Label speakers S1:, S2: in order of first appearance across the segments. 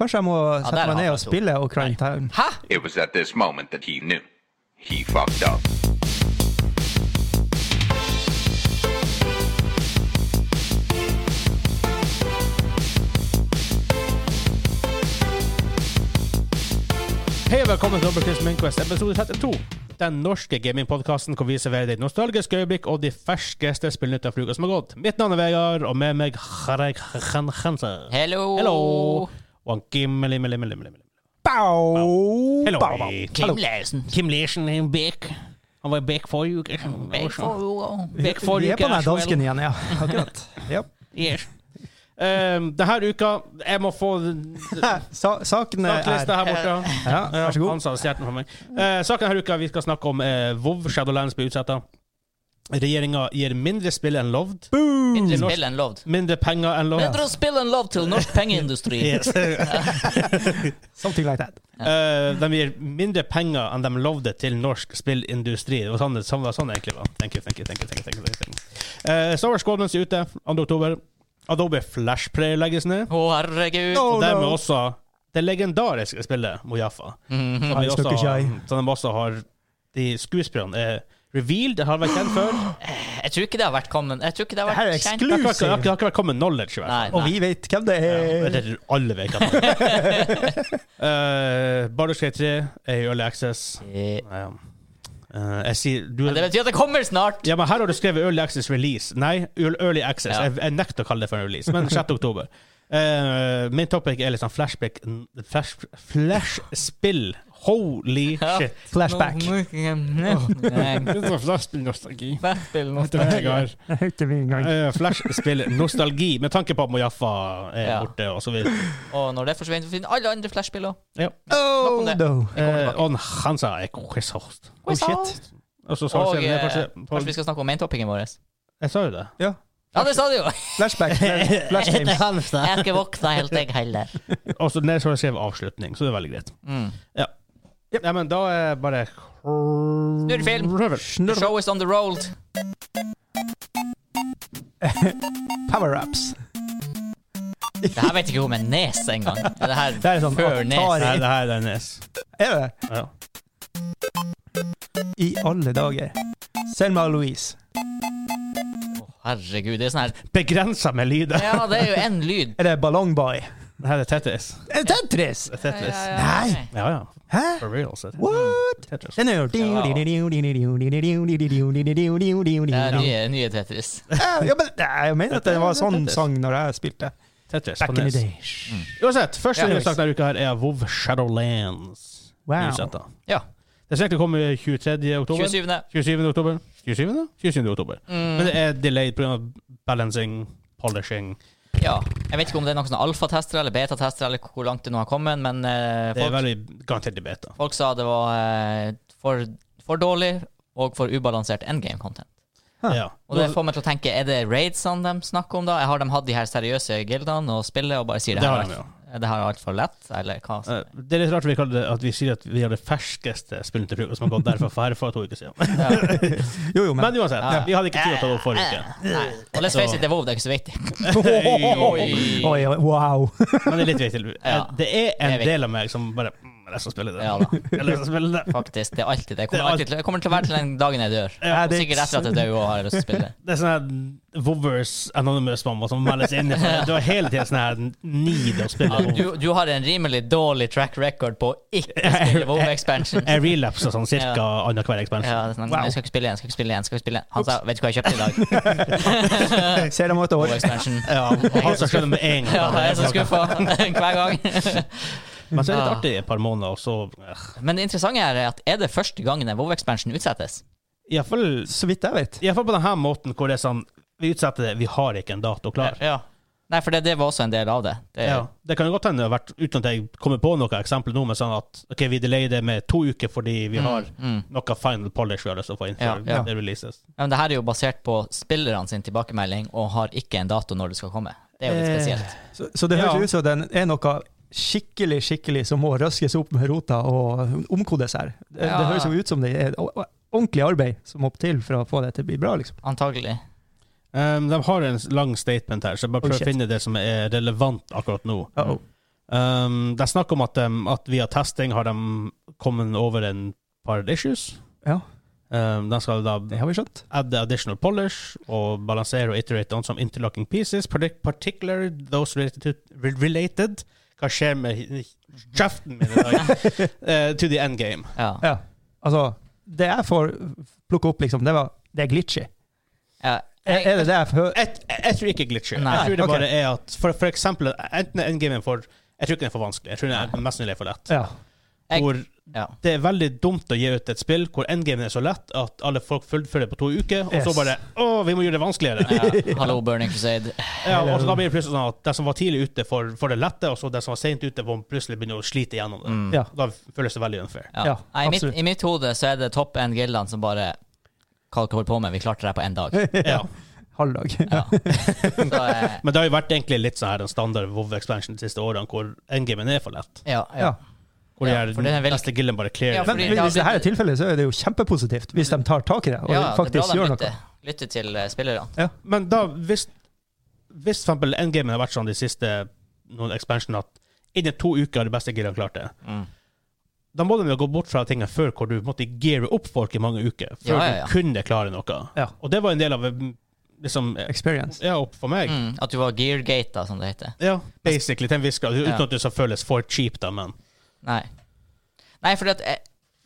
S1: Kanskje jeg må
S2: der
S1: sette
S2: er
S1: meg ned
S2: han
S1: og
S2: to.
S1: spille Ocarina of Time.
S2: Hæ?
S3: It was at this moment that he knew. He fucked up.
S4: Hei og velkommen til Dobbeltkryss Minquest episode 32. Den norske gamingpodkasten hvor vi serverer deg nostalgiske øyeblikk og de ferskeste spillnytt av uka som har gått. Mitt navn er Vegard, og med meg Hareg Hansen.
S2: Hello.
S4: Hello. Og han Kim Limmelimmelimmel.
S1: Bow!
S4: Hello.
S1: bow, bow.
S2: Kim Larsen.
S4: Kim Lersen er back. Han var back forrige uke. Back
S1: Vi,
S4: Back forrige
S1: vi er på
S4: uke,
S1: den
S4: Ashwell.
S1: dansken igjen, ja. Akkurat. Ja.
S4: Yes. Um, denne uka Jeg må få
S1: Sa, saken er
S4: saklista her borte.
S1: Ja,
S4: Ja,
S1: vær så god.
S4: Han sa stjerten for meg. Eh, saken her uka, vi skal snakke om eh, WoW Shadowlands blir utsetta. Regjeringa gir mindre spill enn lovd.
S2: Mindre
S1: Mm.
S4: Norsk-
S2: spill enn lovd.
S4: Mindre penger enn lovd.
S2: Mindre spill enn lovd til norsk pengeindustri.
S4: Yes.
S1: Something like that.
S4: Eh, de gir mindre penger enn de lovde til norsk spillindustri. Det var sånn det sånn, det var sånn det egentlig var. Thank you, thank you, thank you, thank you, thank you, thank you. Eh, Star Wars Squadrons er ute 2. oktober. Adobe Flashplay legges ned.
S2: Å, herregud.
S1: Oh,
S4: og dermed
S1: no.
S4: også det legendariske spillet Mojaffa. Som
S1: Nei,
S4: vi også,
S1: skal ikke jeg.
S4: som de også har De skuespillerne er revealed, det har vært kjent før.
S2: Jeg tror ikke det har vært kommet Jeg tror ikke det har
S1: Det her er
S2: vært kjent.
S4: Det har ikke, det har ikke, det
S1: eksklusivt.
S4: har ikke vært common knowledge. i hvert
S2: Nei,
S4: fall.
S1: Og
S2: nei.
S1: vi vet hvem det
S4: Ja,
S1: er.
S4: det er alle vet at det er. Eh, Baldur's Gate 3 er i early access.
S2: Eh,
S4: Ja. Eh, jeg sier du,
S2: Men det betyr at det kommer snart.
S4: ja, men Her har du skrevet Early Access Release. Nei, Ear- Early Access.
S2: Ja.
S4: Jeg, jeg nekter å kalle det for en release, men 6. oktober. Eh, min topic er litt sånn flashback flash, Flashspill. Holy
S2: Ja.
S4: shit.
S1: Flashback.
S2: Nei,
S4: Flashspill-nostalgi.
S2: flashspill nå.
S1: Ikke min gang.
S4: Eh, Flashspill-nostalgi, med tanke på at Mojaffa er
S2: Ja.
S4: borte, og så videre.
S2: Og når det forsvinner, forsvinner alle andre flashspill òg.
S4: Ja.
S1: Oh,
S2: det.
S1: no.
S4: Eh, og Hansa er quiz-host.
S1: Oh, shit.
S4: Og Altså, så
S2: Og, eh,
S4: Solskjær, det er kanskje-
S2: Kanskje vi skal snakke om maintoppingen vår?
S4: Jeg sa jo det.
S1: Ja.
S2: Ja, det sa du jo!
S1: Flashback. flash- Flash games.
S2: Jeg har ikke våkna helt, jeg heller.
S4: Og Altså, så den som skrev avslutning, så det er veldig greit.
S2: Mm.
S4: Nei, men da er bare
S2: Snurr film. The show is on the road.
S1: Power-ups.
S2: Det her vet ikke hun med nes engang. Det her
S1: Det er sånn
S2: før nes.
S1: Atari.
S4: Nei, det her er Nes.
S1: Er det?
S4: Ja.
S1: I alle dager. Selma og Louise.
S2: Herregud, det er sånn her
S4: Begrensa med lyder.
S2: Ja, det er jo én lyd.
S1: Er det Ballongboy?
S4: Det her er Tetris.
S1: Er det Tetris?
S4: Det er Tetris.
S2: Ja, ja, ja.
S1: Nei!
S4: Ja, ja.
S1: Hæ?
S4: For real. Så er det
S1: What?
S4: Tetris.
S1: Den er jo
S2: Det er
S1: Ja,
S2: nye, nye Tetris.
S1: men jeg mener at det var sånn sang når jeg spilte.
S4: Tetris på
S1: Back in the
S4: Nes.
S1: day.
S4: Uansett, første
S2: Ja.
S4: nyhetssak denne uka her er WoW Shadowlands.
S1: Wow.
S4: Nyhetsetta.
S2: Ja.
S4: Det skal egentlig komme 23. oktober.
S2: 27.
S4: 27. oktober. 27. 27. oktober.
S2: Mm.
S4: Men det er delayed pga. balancing, polishing
S2: Ja. Jeg vet ikke om det er noen sånne alfatester eller betatester, eller hvor langt det nå har kommet, men eh,
S4: Det er
S2: folk,
S4: veldig garantert i beta.
S2: folk sa det var eh, for, for dårlig og for ubalansert endgame content.
S1: Ja.
S4: Ja.
S2: Og det får meg til å tenke, er det raidsene de snakker om da? Har de hatt de her seriøse gildene og spillet og bare sier det,
S4: Det
S2: her
S4: har
S2: er
S4: de,
S2: alt- det her er altfor lett, eller hva? som-
S4: Eh, Det er litt rart vi kaller det at vi sier at vi har det ferskeste spillet til bruk, som har gått derfor for for to uker siden.
S2: Ja.
S1: Jo, jo, men
S4: Men uansett,
S2: Ja.
S4: vi hadde ikke Altså- tid til å ta det opp forrige uke.
S2: Nei. Og let's face it, det er WoW, det er ikke så viktig.
S1: Oi, oi, wow.
S4: Men det er litt viktig. Eh,
S2: Ja.
S4: Det er en
S2: Det er
S4: del av meg som bare mm, Jeg skal spille det.
S2: Ja da.
S4: Jeg skal spille det.
S2: Faktisk. Det er alltid det. Jeg
S4: Det er
S2: kommer, alltid til, jeg kommer til å være til den dagen jeg dør.
S1: Ja,
S2: Og
S1: det-
S2: sikkert etter at jeg dør og har jeg lyst til å spille.
S4: Det er sånn her Vovers Anonymous-mamma som melder seg inn. i det. Du har hele tiden sånn her need å
S2: Ja,
S4: spille.
S2: du, du har en rimelig dårlig track record på å ikke spille WoW Expansion.
S4: Jeg relapser sånn cirka annenhver ekspansjon.
S2: Ja, det er sånn,
S1: Wow.
S2: Jeg skal ikke spille igjen, skal ikke spille igjen. skal ikke spille igjen. Han sa 'Vet du hva jeg kjøpte i dag?'
S1: Ser dem om et
S2: WoW
S1: år.
S2: Expansion.
S4: Ja, og han som skjønner med en gang.
S2: Ja, jeg er så skuffa hver gang.
S4: Men så er det litt artig i et par måneder, og så eh,
S2: Men det interessante her er at er det første gangen en WoW Expansion utsettes?
S4: i hvert fall
S1: Så vidt jeg vet.
S4: i hvert fall på denne måten hvor det er sånn Vi utsetter det, vi har ikke en dato klar.
S2: Ja. Nei, for det, det var også en del av det. det
S4: Ja, det kan jo godt hende det har vært, uten at jeg kommer på noe eksempel nå, men sånn at ok, vi delayer det med to uker fordi vi har
S2: mm.
S4: noe final polish vi har lyst til å få inn
S2: Ja,
S4: før
S2: ja.
S4: det releases.
S2: Ja, men det her er jo basert på spillerne sin tilbakemelding og har ikke en dato når det skal komme. Det er jo litt
S4: Eh,
S2: spesielt.
S1: Så, så det høres
S4: Ja.
S1: ut som den er noe skikkelig skikkelig som må røskes opp med rota og omkodes her. Det, det
S2: Ja.
S1: høres jo ut som det er ordentlig arbeid som må til for å få det til å bli bra, liksom.
S2: Antagelig.
S4: Um, de har en lang statement her, så jeg bare
S1: Oh,
S4: prøver å
S1: shit.
S4: finne det som er relevant akkurat nå.
S2: Mm.
S1: Uh -oh.
S4: Um, det er snakk om at, dem- at via testing har de kommet over en par issues.
S1: Ja,
S4: Um, de skal da
S1: det har vi skjønt.
S4: add additional polish og balansere og iterate on some interlocking pieces, partic- particular those related to, re- related Hva skjer med hi- kjeften min i dag? Eh, to the end game.
S2: Ja.
S1: Ja. Altså, det jeg får plukke opp, liksom, det, var, det er glitchy.
S2: Ja.
S1: Er, er det det jeg hører?
S4: Jeg, jeg, jeg tror ikke glitcher.
S2: Nei,
S4: jeg tror det
S1: ok.
S4: bare er at for, for eksempel, enten er endgamen for Jeg tror ikke den er for vanskelig. Jeg tror den er mest sannsynlig for lett.
S1: Ja.
S2: Jeg-
S4: Hvor
S2: ja.
S4: det er veldig dumt å gi ut et spill hvor endgamen er så lett at alle folk fullfører det på to uker, og så
S1: Yes.
S4: bare Å, vi må gjøre det vanskeligere.
S2: ja. Hallo, Burning Crusade.
S4: Ja, og så da blir det plutselig sånn at det som var tidlig ute for, for det lette, og så det som var sent ute, får plutselig begynne å slite gjennom det.
S2: Mm.
S1: Ja.
S4: Da føles det veldig unfair.
S2: Ja.
S1: Ja,
S2: Nei, i, mitt,
S1: absolutt.
S2: I mitt hode så er det topp end-gildene som bare Hva dere holder på med? Vi klarte det på én dag.
S4: Ja.
S1: Halvdag.
S2: Ja. Så, eh,
S4: Men det har jo vært egentlig litt sånn her en standard WoW-expansion de siste årene, hvor endgamen er for lett.
S2: ja, ja.
S1: Ja.
S4: Hvor
S2: Ja,
S4: de
S2: for
S4: her
S2: det er vel-
S4: neste gilden bare clear.
S2: Ja,
S1: Men
S2: fordi det har
S1: hvis det her er
S2: blitt-
S1: tilfellet, så er det jo kjempepositivt. Hvis de tar tak i det og
S2: ja, det er
S1: faktisk
S2: bra
S1: gjør
S2: de
S1: noe.
S2: lytter, lytter til eh, spillerne.
S4: Men da, hvis, hvis for eksempel endgamen har vært sånn de siste noen expansion at innen to uker har de beste gildene klart det,
S2: Mm.
S4: da må de jo gå bort fra tingene før hvor du måtte geare opp folk i mange uker, før
S2: Ja, ja, ja.
S4: du kunne klare noe.
S1: Ja.
S4: Og det var en del av liksom,
S1: Experience.
S4: ja, opp for meg.
S2: Mm, at du var geargata, som det heter.
S4: Ja, basically, til en viss grad. Uten
S2: Ja.
S4: at det skal føles for cheap, da, men
S2: Nei. Nei, fordi at jeg,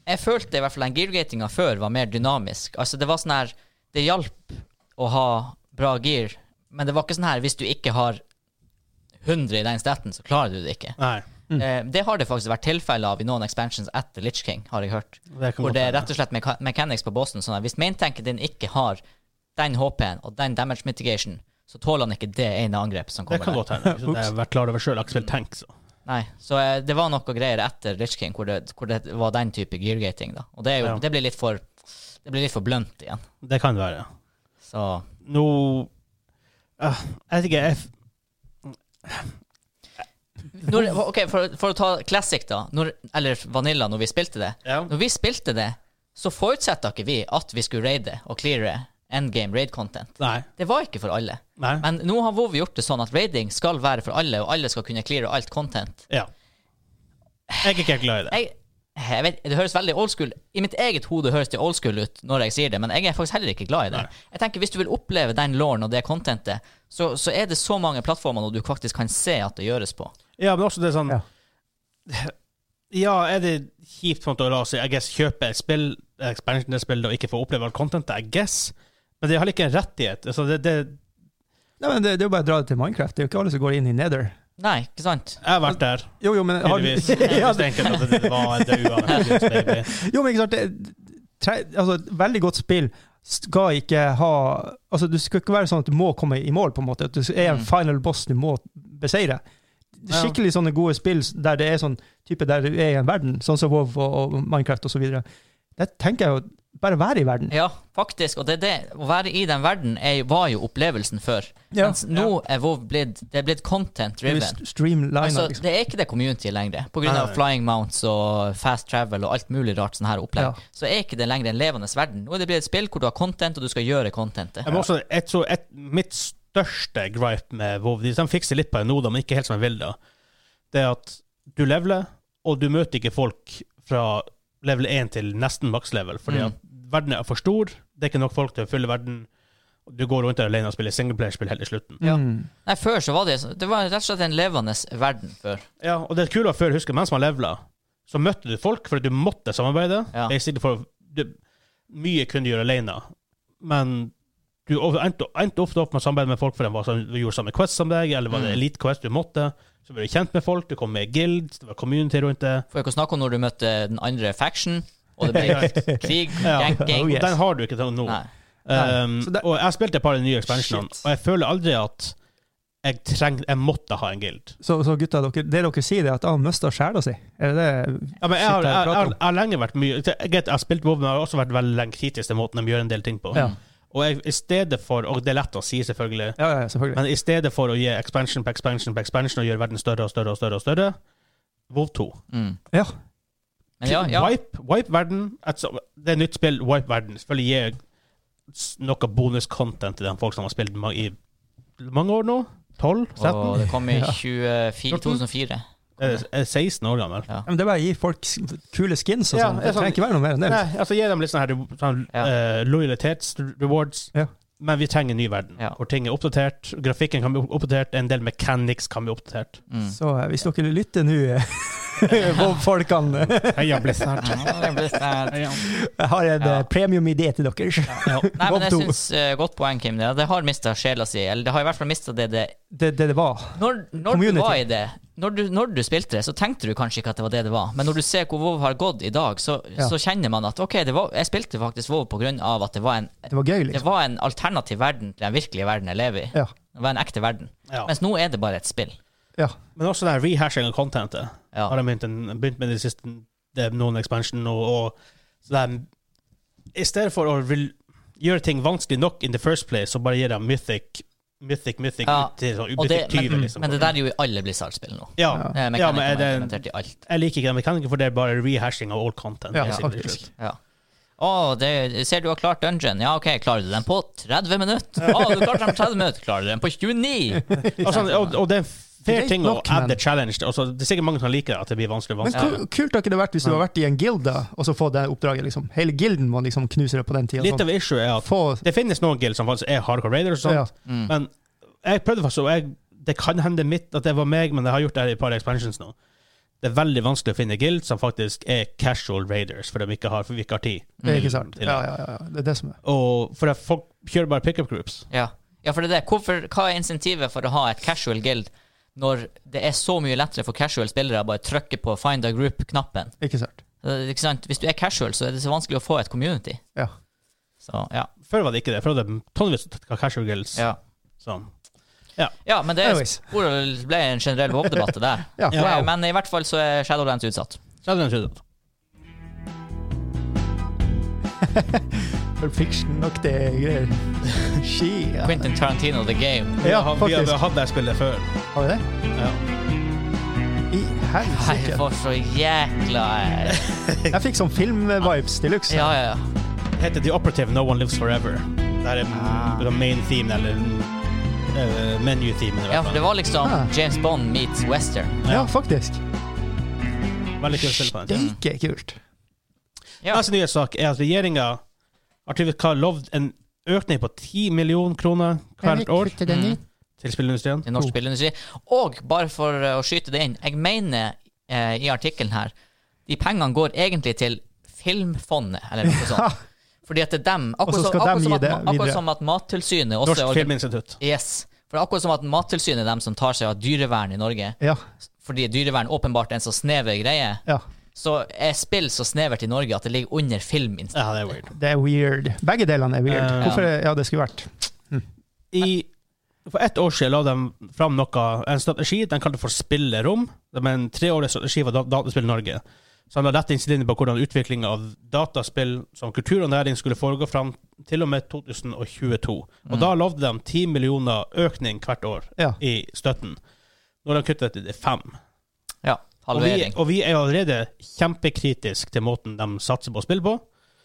S2: jeg følte i hvert fall den geargatinga før var mer dynamisk. Altså, det var sånn her Det hjalp å ha bra gear, men det var ikke sånn her hvis du ikke har 100 i den staten, så klarer du det ikke.
S4: Nei.
S2: Eh, det har det faktisk vært tilfelle av i noen expansions etter Litch King, har jeg hørt.
S4: Det kan
S2: Hvor
S4: godt
S2: det er
S4: være.
S2: rett og slett mecha mechanics på bossen. Sånn at hvis maintanken din ikke har den HP-en og den damage mitigation, så tåler han ikke det ene angrepet som
S4: Det
S2: kommer.
S4: kan
S2: der.
S4: godt hende. Ikke sant? Jeg har vært klar over sjøl. Aksel Tenk, så.
S2: Nei, så eh, det var noe greier etter Litch King hvor det, hvor det var den type geargating, da. Og det, er jo,
S4: Ja.
S2: det blir litt for Det blir litt for blunt igjen.
S4: Det kan være.
S2: Så
S4: Nå Ah, Jeg vet ikke jeg,
S2: når, OK, for, for å ta classic, da. Når, eller Vanilla, når vi spilte det.
S4: ja.
S2: Når vi spilte det, så forutsetter ikke vi at vi skulle raide og cleare endgame raid content.
S4: Nei.
S2: Det var ikke for alle.
S4: Nei.
S2: Men nå har WoW gjort det sånn at raiding skal være for alle, og alle skal kunne cleare alt content.
S4: Ja. Jeg er ikke helt glad i det.
S2: Jeg, jeg vet, det høres veldig old school I mitt eget hode høres det old school ut når jeg sier det, men jeg er faktisk heller ikke glad i det. Jeg tenker Hvis du vil oppleve den lauren og det contentet, så, så er det så mange plattformer nå du faktisk kan se at det gjøres på.
S4: Ja, men også det er sånn
S1: Ja.
S4: Ja, er det kjipt for å la seg I guess kjøpe et spill, expansion til et spill, og ikke få oppleve alt contentet? I guess. Men det har ikke en rettighet. Altså, det, det,
S1: Nei, men det, det er jo bare å dra det til Minecraft. Det er jo ikke alle som går inn i Nether.
S2: Nei, ikke sant?
S4: jeg har vært der,
S1: Jo, jo, men har,
S4: tydeligvis.
S1: ja,
S4: Jeg
S1: det,
S4: tenkte at det var en daua. baby.
S1: jo, men ikke sant. Det, tre, altså, et veldig godt spill skal ikke ha Altså, du skal ikke være sånn at du må komme i mål, på en måte. At du er en
S2: Mm.
S1: final boss du må beseire.
S4: Ja.
S1: Skikkelig sånne gode spill der det er sånn type der du er i en verden, sånn som WoW og, og Minecraft osv. Der tenker jeg jo bare være i verden.
S2: Ja, faktisk. Og det er det. Å være i den verden er, jo- var jo opplevelsen før.
S1: Ja.
S2: Mens nå er WoW blitt, det er blitt content
S1: Du
S2: driven.
S1: Streamliner,
S2: Altså,
S1: liksom.
S2: det er ikke det communityet lenger. På grunn
S4: Nei,
S2: av
S4: nei.
S2: flying mounts og fast travel og alt mulig rart sånn her opplegg,
S1: Ja.
S2: så er ikke det lenger en levende verden. Nå er det blitt et spill hvor du har content, og du skal gjøre contentet.
S4: Jeg må også, jeg tror et, mitt største gripe med WoW De de fikser litt på det nå, da, men ikke helt som jeg vil. da Det er at du leveler, og du møter ikke folk fra level 1 til nesten maks level. Fordi
S2: Mm.
S4: at verden er for stor, det er ikke nok folk til å fylle verden. Du går rundt der alene og spiller singleplayerspill helt til slutten.
S1: Mm.
S2: Nei, før så var det så- Det var rett og slett en levende verden før.
S4: Ja, Og det kule var før, husker jeg, mens man levela, så møtte du folk fordi du måtte samarbeide.
S2: Ja.
S4: Basically for du, Mye kunne du gjøre alene, men du o- endte, endte ofte opp med å samarbeide med folk fordi de var sånn- de gjorde samme quest som deg, eller var det
S2: Mm.
S4: elite quest du måtte. Så ble du kjent med folk, du kom med i guilds, det var community rundt det.
S2: For ikke å snakke om når du møtte den andre faction, og det ble krig,
S4: Ja.
S2: ganking
S1: Oh, yeah.
S4: Og den har du ikke til nå.
S2: Nei.
S1: Nei.
S4: Um,
S1: Så det-
S4: og jeg spilte et par av de nye expansionene,
S1: Shit.
S4: og jeg føler aldri at jeg trengte Jeg måtte ha en guild.
S1: Så, så gutta, dere, det dere sier, er at han mista sjela si? Er det det?
S4: Ja, men jeg, har,
S1: Shit, det
S4: jeg,
S1: er
S4: jeg,
S1: prat
S4: har,
S1: om.
S4: jeg har lenge vært mye Jeg vet, jeg har spilt WoW, men jeg har også vært veldig lenge kritisk til måten de gjør en del ting på.
S1: Ja.
S4: Og jeg, i stedet for Og det er lett å si, selvfølgelig,
S1: Ja, ja, ja, selvfølgelig.
S4: men i stedet for å gi expansion på expansion på expansion og gjøre verden større og større og større, og større WoW 2.
S2: Mm.
S1: Ja.
S2: Men ja, ja.
S4: Wipe, wipe verden. Altså, det er nytt spill, wipe verden. Selvfølgelig gir jeg s- noe bonus-content til de folk som har spilt ma- i mange år nå. 12? 13?
S2: Og det kom i 24, 2004.
S4: Er det- er det 16 eh, år gammel?
S2: Ja.
S1: Ja, men det er bare å gi folk s- kule skins og
S4: Ja,
S1: sånn.
S4: det er
S1: Det trenger
S4: sant.
S1: ikke være noe mer enn det.
S4: Nei, altså gi dem litt sånne her, sånn,
S2: Ja.
S4: eh, lojalitets-rewards.
S1: Ja.
S4: Men vi trenger en ny verden,
S2: Ja.
S4: hvor ting er oppdatert. Grafikken kan bli opp- oppdatert, en del mechanics kan bli oppdatert.
S2: Mm.
S1: Så eh, hvis dere lytter nå, eh, Bob-folkene,
S4: Heia Blizzard.
S2: Ja, det eh, blir snart.
S1: jeg har en
S2: Ja.
S1: eh, premium-idé til dere.
S2: Nei, men jeg
S1: Bob to.
S2: syns eh, godt poeng, Kim. Det, det har mista sjela si. Eller det har i hvert fall mista det det
S1: Det det, det var.
S2: Når, når du
S1: Community.
S2: var i det, når du, når du spilte det, så tenkte du kanskje ikke at det var det det var. Men når du ser hvor WoW har gått i dag, så,
S1: Ja.
S2: så kjenner man at OK, det var, jeg spilte faktisk WoW på grunn av at det var en
S1: Det var gøy,
S2: det
S1: liksom.
S2: var en alternativ verden til den virkelige verden jeg lever i.
S1: Ja.
S2: Det var en ekte verden.
S4: Ja.
S2: Mens nå er det bare et spill.
S1: ja.
S4: Men også den rehashing av contentet
S2: Ja.
S4: har de begynt, en, begynt med de siste det er noen expansion. Og, og, så de, I stedet for å vil, gjøre ting vanskelig nok in the first place, så bare gir de mythic, mythic, mythic
S2: Ja,
S4: ut til sånn
S2: Og det,
S4: ubyttet 20,
S2: men,
S4: liksom.
S2: men det der er jo i alle Blizzard-spill nå.
S4: ja.
S2: Det er
S4: Ja, men er
S2: mekanikken
S4: det-
S2: er implementert i alt.
S4: Jeg liker ikke den mekanikken, for det er bare rehashing av old content.
S1: Ja,
S4: basically.
S1: faktisk.
S2: Ja. Å, det, ser du har klart dungeon. Ja, OK, klarer du den på 30 minutter? Å, du klarte den på 30 minutter. Klarer du den på 29?
S4: Og, sånn, og, og det er en fair
S1: Greit
S4: ting
S1: nok,
S4: å add
S1: men-
S4: the challenge. Altså, det er sikkert mange som liker det, at det blir vanskelig. og
S1: Men
S4: vanskelig.
S1: ku- kult har ikke det vært hvis du har vært i en guild da, og så få det oppdraget. liksom. Hele gilden må liksom knuse det på den tida.
S4: Litt
S1: Sånn.
S4: av issue er at
S1: Få,
S4: det finnes noen guild som faktisk er hardcore raiders, og sånt,
S1: ja,
S2: Mm.
S4: men jeg prøvde faktisk, og jeg, det kan hende mitt at det var meg, men jeg har gjort det her i et par expansions nå. Det er veldig vanskelig å finne guild som faktisk er casual raiders, for de ikke har, for vi ikke har tid.
S1: det er ikke sant.
S4: Mm. til det.
S1: Ja, ja, ja, ja. Det er det som er.
S4: Og for at folk kjører bare pickup groups.
S2: Ja. ja, for det er det. Hvorfor, hva er insentivet for å ha et casual guild når det er så mye lettere for casual spillere å bare trykke på find a group-knappen?
S1: Ikke sant.
S2: Eh, Ikke sant? Hvis du er casual, så er det så vanskelig å få et community.
S1: Ja.
S2: Så ja.
S4: Før var det ikke det. Før var det tonnevis av casual guilds.
S2: Ja,
S4: Sånn.
S2: ja men det er
S1: Anyways.
S2: sporet ble en generell WoW-debatt det der.
S1: Ja,
S2: Det er-
S1: wow.
S2: Men i hvert fall så er Shadowlands utsatt.
S4: Shadowlands utsatt.
S1: Pulp Fiction-aktige greier. Shit. Ja.
S2: Quentin Tarantino The Game.
S4: Vi
S1: Ja,
S4: har- vi har- Vi
S1: faktisk.
S4: har hatt det spillet før.
S1: Har vi det?
S4: Ja.
S1: I
S2: Nei,
S1: helsike.
S2: for så jækla
S1: Jeg fikk sånn film-vibes til luxe.
S2: Ja, ja, ja.
S4: heter The Operative No One Lives Forever. Det er mm, the main theme, eller uh, menu-theme.
S2: ja for det var liksom
S1: Ah.
S2: James Bond meets western.
S1: Ja, faktisk.
S4: Veldig kult spill på den tiden.
S1: Steike kult.
S2: Ja.
S1: Altså,
S4: Neste nye sak er at regjeringa har tydeligvis hva lovd en økning på 10 millioner kroner hvert år
S2: Mm.
S4: til spillindustrien.
S2: til
S1: Oh.
S2: norsk spillindustri. Og bare for eh, å skyte det inn, jeg mener eh, i artikkelen her De pengene går egentlig til Filmfondet, eller noe sånt. Fordi at det er dem. Akkurat,
S1: Og så
S2: som-
S1: skal
S2: akkurat,
S1: dem
S2: som,
S1: gi
S2: at,
S1: det
S2: akkurat
S1: videre.
S2: som at Mattilsynet også
S4: Norsk
S2: er organ-
S4: Filminstitutt.
S2: Yes. For akkurat som at Mattilsynet er dem som tar seg av dyrevern i Norge,
S1: Ja,
S2: fordi dyrevern åpenbart er en så snever greie,
S1: ja.
S2: så er spill så snevert i Norge at det ligger under Filminstituttet.
S4: Ja, det er weird.
S1: Det er weird. Begge delene er weird.
S4: Eh,
S1: Hvorfor er, ja, det skulle vært.
S4: I, for ett år siden la de fram noe, en strategi de kalte for Spillerom. Det er en treårig strategi for dat- Dataspill Norge. Så han la retningslinjer på hvordan utvikling av dataspill som kultur og næring skulle foregå fram til og med 2022. Og da lovde de 10 millioner økning hvert år
S1: Ja.
S4: i støtten. Nå har de kuttet det til 5.
S2: Ja,
S4: Og vi,
S2: halvering.
S4: og vi er allerede kjempekritiske til måten de satser på spill på.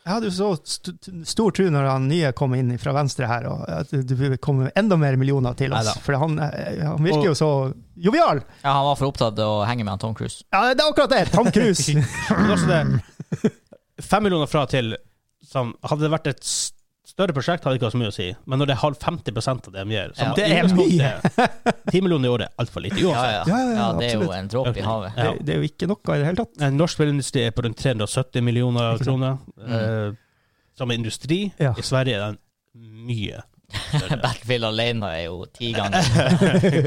S1: Jeg hadde jo så st st- stor tro når han nye kom inn fra venstre her, og at det ville komme enda mer millioner til oss.
S4: Neida.
S1: For han, eh, han virker jo så jovial!
S2: Ja, han var for opptatt av å henge med han Tom Cruise.
S1: Ja, det er akkurat det! Tom Cruise!
S4: Men også det Fem millioner fra til som, Hadde det vært et s- større prosjekt, hadde det ikke hatt så mye å si. Men når det er halv 50 av det de gjør
S2: Ja.
S4: som
S1: Det er
S4: utgangspunktet- 10 millioner i året er altfor lite.
S2: Ja,
S4: Uansett.
S2: ja.
S1: Ja, ja,
S2: ja det er jo
S1: absolutt.
S2: en dråpe i havet.
S1: Det, det er jo ikke noe i det hele tatt.
S4: Eh, Norsk spillindustri er på rundt 370 millioner kroner eh, som industri.
S1: Ja.
S4: I Sverige er den mye.
S2: Battlefield alene er jo ti ganger.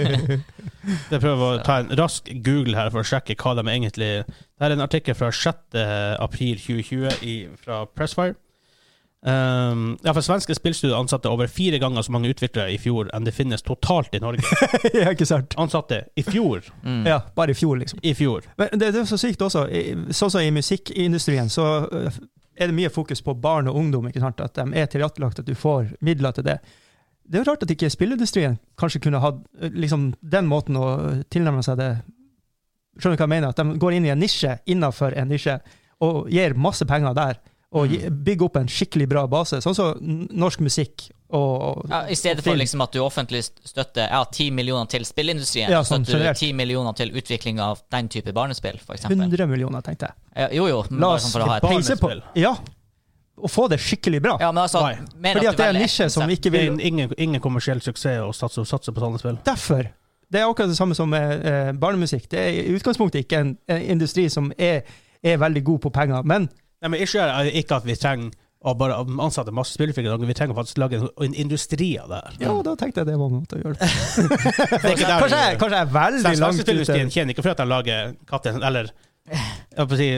S4: Jeg prøver å ta en rask Google her for å sjekke hva de egentlig Det er en artikkel fra 6. april 2020 i, fra Pressfire. Um, ja, for Svenske spillstudier ansatte over fire ganger så mange utviklere i fjor enn det finnes totalt i Norge.
S1: ja, ikke sant?
S4: Ansatte i fjor!
S2: Mm.
S1: Ja, bare i fjor, liksom.
S4: I fjor.
S1: Men det, det er så sykt også. I- Sånn som i musikkindustrien, så øh, er det mye fokus på barn og ungdom. ikke sant? At de er tilrettelagt, at du får midler til det. Det er jo rart at ikke spillindustrien kanskje kunne hatt øh, liksom, den måten å øh, tilnærme seg det Skjønner du hva jeg mener? At de går inn i en nisje innenfor en nisje og gir masse penger der. og gi-
S2: Mm.
S1: bygge opp en skikkelig bra base. Sånn som n- norsk musikk og
S2: Ja, I stedet for liksom at du offentlig støtter ja, 10 millioner til spillindustrien,
S1: Ja,
S2: så
S1: sånn
S2: støtter
S1: generelt.
S2: du 10 millioner til utvikling av den type barnespill, f.eks.
S1: 100 millioner, tenkte jeg.
S2: Ja, jo, jo. men
S1: La
S2: bare
S1: oss
S2: sånn for å ha et
S1: peise på.
S4: Barnespill.
S1: Ja. Og få det skikkelig bra.
S2: Ja, men altså,
S4: Nei.
S2: mer
S1: Fordi
S2: du
S1: at det er en
S2: velger ett
S1: nisje som
S2: konsept.
S1: ikke
S4: Det
S1: vil
S4: er ingen, ingen kommersiell suksess å satse, satse på sånne spill.
S1: Derfor. Det er akkurat det samme som med eh, barnemusikk. Det er i utgangspunktet ikke en, en industri som er, er veldig god på penger, men
S4: Nei, men ikke, er det ikke at vi trenger å bare ansette masse spillefigurer. Vi trenger faktisk lage en, en industri av det her.
S1: ja, da tenkte jeg det var en måte å gjøre det.
S4: Det er
S1: Kanskje
S4: ikke der vi-
S1: jeg, kanskje jeg er veldig langt ute.
S4: Spilleindustrien tjener ikke fordi at de lager kaptein Eller jeg får si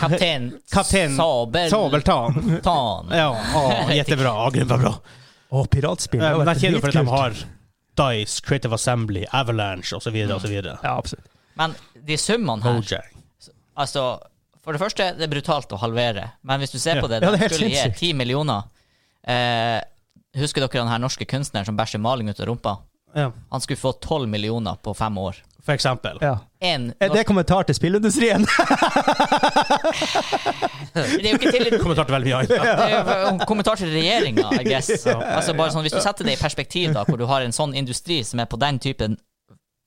S2: Kaptein,
S4: Kaptein
S2: Sabel,
S4: Sabeltann.
S2: Tan.
S4: Ja, å, jettebra. Agrim var bra.
S1: Å, piratspill. det
S4: Men
S1: har
S4: de
S1: vært
S4: tjener jo fordi de
S1: dritkult.
S4: har Dice, Creative Assembly, Avalanche osv. osv.
S1: Ja, absolutt.
S2: Men de summene her
S4: Mojang.
S2: altså, For det første, det er brutalt å halvere. Men hvis du ser
S4: Ja.
S2: på det,
S1: Ja,
S2: de
S1: det er helt
S2: skulle gi
S1: sinnssykt.
S2: 10 millioner. Eh, husker dere den her norske kunstneren som bæsjer maling ut av rumpa?
S4: Ja,
S2: Han skulle få 12 millioner på fem år.
S4: for eksempel.
S1: Ja.
S2: En,
S1: Er det kommentar til spillindustrien?
S2: det er jo ikke tillit
S4: Kommentar til veldig mye annet.
S2: Det er jo en kommentar til regjeringa, I guess. Altså bare sånn, hvis du setter det i perspektiv, da, hvor du har en sånn industri som er på den typen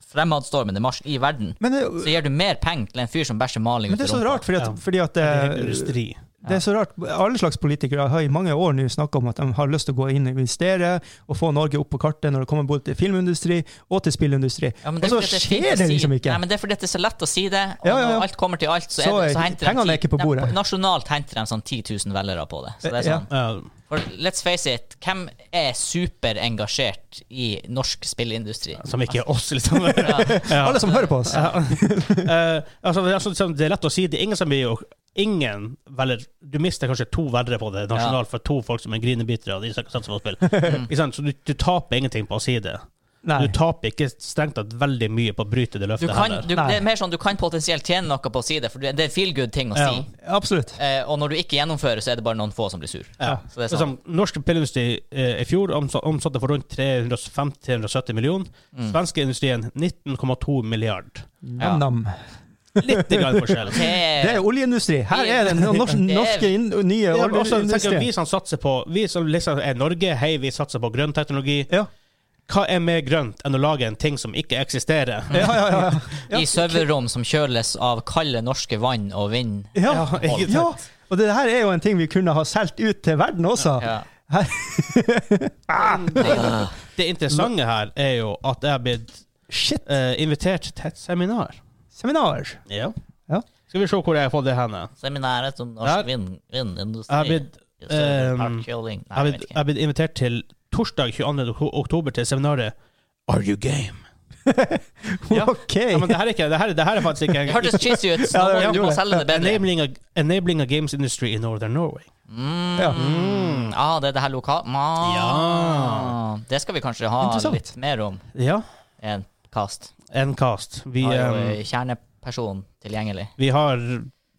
S2: fremadstormende marsj i verden,
S1: Men det,
S2: så gir du mer penger til en fyr som bæsjer maling
S1: men
S2: ut
S1: det
S2: i
S1: er så
S2: rumpa.
S1: rart, fordi at,
S4: Ja.
S1: fordi at
S4: Det
S1: eh,
S4: er industri.
S1: Det er så rart. Alle slags politikere har i mange år nå snakka om at de har lyst til å gå inn og investere og få Norge opp på kartet når det kommer både til filmindustri og til spillindustri.
S2: Ja, men
S1: og så
S2: fordi at er fint
S1: skjer
S2: å
S1: det
S2: si-
S1: liksom ikke.
S2: Nei, men Det er fordi at det er så lett å si det, og
S1: Ja, ja, ja.
S2: når alt kommer til alt, så,
S1: Så
S2: er det,
S1: er-
S2: så henter
S1: pengene
S2: ti-
S1: er ikke på
S2: Nei,
S1: bordet.
S2: nasjonalt henter de sånn 10 000 velgere på det. Så det er
S1: Ja.
S2: sånn.
S4: Ja.
S2: For let's face it, hvem er superengasjert i norsk spillindustri?
S4: Som ikke er oss, liksom. Ja.
S1: Alle som hører på oss.
S4: Eh, altså, det, er sånn- sånn, det er lett å si. Det er ingen som blir jo Ingen velger Du mister kanskje to verre på det nasjonalt for to folk som er grinebitere. Og de som ikke satser på spill. Ikke sant? Så du, du taper ingenting på å si det.
S1: Nei.
S4: Du taper ikke strengt tatt veldig mye på å bryte
S2: Du
S4: det løftet
S2: kan,
S4: heller.
S2: du, det er mer sånn du kan potensielt tjene noe på å si det, for det det er en feel good ting å si.
S4: Ja.
S1: Absolutt.
S2: Eh, og når du ikke gjennomfører, så er det bare noen få som blir sur.
S4: Ja.
S2: Så det er
S4: Det er
S2: sånn.
S4: sånn, norsk spillindustri eh, i fjor omsa- omsatte for rundt 350-370 millioner.
S2: Mm.
S4: Svenske industrien 19,2 milliard.
S2: Ja.
S1: Nam-nam.
S4: Litt grann forskjell.
S1: Det
S2: Det
S4: Eh.
S1: er
S2: er,
S1: oljeindustri. Her er den norske,
S2: Det er-
S1: norske inn- nye
S4: Ja, men også, tenker, jeg,
S1: oljeindustrien.
S4: vi som satser på Vi som liksom er Norge, hei, vi satser på grønn teknologi.
S1: Ja.
S4: Hva er mer grønt enn å lage en ting som ikke eksisterer?
S1: Ja, ja, ja, ja.
S2: I serverrom som kjøles av kalde norske vann og vind.
S1: Ja.
S4: Ja, ikke sant.
S1: ja. Og det her er jo en ting vi kunne ha solgt ut til verden også.
S2: Ja.
S1: Her-
S4: Det interessante her er jo at jeg har blitt
S1: Shit.
S4: eh, invitert til et seminar.
S1: Seminar. Ja.
S4: Skal vi se hvor jeg har fått det henne.
S2: Seminaret om sånn
S4: Der.
S2: norsk vind, vindindustri.
S4: Jeg har blitt,
S2: i Server
S4: ehm,
S2: Park Kjøling.
S4: Jeg har
S2: Nei, jeg vet
S4: blitt, jeg
S2: ikke.
S4: har blitt invitert til torsdag 22. ok- oktober til seminaret Are you game? Ja.
S1: OK.
S4: Ja, men det her er, ikke, det her, det her er faktisk ikke
S2: Det hørtes cheesy ut. så
S1: Ja, det
S2: nå må du
S1: gjorde
S2: må
S1: det.
S2: selge det bedre.
S4: enabling, a, enabling a games industry in northern Norway.
S1: Ja.
S2: Mm. Ah, det er det her lokal... Ah.
S4: Ja.
S2: Det skal vi kanskje ha
S1: Interessant.
S2: litt mer om
S4: Ja.
S2: i en cast.
S4: Ncast. Vi,
S2: Har jo
S4: eh,
S2: eh, kjerneperson tilgjengelig.
S4: vi har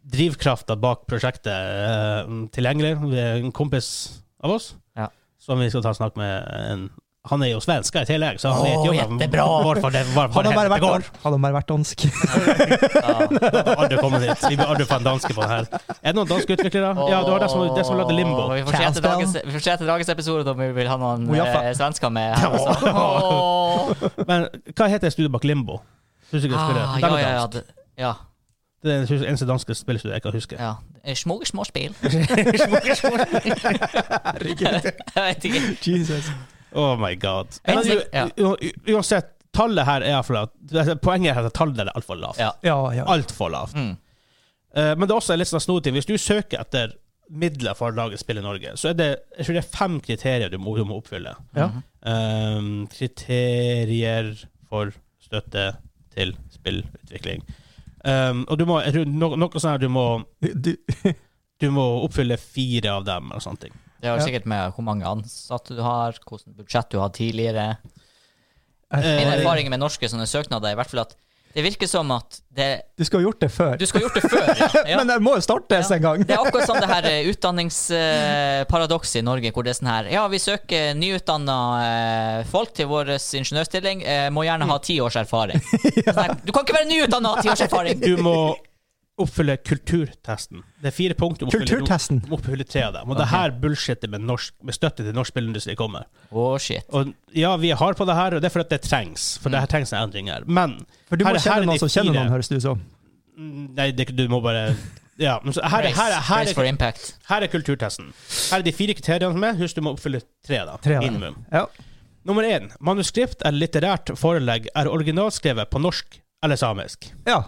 S4: drivkrafta bak prosjektet eh, tilgjengelig. Vi er en kompis av oss
S2: Ja.
S4: som vi skal ta snakk med. En, han er jo svensk i tillegg, så han
S2: Åh,
S4: vet jo
S2: jättebra.
S4: hvorfor det, hvorfor
S1: Hadde
S4: det
S1: han bare vært,
S4: heter går.
S1: hadde han bare vært dansk.
S4: Aldri kommet dit. Vi blir aldri få en danske på det her. Er det noen danske utviklere? Ja, du har det som, det som lagde Limbo.
S2: Åh, Vi får se etter
S1: Countdown.
S2: dagens- vi får se etter dagens episode om vi vil ha noen
S1: Oh, ja, faen.
S2: eh, svensker med. Her, altså. Åh.
S4: Men hva heter studioet bak Limbo? Husker du ikke spillet?
S2: Ah,
S4: Det er
S2: ja,
S4: noe
S2: ja, ja,
S4: dansk.
S2: det- ja,
S4: Det er det eneste danske spillstudioet jeg kan huske.
S2: ja. Eh, Små, små spill. Små, små spill. Jeg vet ikke.
S1: Jesus.
S4: Oh my god.
S2: En
S4: Men,
S2: ting-
S4: u- u- u- uansett, tallet her er iallfall at altså, Poenget er at tallet er altfor lavt.
S2: Ja.
S1: Ja, ja.
S4: Altfor lavt.
S2: Mm.
S4: Eh, men det er også en litt sånn snodig ting. Hvis du søker etter midler for å lage spill i Norge, så er det, jeg tror det er fem kriterier du må, du må oppfylle.
S1: Ja.
S4: Um, kriterier for støtte til spillutvikling. Um, og du må, jeg tror no, noe sånn her, du må,
S1: Du,
S4: du må oppfylle fire av dem, eller sånne ting.
S2: Det har
S1: Ja.
S2: jo sikkert med hvor mange ansatte du har, hvordan budsjett du har tidligere. Min
S4: Eh,
S2: erfaring med norske sånne søknader er i hvert fall at det virker som at det,
S1: du skulle ha gjort det før.
S2: du skal ha gjort det før. Ja. Ja.
S1: Men det må jo startes en gang.
S2: Det er akkurat som det her eh, utdanningsparadokset i Norge, hvor det er sånn her Ja, vi søker nyutdanna eh, folk til vår ingeniørstilling. Eh, må gjerne ha ti års erfaring. Sånn her, du kan ikke være nyutdanna og ha ti års erfaring!
S4: Du må oppfylle kulturtesten. Det er fire punkter. om å oppfylle-
S1: Kulturtesten.
S4: om å Oppfylle tre av dem. Og det
S2: Ok.
S4: her bullshitet med, norsk, med støtte til norsk spillindustri kommer.
S2: Å, shit.
S4: Og ja, vi er hard på det her, og det er fordi det trengs. For
S2: Mm.
S4: det her trengs en endring her. Men
S1: For du
S4: Her-
S1: må
S4: her er
S1: kjenne noen som
S4: de
S1: kjenner
S4: fire.
S1: noen, høres det ut som.
S4: mm, Nei, det, du må bare Ja. men så Her, er-
S2: Race,
S4: her, er- her,
S2: race
S4: er-
S2: for impact.
S4: her er kulturtesten. Her er de fire kriteriene som er. Husk, du må oppfylle tre, da.
S1: Tre av dem.
S4: Minimum.
S1: Ja.
S4: Nummer én. Manuskript eller litterært forelegg er originalskrevet på norsk eller samisk.
S1: ja.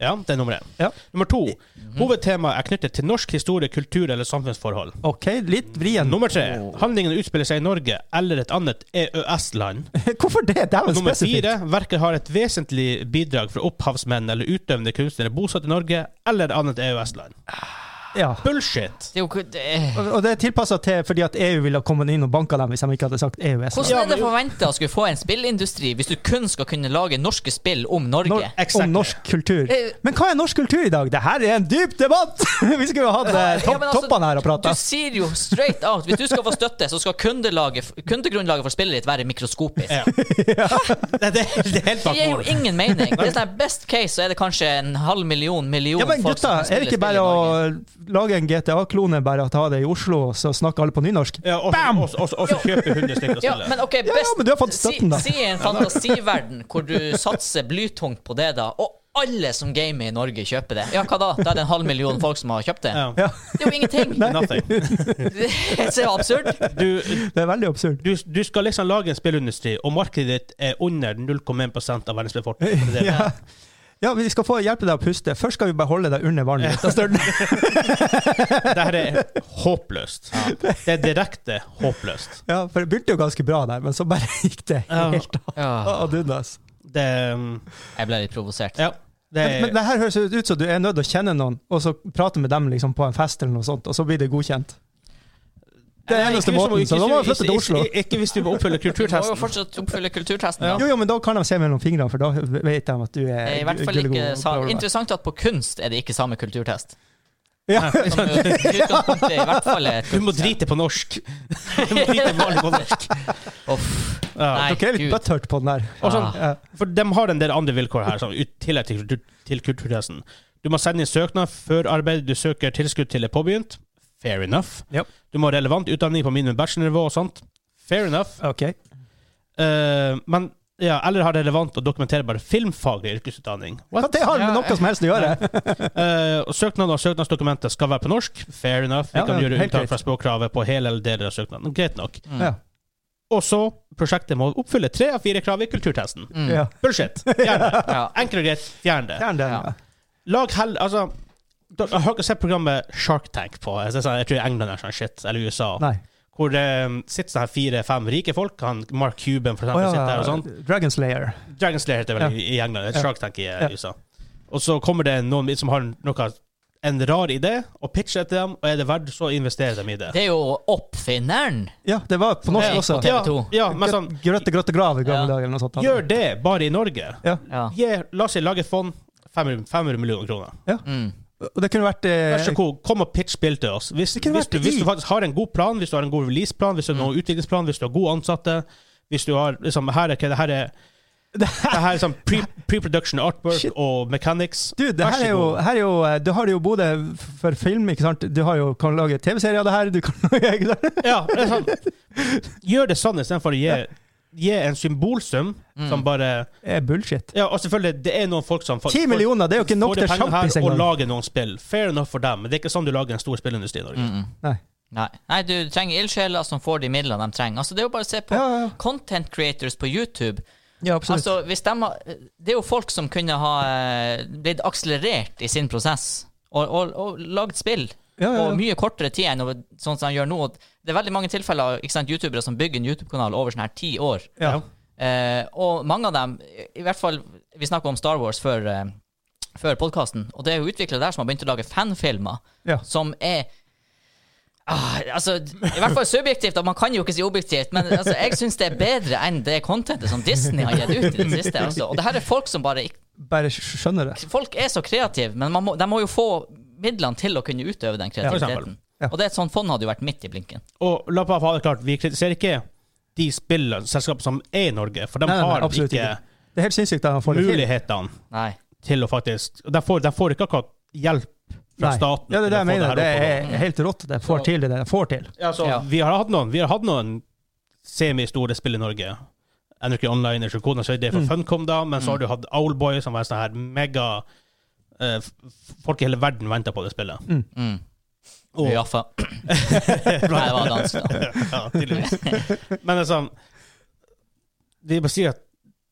S4: Ja, det er nummer én.
S1: Ja.
S4: Nummer to.
S2: Mhm.
S4: Hovedtemaet er knyttet til norsk historie, kultur eller samfunnsforhold.
S1: OK, litt vrien.
S4: Nummer tre. Handlingen utspiller seg i Norge eller et annet E EØS-land.
S1: Hvorfor det? Det er jo
S4: Nummer
S1: spesifikt.
S4: fire. Verket har et vesentlig bidrag fra opphavsmenn eller utøvende kunstnere bosatt i Norge eller et annet EØS-land.
S1: Ja.
S4: Bullshit!
S2: Det er jo ikke det-
S1: Og og det er tilpassa til fordi at EU ville ha kommet inn og banka dem hvis de ikke hadde sagt E EØS.
S2: Hvordan er det forventa å skulle få en spillindustri hvis du kun skal kunne lage norske spill om Norge?
S1: Nor
S4: Exactly.
S1: Om norsk kultur.
S2: Eh.
S1: Men hva er norsk kultur i dag? Det her er en dyp debatt! Vi skulle jo hatt eh,
S2: Ja,
S1: topp,
S2: men altså,
S1: toppene her og
S2: Du
S1: prata.
S2: sier jo straight out Hvis du skal få støtte, så skal kundelaget, kundegrunnlaget for spillet ditt være mikroskopisk.
S4: Ja. Det, det, det er helt
S2: Det
S4: bak
S2: gir jo
S4: mål.
S2: ingen mening. Det er sånn her, Best case så er det kanskje en halv million million
S1: Ja, men
S2: folk som
S1: gutta,
S2: kan
S1: er det
S2: spille
S1: ikke bare å
S2: spill i Norge.
S1: lage en GTA-klone, bare å ta det i Oslo, og så snakker alle på nynorsk?
S4: Ja, og så- og så- og så- og så kjøper 100 stykker og
S2: Ja,
S4: spiller.
S2: men ok,
S1: ja,
S2: best
S1: men du har fått støtten, da.
S2: Si, si en fantasiverden hvor du satser blytungt på det, da, og alle som gamer i Norge, kjøper det. Ja, hva da? Da er det en halv million folk som har kjøpt det?
S4: Ja.
S1: Ja,
S2: Det er jo ingenting!
S4: Nothing.
S2: Det er så absurd.
S4: Du,
S1: det er veldig absurd.
S4: du, du skal liksom lage en spillindustri, og markedet ditt er under 0,1 av verdens befolkning. Det er det.
S1: Ja. ja, vi skal få hjelpe deg å puste. Først skal vi bare holde deg under vannet. Da står den-
S4: Det her er håpløst. Det er direkte håpløst.
S1: Ja, for det begynte jo ganske bra der, men så bare gikk det
S4: Ja.
S1: helt av-
S2: Ja,
S1: ad undas.
S4: Det, um,
S2: jeg ble litt provosert.
S4: ja, det
S1: Men, men
S4: er
S1: det her høres ut som du er nødt til å kjenne noen, og så prate med dem liksom på en fest eller noe sånt, og så blir det godkjent. Det er
S4: Nei,
S1: eneste
S4: ikke hvis du-
S1: måten, så da må vi
S4: ikke-
S1: flytte til Oslo.
S4: Ikke, ikke hvis du må oppfylle
S2: Du må jo
S4: kulturtesten.
S2: fortsatt oppfylle kulturtesten.
S4: Ja.
S2: da.
S1: Jo, jo, men da kan de se mellom fingrene, for da vet de at du
S2: Det
S1: er
S2: er Eh, I hvert fall
S1: gullegod
S2: ikke
S1: og
S2: sa
S1: bla, bla, bla.
S2: Interessant at på kunst er det ikke samme kulturtest.
S1: Ja.
S2: Som
S4: eh,
S2: i utgangspunktet i hvert fall er et
S4: Du må
S2: kunst-
S4: drite på norsk. Du må drite vanlig på norsk.
S2: Uff.
S4: Ja.
S2: Nei,
S1: Dere er litt
S2: gud.
S1: butthurt på den der.
S4: Og sånn,
S1: Ja.
S4: for de har en del andre vilkår her, sånn, i tillegg til, kultur- til kulturtesten. Du må sende inn søknad før arbeidet du søker tilskudd til er påbegynt. Fair enough.
S1: Ja.
S4: Du må ha relevant utdanning på minimum bachelornivå og sånt. Fair enough.
S1: Ok.
S4: Eh, men ja, eller har relevant og dokumenterbar filmfaglig yrkesutdanning.
S1: Hva det har med
S2: Ja,
S1: noe som helst å gjøre?
S4: Eh, og søknaden og søknadsdokumentet skal være på norsk. Fair enough. Vi
S1: Ja,
S4: kan
S1: ja,
S4: gjøre
S1: helt
S4: unntak fra
S1: greit.
S4: språkkravet på hele eller deler av søknaden. Greit nok.
S1: Ja.
S4: Og så, prosjektet må oppfylle tre av fire krav i kulturtesten.
S2: Mm.
S1: Ja.
S4: Bullshit. Fjern det.
S2: Ja.
S4: Enkelt og greit, fjern det.
S1: Fjern den.
S2: Ja.
S4: Lag hell... Altså, dere- jeg har ikke sett programmet Shark Tank på Jeg tror jeg tror England er sånn shit, eller USA.
S1: Nei.
S4: Hvor det um, sitter sånn her fire-fem rike folk. Han, Mark Cuban, for
S1: Å
S4: eksempel, sitter der og
S1: ja,
S4: sånn.
S1: Dragon Slayer.
S4: Dragon Slayer heter det vel
S1: Ja.
S4: i- i England. Et
S1: Ja.
S4: Shark Tank i eh,
S1: Ja.
S4: USA. Og så kommer det noen som har noe, en rar idé, og pitcher etter dem, og er det verdt, så investerer de i det.
S2: Det er jo oppfinneren.
S1: Ja, det var på norsk
S2: Ja,
S1: også.
S2: på TV. to.
S4: Ja, ja, men sånn,
S1: Grøtte, grøtte, grav i gamle
S2: Ja.
S1: dager eller noe sånt.
S4: gjør det bare i Norge.
S1: Ja.
S2: Ja.
S4: Gi- la oss si, lage et fond. 500, 500 millioner kroner.
S2: Mm.
S1: Og det kunne vært
S4: Vær så
S1: eh,
S4: god, kom og pitch spill til oss. Hvis,
S1: kunne
S4: hvis, du,
S1: vært
S4: hvis
S1: i- Mm.
S4: du faktisk har en god plan, hvis du har en god releaseplan, hvis du har noen utviklingsplan, hvis du har gode ansatte hvis du har, liksom, her er, det her er,
S1: det
S4: det
S1: her,
S4: her er sånn pre- pre-production artwork
S1: Shit.
S4: og mechanics.
S1: Du, det
S4: Vær
S1: her
S4: så
S1: er jo,
S4: god.
S1: her er jo eh, Du har det jo både f- for film, ikke sant? Du har jo, kan lage TV-serier av det her. Du kan lage
S4: ja, det er sånn. Gjør det sånn istedenfor å gi, gi en symbolsum som bare
S1: Det er bullshit.
S4: Ja, og selvfølgelig, det er noen folk som får-
S1: Ti millioner, det er jo ikke nok
S4: får de
S1: til
S4: pengene
S1: sjampis
S4: her og
S1: engang.
S4: lager noen spill. Fair enough for dem, men det er ikke sånn du lager en stor spillindustri i Norge.
S1: Nei.
S2: Nei. Nei, du trenger ildsjeler som får de midlene de trenger. Altså, det er jo bare å se på
S1: Ja, ja, ja.
S2: content creators på YouTube.
S1: Ja, absolutt.
S2: Altså, hvis de har, det er jo folk som kunne ha eh, blitt akselerert i sin prosess, og, og, og lagd spill.
S1: Ja, ja,
S2: Og
S1: ja.
S2: mye kortere tid enn over- sånn som de gjør nå. Det er veldig mange tilfeller ikke sant, youtubere som bygger en YouTube-kanal over sånn her ti år.
S1: Ja.
S2: Eh, og mange av dem, i hvert fall Vi snakka om Star Wars før, eh, før podkasten, og det er jo utviklere der som har begynt å lage fanfilmer
S1: Ja.
S2: som er Ah, altså, I hvert fall subjektivt, og man kan jo ikke si objektivt, men altså, jeg syns det er bedre enn det contentet som Disney har gitt ut i det siste. Altså. Og det her er folk som bare ikk-
S1: Bare skjønner det.
S2: Folk er så kreative, men man må, de må jo få midlene til å kunne utøve den
S4: for eksempel.
S2: kreativiteten.
S1: Ja.
S2: Og det er et sånt fond hadde jo vært midt i blinken.
S4: Og la meg ha det klart, vi kritiserer ikke de spillene, selskapene som er i Norge, for de
S1: Nei, nei, nei,
S4: har
S1: absolutt
S4: ikke
S1: Det er helt sinnssykt at han får det til.
S4: mulighetene
S2: Nei.
S4: til å faktisk og de får, de får ikke akkurat hjelp fra
S1: Nei.
S4: staten.
S1: Ja, det er det jeg
S4: til å få
S1: mener. Det
S4: her opp og gå.
S1: er helt rått at jeg får
S4: Så-
S1: til det der jeg får til.
S4: Ja, så
S2: Ja.
S4: Vi har hatt noen Vi har hatt noen semistore spill i Norge. NRK Online og Kona Søyde for
S1: Mm.
S4: Funcom, da, men så har du hatt Owlboy, som var en sånn her mega eh, f- Folk i hele verden venta på det spillet.
S2: Mm.
S4: Og, ja.
S2: Jaffa. Nei, det var dansk, da.
S4: tydeligvis. Men liksom Vi må si at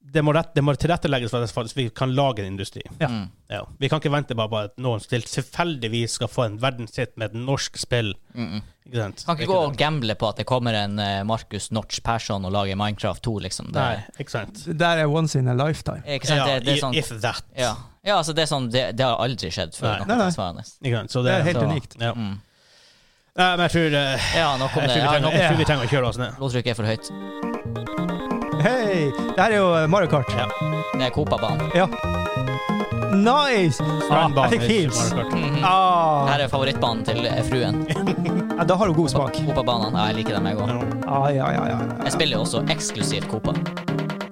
S4: det må, rett, det må tilrettelegges for at faktisk vi kan lage en industri.
S1: Ja.
S2: Mm.
S4: Ja. Vi kan ikke vente bare på at noen til- tilfeldigvis skal få en verdenshit med et norsk spill.
S2: Mm -mm.
S4: Ikke sant?
S2: Kan ikke gå og gamble på at det kommer en eh, Markus Notch Persson og lager Minecraft 2, liksom. Det,
S4: Nei, ikke sant.
S1: Det der er once in a lifetime.
S2: Ikke sant? det, det er sånn,
S4: If that.
S2: ja. ja, altså det er sånn Det, det har aldri skjedd før.
S4: Nei.
S2: noe
S1: Nei, nei.
S2: tilsvarende.
S4: Ikke sant? Så
S1: Det
S4: det,
S1: er helt
S2: så-
S1: unikt.
S4: ja.
S2: Mm.
S4: Nei, men jeg tror, eh,
S2: Ja, nok om
S4: jeg,
S2: det.
S4: tror vi
S2: Ja,
S4: trenger,
S2: nok,
S4: jeg tror vi trenger å kjøre oss ned.
S1: Ah,
S2: blodtrykket er for høyt.
S1: Hei! Det her er jo eh, Mario Kart.
S4: Ja.
S2: Det er Copa-banen.
S1: Ja. Nice! Ah,
S4: Strandbanen
S1: jeg fikk
S4: i
S1: feels.
S4: Super Mario Kart.
S1: Ah,
S2: Her er favorittbanen til eh, fruen.
S1: ja, da har du god smak.
S2: Copa-banene. Ja, jeg liker dem, jeg òg.
S1: Ah, ja, ja, ja. ja.
S2: Jeg spiller jo også eksklusivt Copa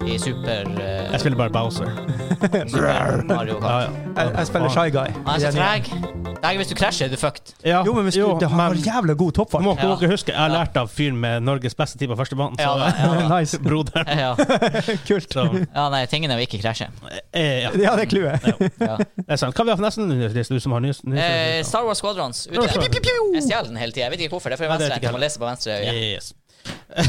S2: i Super, eh,
S4: Jeg spiller bare Bowser.
S2: Super Mario
S4: Ja,
S2: Kart.
S4: ja.
S1: Jeg, jeg spiller Shy Guy.
S2: Han er så treg. Nei, hvis du krasjer, er du fucked.
S4: Ja,
S1: Jo, men hvis du,
S4: jo,
S1: det har
S4: men-
S1: jævla god
S4: Nå må
S1: toppfart.
S4: dere
S2: Ja.
S4: huske, jeg har lært av fyren med Norges beste tid på førstebanen.
S2: Ja, da,
S4: Så,
S2: ja, da.
S1: Nice.
S4: broderen.
S2: Ja.
S1: Kult.
S4: Så,
S2: ja, nei, tingen er å ikke krasje.
S4: eh, ja,
S1: Ja, det er clouet.
S2: Ja.
S4: det er sant. Hva vi har for nesten, Chris, du som har nyhets...
S2: Eh,
S4: nyhets-
S2: Star Wars Squadrons. Ute.
S4: Star Wars.
S2: Jeg stjeler den hele tida. Jeg vet ikke hvorfor. Det er fordi
S4: Nei, det
S2: venstre
S4: vet ikke
S2: jeg må lese på venstre øye.
S4: Yes.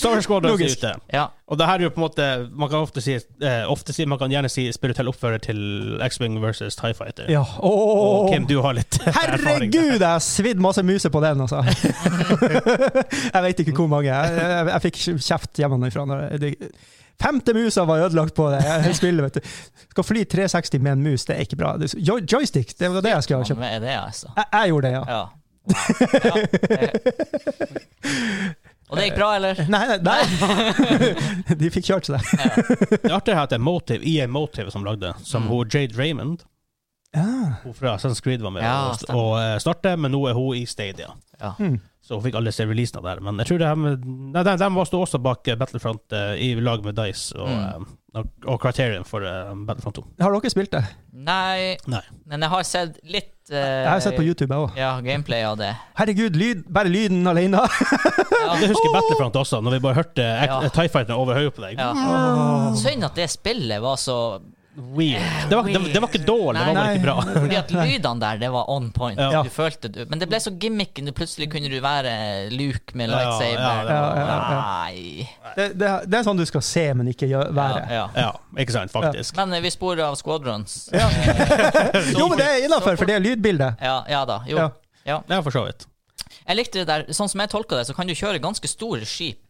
S4: Star Wars Squadron er
S1: Logisk.
S4: ute.
S2: Ja.
S4: Og det her er jo på en måte Man kan ofte si, eh, ofte si man kan gjerne si spirituell oppfører til X-Wing versus Tie Fighter.
S1: Ja.
S4: Og
S1: Åh.
S4: Kim, du har litt erfaring.
S1: Herregud, jeg har svidd masse muser på den, altså. jeg vet ikke hvor mange. Jeg, jeg, jeg fikk kjeft hjemmefra. når jeg- det- Femte musa var ødelagt på det jeg spillet, vet du. Skal fly 360 med en mus, det er ikke bra. Det- Jo, joystick, det var det jeg skulle ha
S2: Ja,
S1: kjøpt.
S2: men er det, altså?
S1: Jeg, jeg gjorde det, ja.
S2: Ja. ja. det- Og det gikk bra, eller?
S1: Nei, nei, nei. De fikk kjørt seg.
S4: Det artige her er at det er Motive, EA Motive som lagde, som
S2: Mm.
S4: hun Jade Raymond
S1: Ja.
S4: Hun fra Assassin's Creed var med
S2: Ja,
S4: og,
S2: stemmer.
S4: og eh, starte, men nå er hun i Stadia.
S2: Ja.
S1: Mm.
S4: Så hun fikk aldri se releasen av det her. Men jeg tror det her med Nei, de, de sto også bak eh, Battlefront eh, i lag med Dice og,
S2: Mm.
S4: eh, og, og Criterion for eh, Battlefront 2.
S1: Har dere spilt det?
S2: Nei,
S4: Nei.
S2: men jeg har sett litt eh,
S1: Jeg har sett på YouTube, jeg òg.
S2: Ja, gameplay av det.
S1: Herregud, lyd, bare lyden alene.
S2: Ja.
S4: Jeg husker Battlefront også, når vi bare hørte eh,
S2: Ja.
S4: Tie Fighter over hodet på deg.
S2: Ja. Synd at det spillet var så
S4: Weird. Det var, det, det var ikke dårlig, det var bare
S1: Nei.
S4: ikke bra.
S2: Fordi at lydene der, det var on point.
S4: Ja.
S2: Du følte du Men det ble så gimmicky. du- Plutselig kunne du være Luke med
S4: Ja, ja,
S2: lightsaber.
S4: ja, ja,
S1: ja, ja.
S2: Nei.
S1: Det, det, det er sånn du skal se, men ikke gjøre, være.
S2: Ja, ja.
S4: Ja, ikke sant, faktisk.
S2: Men eh, vi sporer av Squadrons.
S1: Jo, men det er innafor, for det er lydbildet.
S2: Ja, ja da. Jo.
S1: Ja.
S2: Ja.
S4: Ja, for så vidt.
S2: Jeg likte det der. Sånn som jeg tolka det, så kan du kjøre ganske store skip.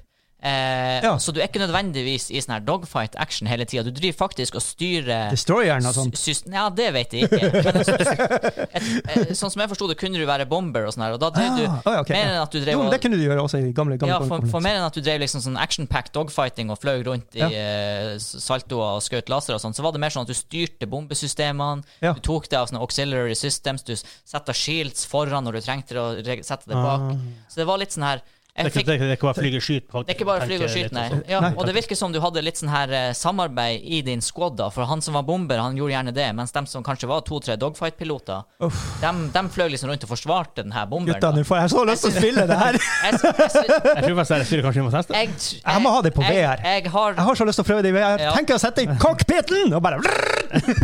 S2: Eh,
S1: Ja.
S2: Så du er ikke nødvendigvis i sånn her dogfight action hele tida. Du driver faktisk og styrer
S1: Destroyeren og sånn.
S2: Sys- Ja, det vet jeg ikke. Men jeg synes- et, eh, sånn som jeg forsto det, kunne du være bomber og sånn her, og da drev du
S1: Ah, ja, ok,
S2: mer
S1: ja.
S2: enn at du drev
S1: Jo, men
S2: og-
S1: det kunne du gjøre også i gamle, gamle
S2: ja, for,
S1: konkurranser.
S2: for mer enn at du drev liksom sånn action-packed dogfighting og fløy rundt i
S1: Ja.
S2: eh, saltoer og skjøt laser og sånn, så var det mer sånn at du styrte bombesystemene,
S1: Ja.
S2: du tok det av sånne auxiliary systems, du setta shields foran når du trengte det, og re- sette det bak. Så det var litt sånn her
S4: Det
S2: jeg
S4: er ikke,
S2: fikk,
S4: det, er ikke bare flyge og skyte.
S2: det er ikke bare flyg og skyt, nei. Ja, og det virker som du hadde litt sånn her eh, samarbeid i din squad, da, for han som var bomber, han gjorde gjerne det, mens dem som kanskje var to-tre dogfight-piloter, dem, dem fløy liksom rundt og forsvarte den her bomberen.
S1: Gutta,
S2: da.
S1: nå får jeg så lyst til å spille det her!
S2: Jeg, jeg, jeg,
S4: Jeg tror faktisk det er styret kanskje vi må teste.
S2: jeg,
S1: Jeg må ha det på
S2: Jeg,
S1: VR.
S2: jeg har
S1: Jeg har så lyst til å prøve det. Jeg
S2: Ja.
S1: tenker å sette i cockpiten og bare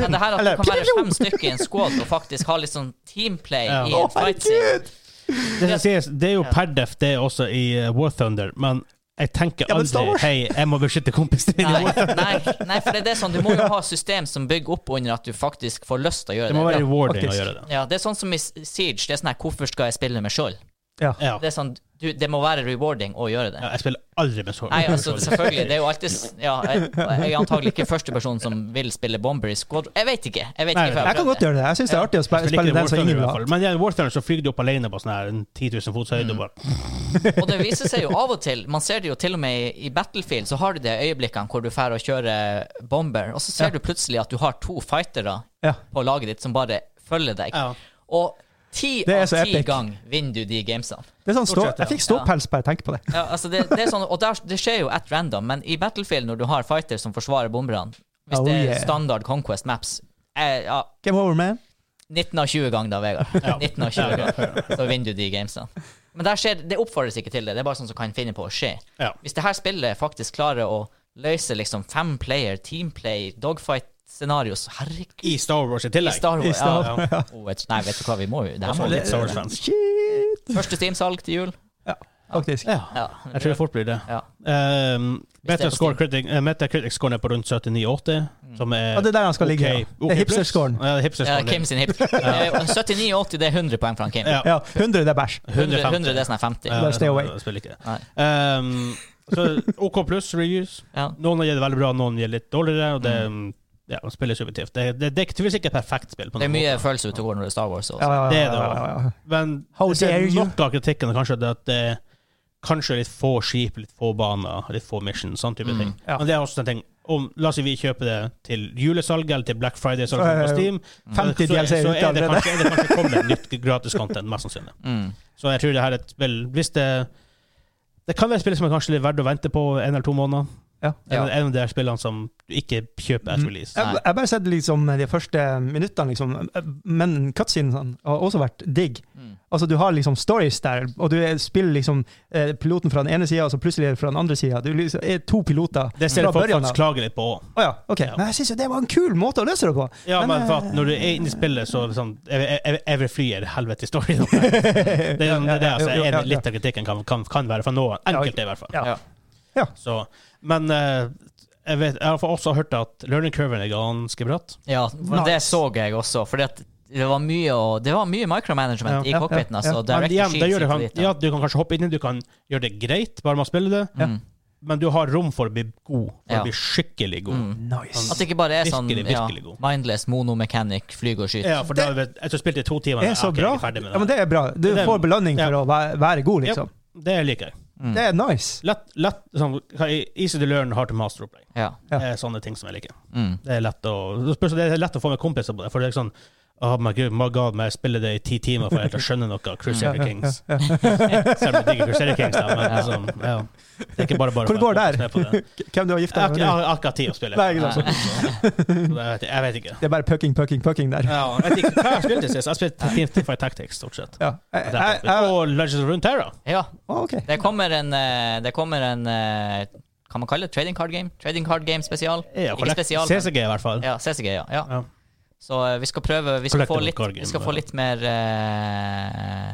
S2: Men det her at
S1: Eller-
S2: du kan være fem stykker i en squad og faktisk ha litt sånn teamplay
S4: Ja.
S2: i
S1: Å,
S2: en fight scene.
S1: herregud!
S4: Det, skal sies, det er jo per def, det er også i eh, War Thunder, men jeg tenker
S1: Ja, men Star
S4: aldri
S1: Wars-
S4: Hei, jeg må beskytte kompisen min. i
S2: Nei,
S4: War Thunder».
S2: nei, nei, for det er det sånn, du må jo ha system som bygger opp under at du faktisk får lyst til å gjøre
S4: Det må være
S2: det.
S4: rewarding å
S1: faktisk.
S4: gjøre det.
S2: Ja, ja, det er sånn som i Siege. Det er sånn her, hvorfor skal jeg spille med skjold?
S1: Ja.
S4: Ja.
S2: Det er sånn, du, det må være rewarding å gjøre det.
S4: Ja, Jeg spiller aldri med så
S2: Nei, altså selvfølgelig, det er jo alltid s- ja, jeg, jeg er antagelig ikke første person som vil spille bomber i squad. Jeg vet ikke. Jeg vet
S4: Nei,
S2: ikke før
S1: Jeg
S2: jeg
S1: kan godt
S2: prøvde.
S1: gjøre det. Jeg syns det er artig å
S4: Jeg
S1: spille,
S4: liker
S1: spille
S4: War
S1: den som ingen
S4: Thunder i
S1: vil
S4: hvert
S1: ha.
S4: fall. Men i War Thunder så flyr du opp alene på sånn her en 10 000 fots
S2: Mm.
S4: høyde. og bare-
S2: Og det viser seg jo av og til, man ser det jo til og med i, i Battlefield, så har du de øyeblikkene hvor du drar og kjører bomber, og så ser du plutselig at du har to fightere
S1: Ja.
S2: på laget ditt som bare følger deg.
S4: Ja.
S2: Og ti
S1: Det er
S2: av
S1: så
S2: ti
S1: epic.
S2: ganger vinner du de gamesene.
S1: Det er sånn stå,
S4: Fortsett, ja.
S1: jeg fikk ståpels bare jeg tenker på det.
S2: Ja, altså det, det er sånn, og der, det skjer jo at random, men i Battlefield, når du har fighter som forsvarer bomberne, hvis
S1: Oh,
S2: det er
S1: yeah.
S2: standard Conquest maps eh, ja,
S1: Game over, man.
S2: 19 av 20 ganger da, Vegard. 19 av 20 ganger. Så vinner du de gamesene. Men der skjer, det oppfordres ikke til det. Det er bare sånn som kan finne på å skje.
S4: Ja.
S2: Hvis det her spillet faktisk klarer å løse liksom femplayer, teamplay, dogfight-scenarioer, så herregud
S4: I Star Wars i
S2: I
S4: tillegg.
S2: Star
S1: I
S2: Wars.
S1: Star-
S2: Ja. Oh, et- nei, vet du hva, vi må jo det her
S4: Også
S2: må
S4: litt Star Wars-fans.
S1: Shit!
S2: Første Steam-salg til jul.
S1: Faktisk.
S4: Ja.
S2: Ja.
S4: Jeg tror det fort blir det.
S2: Ja.
S4: Um,
S2: Hvis det er på Steam.
S4: eh,
S2: Mm.
S4: Metacritic-scoren er på rundt 79-80, som er
S1: Og det er der han skal
S4: ok-
S1: ligge. ja. det
S4: ok
S1: er
S4: pluss.
S1: hipsterskåren.
S4: Ja, det er
S2: Ja,
S4: hipsterskåren.
S2: Kim sin hip. Eh, 79,80, det er 100 poeng fra han Kim.
S4: Ja.
S1: Ja, 100 det er bæsj.
S2: 100, 100 det er sånn her 50.
S4: Ja,
S1: Bare stay away.
S4: det spiller ikke.
S2: Nei.
S4: Um, så OK pluss reviews.
S2: Ja.
S4: Noen har gitt det veldig bra, noen gir litt dårligere. Og det
S1: Mm.
S4: ja, man spiller subjektivt. Det, det, det er tydeligvis ikke et perfekt spill. på
S2: Det er
S4: noen
S2: mye
S4: måte.
S2: følelser ute og går når det er Star Wars. Og
S1: Ja, ja,
S4: Det
S1: ja,
S4: er det
S1: ja, ja, ja.
S4: Men
S1: How
S4: jeg ser
S1: dare you?
S4: noe av kritikken er kanskje det at det er kanskje litt få skip, litt få baner, litt få missions, sånn type
S2: Mm.
S4: ting.
S1: Ja.
S4: Men det er også en ting om, La oss si vi kjøper det til julesalget eller til Black Friday-salget
S1: Så er-
S4: på
S2: Mm.
S4: Steam.
S1: 50
S4: så, er-
S1: DLC
S4: så
S1: ute
S4: er det
S1: allerede.
S4: kanskje, er det kanskje kommet nytt gratis content, mest sannsynlig.
S2: Mm.
S4: Så jeg tror det her er et spill Hvis det Det kan være spill som er kanskje litt verdt å vente på en eller to måneder.
S1: Ja.
S4: En, en av de her spillene som du ikke kjøper etter release.
S1: Mm. Jeg, jeg bare sett liksom de første minuttene, liksom. Men cutscenene har også vært digg.
S2: Mm.
S1: Altså, du har liksom stories der, og du er- spiller liksom eh, piloten fra den ene sida, og så plutselig er det fra den andre sida. Du liksom er to piloter
S4: Det
S1: fra
S4: ser jeg folk
S1: børjan av.
S4: faktisk klager litt på òg.
S1: Å ja, ok.
S4: Ja.
S1: Men jeg syns jo det var en kul måte å løse det på!
S4: Ja,
S1: Men,
S4: men for at
S1: eh,
S4: når du er inne i spillet, så liksom Every fly er helvete i storyen. Det
S1: Ja,
S4: er, sånn- det er det,
S1: ja,
S4: altså,
S1: jo, jo,
S4: en,
S1: ja,
S4: litt av kritikken kan, kan, kan være fra noen. Enkelte, i hvert fall.
S1: Ja.
S2: Ja.
S1: Ja.
S4: Så, men eh, jeg, vet, jeg har også hørt at learning curven er ganske bratt.
S2: Ja, men det så jeg også, fordi at det var mye, å- det var mye micromanagement
S1: Ja,
S2: i
S1: ja,
S2: cockpiten.
S1: ja, ja.
S2: altså,
S4: Men
S2: direct
S4: igjen,
S2: sheets
S4: det gjør det,
S2: hit og
S4: kan,
S2: dit,
S4: ja, du kan kanskje hoppe inn i det, du kan gjøre det greit bare man spiller det.
S2: Mm.
S4: men du har rom for å bli god. For
S2: Ja.
S4: å bli skikkelig god.
S2: Mm.
S1: Nice.
S2: At det ikke bare er sånn
S4: Virkelig, virkelig
S2: ja,
S4: god.
S2: mindless monomechanic, flyg og skyt.
S4: Ja, for da, vet- etter å ha spilt i to timer
S1: Det er så
S4: ok,
S1: bra.
S4: jeg er ferdig med
S1: Ja, men det er bra. Du
S4: Det er-
S1: får belønning
S4: ja.
S1: for å være, være god, liksom.
S4: Jep, det liker jeg.
S2: Mm.
S1: Det er nice.
S4: Lett, lett sånn, hva- Easy to learn, hard to master opplegg.
S2: Ja.
S1: Ja.
S4: Det er sånne ting som jeg liker.
S2: Mm.
S4: Det er lett å, det spørs- det er lett å få med kompiser på det. For det er ikke sånn Oh my god, my god, men jeg spiller det i ti timer for jeg ikke skjønner noe av Crusader Kings. Selv om jeg digger Crusader Kings, da, men liksom, ja. Det er ikke bare bare
S1: Hvor det går der?
S4: Jeg har ikke-
S1: Hvem du har gifta deg
S4: jeg
S1: med?
S4: har ikke hatt tid å spille.
S1: Nei,
S4: Så
S1: ikke sant.
S4: Jeg vet- jeg vet ikke.
S1: Det er bare pucking, pucking, pucking der.
S4: Ja, jeg vet ikke hva jeg spilte sist. Jeg har spilt Team Fight Tactics, stort sett.
S1: Ja. Jeg, jeg, jeg,
S4: Og Legends of Runeterra.
S2: ja.
S1: å, ok.
S2: Det kommer en, eh, det kommer en eh, Kan man kalle det trading card game? Trading card game spesial? ikke spesial. men-
S4: CCG, i hvert fall.
S2: Ja, CCG, ja. ja.
S4: Ja.
S2: Så eh, vi skal prøve Vi skal, få
S4: Collectible
S2: litt,
S4: card game,
S2: vi skal få
S4: ja.
S2: litt mer eh,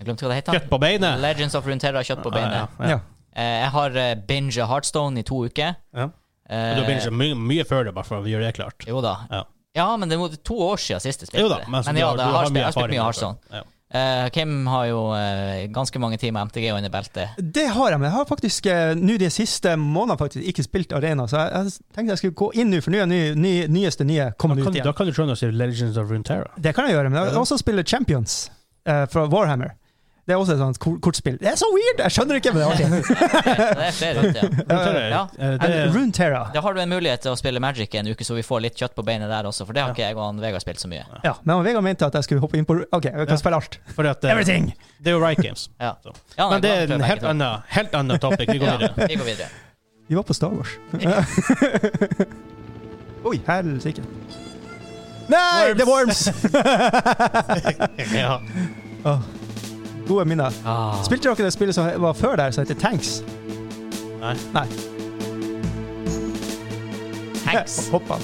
S2: Jeg glemte hva det heter.
S4: Kjøtt på beinet.
S2: Legends of Runeterra, kjøtt på beinet.
S1: Ja.
S2: Eh, jeg har uh, binga Heartstone i to uker.
S4: Ja.
S2: Eh,
S4: Men Du har begynt så mye, mye før det, bare for å gjøre det klart.
S2: Jo da.
S4: Ja.
S2: Ja. men det var to år siden sist jeg spilte.
S4: Jo da,
S2: men,
S4: så du
S2: ja,
S4: har-
S2: det,
S4: du
S2: jeg,
S4: har
S2: har spilt, jeg har spilt
S4: erfaring
S2: mye
S4: med det
S2: Heartstone.
S4: før. Ja.
S2: Eh, Kim har jo eh, ganske mange timer MTG under beltet.
S1: Det har jeg, men jeg har faktisk eh, nå de siste månedene faktisk ikke spilt Arena, så jeg, jeg tenkte jeg skulle gå inn nå, for nå er ny, ny, nyeste nye
S4: Da
S1: kommet
S4: kan,
S1: ut
S4: da
S1: igjen.
S4: kan du skjønne å si Legends of Runeterra.
S1: Det kan jeg gjøre, men jeg
S4: Ja.
S1: vil også spille Champions eh, fra Warhammer. Det er også et sånt kor- kortspill. Det er så weird! Jeg skjønner ikke, men det er artig.
S2: Det er flere ute, ja. Ja.
S4: Runeterra, eh, det
S1: And
S4: er-
S1: Runeterra.
S2: Da har du en mulighet til å spille Magic en uke, så vi får litt kjøtt på beinet der også, for det har ikke jeg og han Vegard spilt så mye.
S1: Ja, men Vegard mente at jeg skulle hoppe inn på OK, jeg
S4: Ja.
S1: kan spille alt.
S4: fordi at, eh,
S1: Everything!
S4: det er jo Riot Games.
S2: Ja.
S4: Så.
S2: Ja,
S4: Men det
S2: jeg
S4: er
S2: glad
S4: en
S2: for
S4: helt
S2: begge
S4: annen, helt annen topic. Vi
S2: to.
S4: går videre.
S2: Ja, vi går videre.
S1: Vi var på Star Wars. Oi, helsike. Nei, The Worms!
S4: Ja.
S1: Åh, Gode minner.
S2: Ah.
S1: Spilte dere det spillet som var før der, som heter Tanks?
S4: Nei.
S1: Nei.
S2: Tanks.
S1: Hoppa.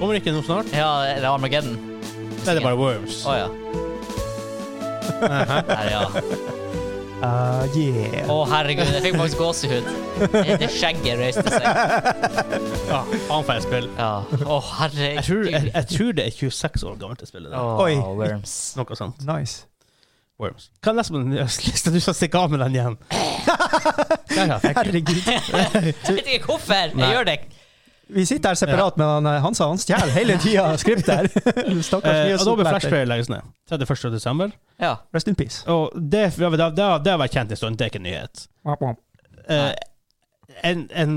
S4: Kommer ikke noe snart?
S2: Ja, er det Armageddon?
S4: Da er det bare Worms.
S2: Å ja. Der, ja. Å,
S1: Ah, yeah.
S2: herregud, jeg fikk faktisk gåsehud. Det- Det skjegget røyste seg.
S4: Ja, Faen for et spill.
S2: Ja. Å, herregud.
S4: Jeg tror, jeg, jeg tror det er 26 år gammelt å spille det.
S2: Å,
S1: Oi.
S2: Worms.
S4: Noe sånt.
S1: Nice.
S4: Worms. Hva er neste på den lista? Du skal stikke av med den igjen. Der, ja, thank you.
S1: Herregud.
S2: Jeg vet ikke hvorfor.
S4: Nei.
S2: Jeg gjør det.
S1: Vi sitter her separat, men han, eh, Hansa han stjeler hele tida skript her. Stakkars
S4: Eh,
S1: nye
S4: Adobe
S1: sopplætter.
S4: Flashplayer legges ned 31. desember.
S2: Ja.
S1: Rest in peace.
S4: Og det, det, har- det, har- det har vært kjent en stund, det er ikke en nyhet. Eh, en, en,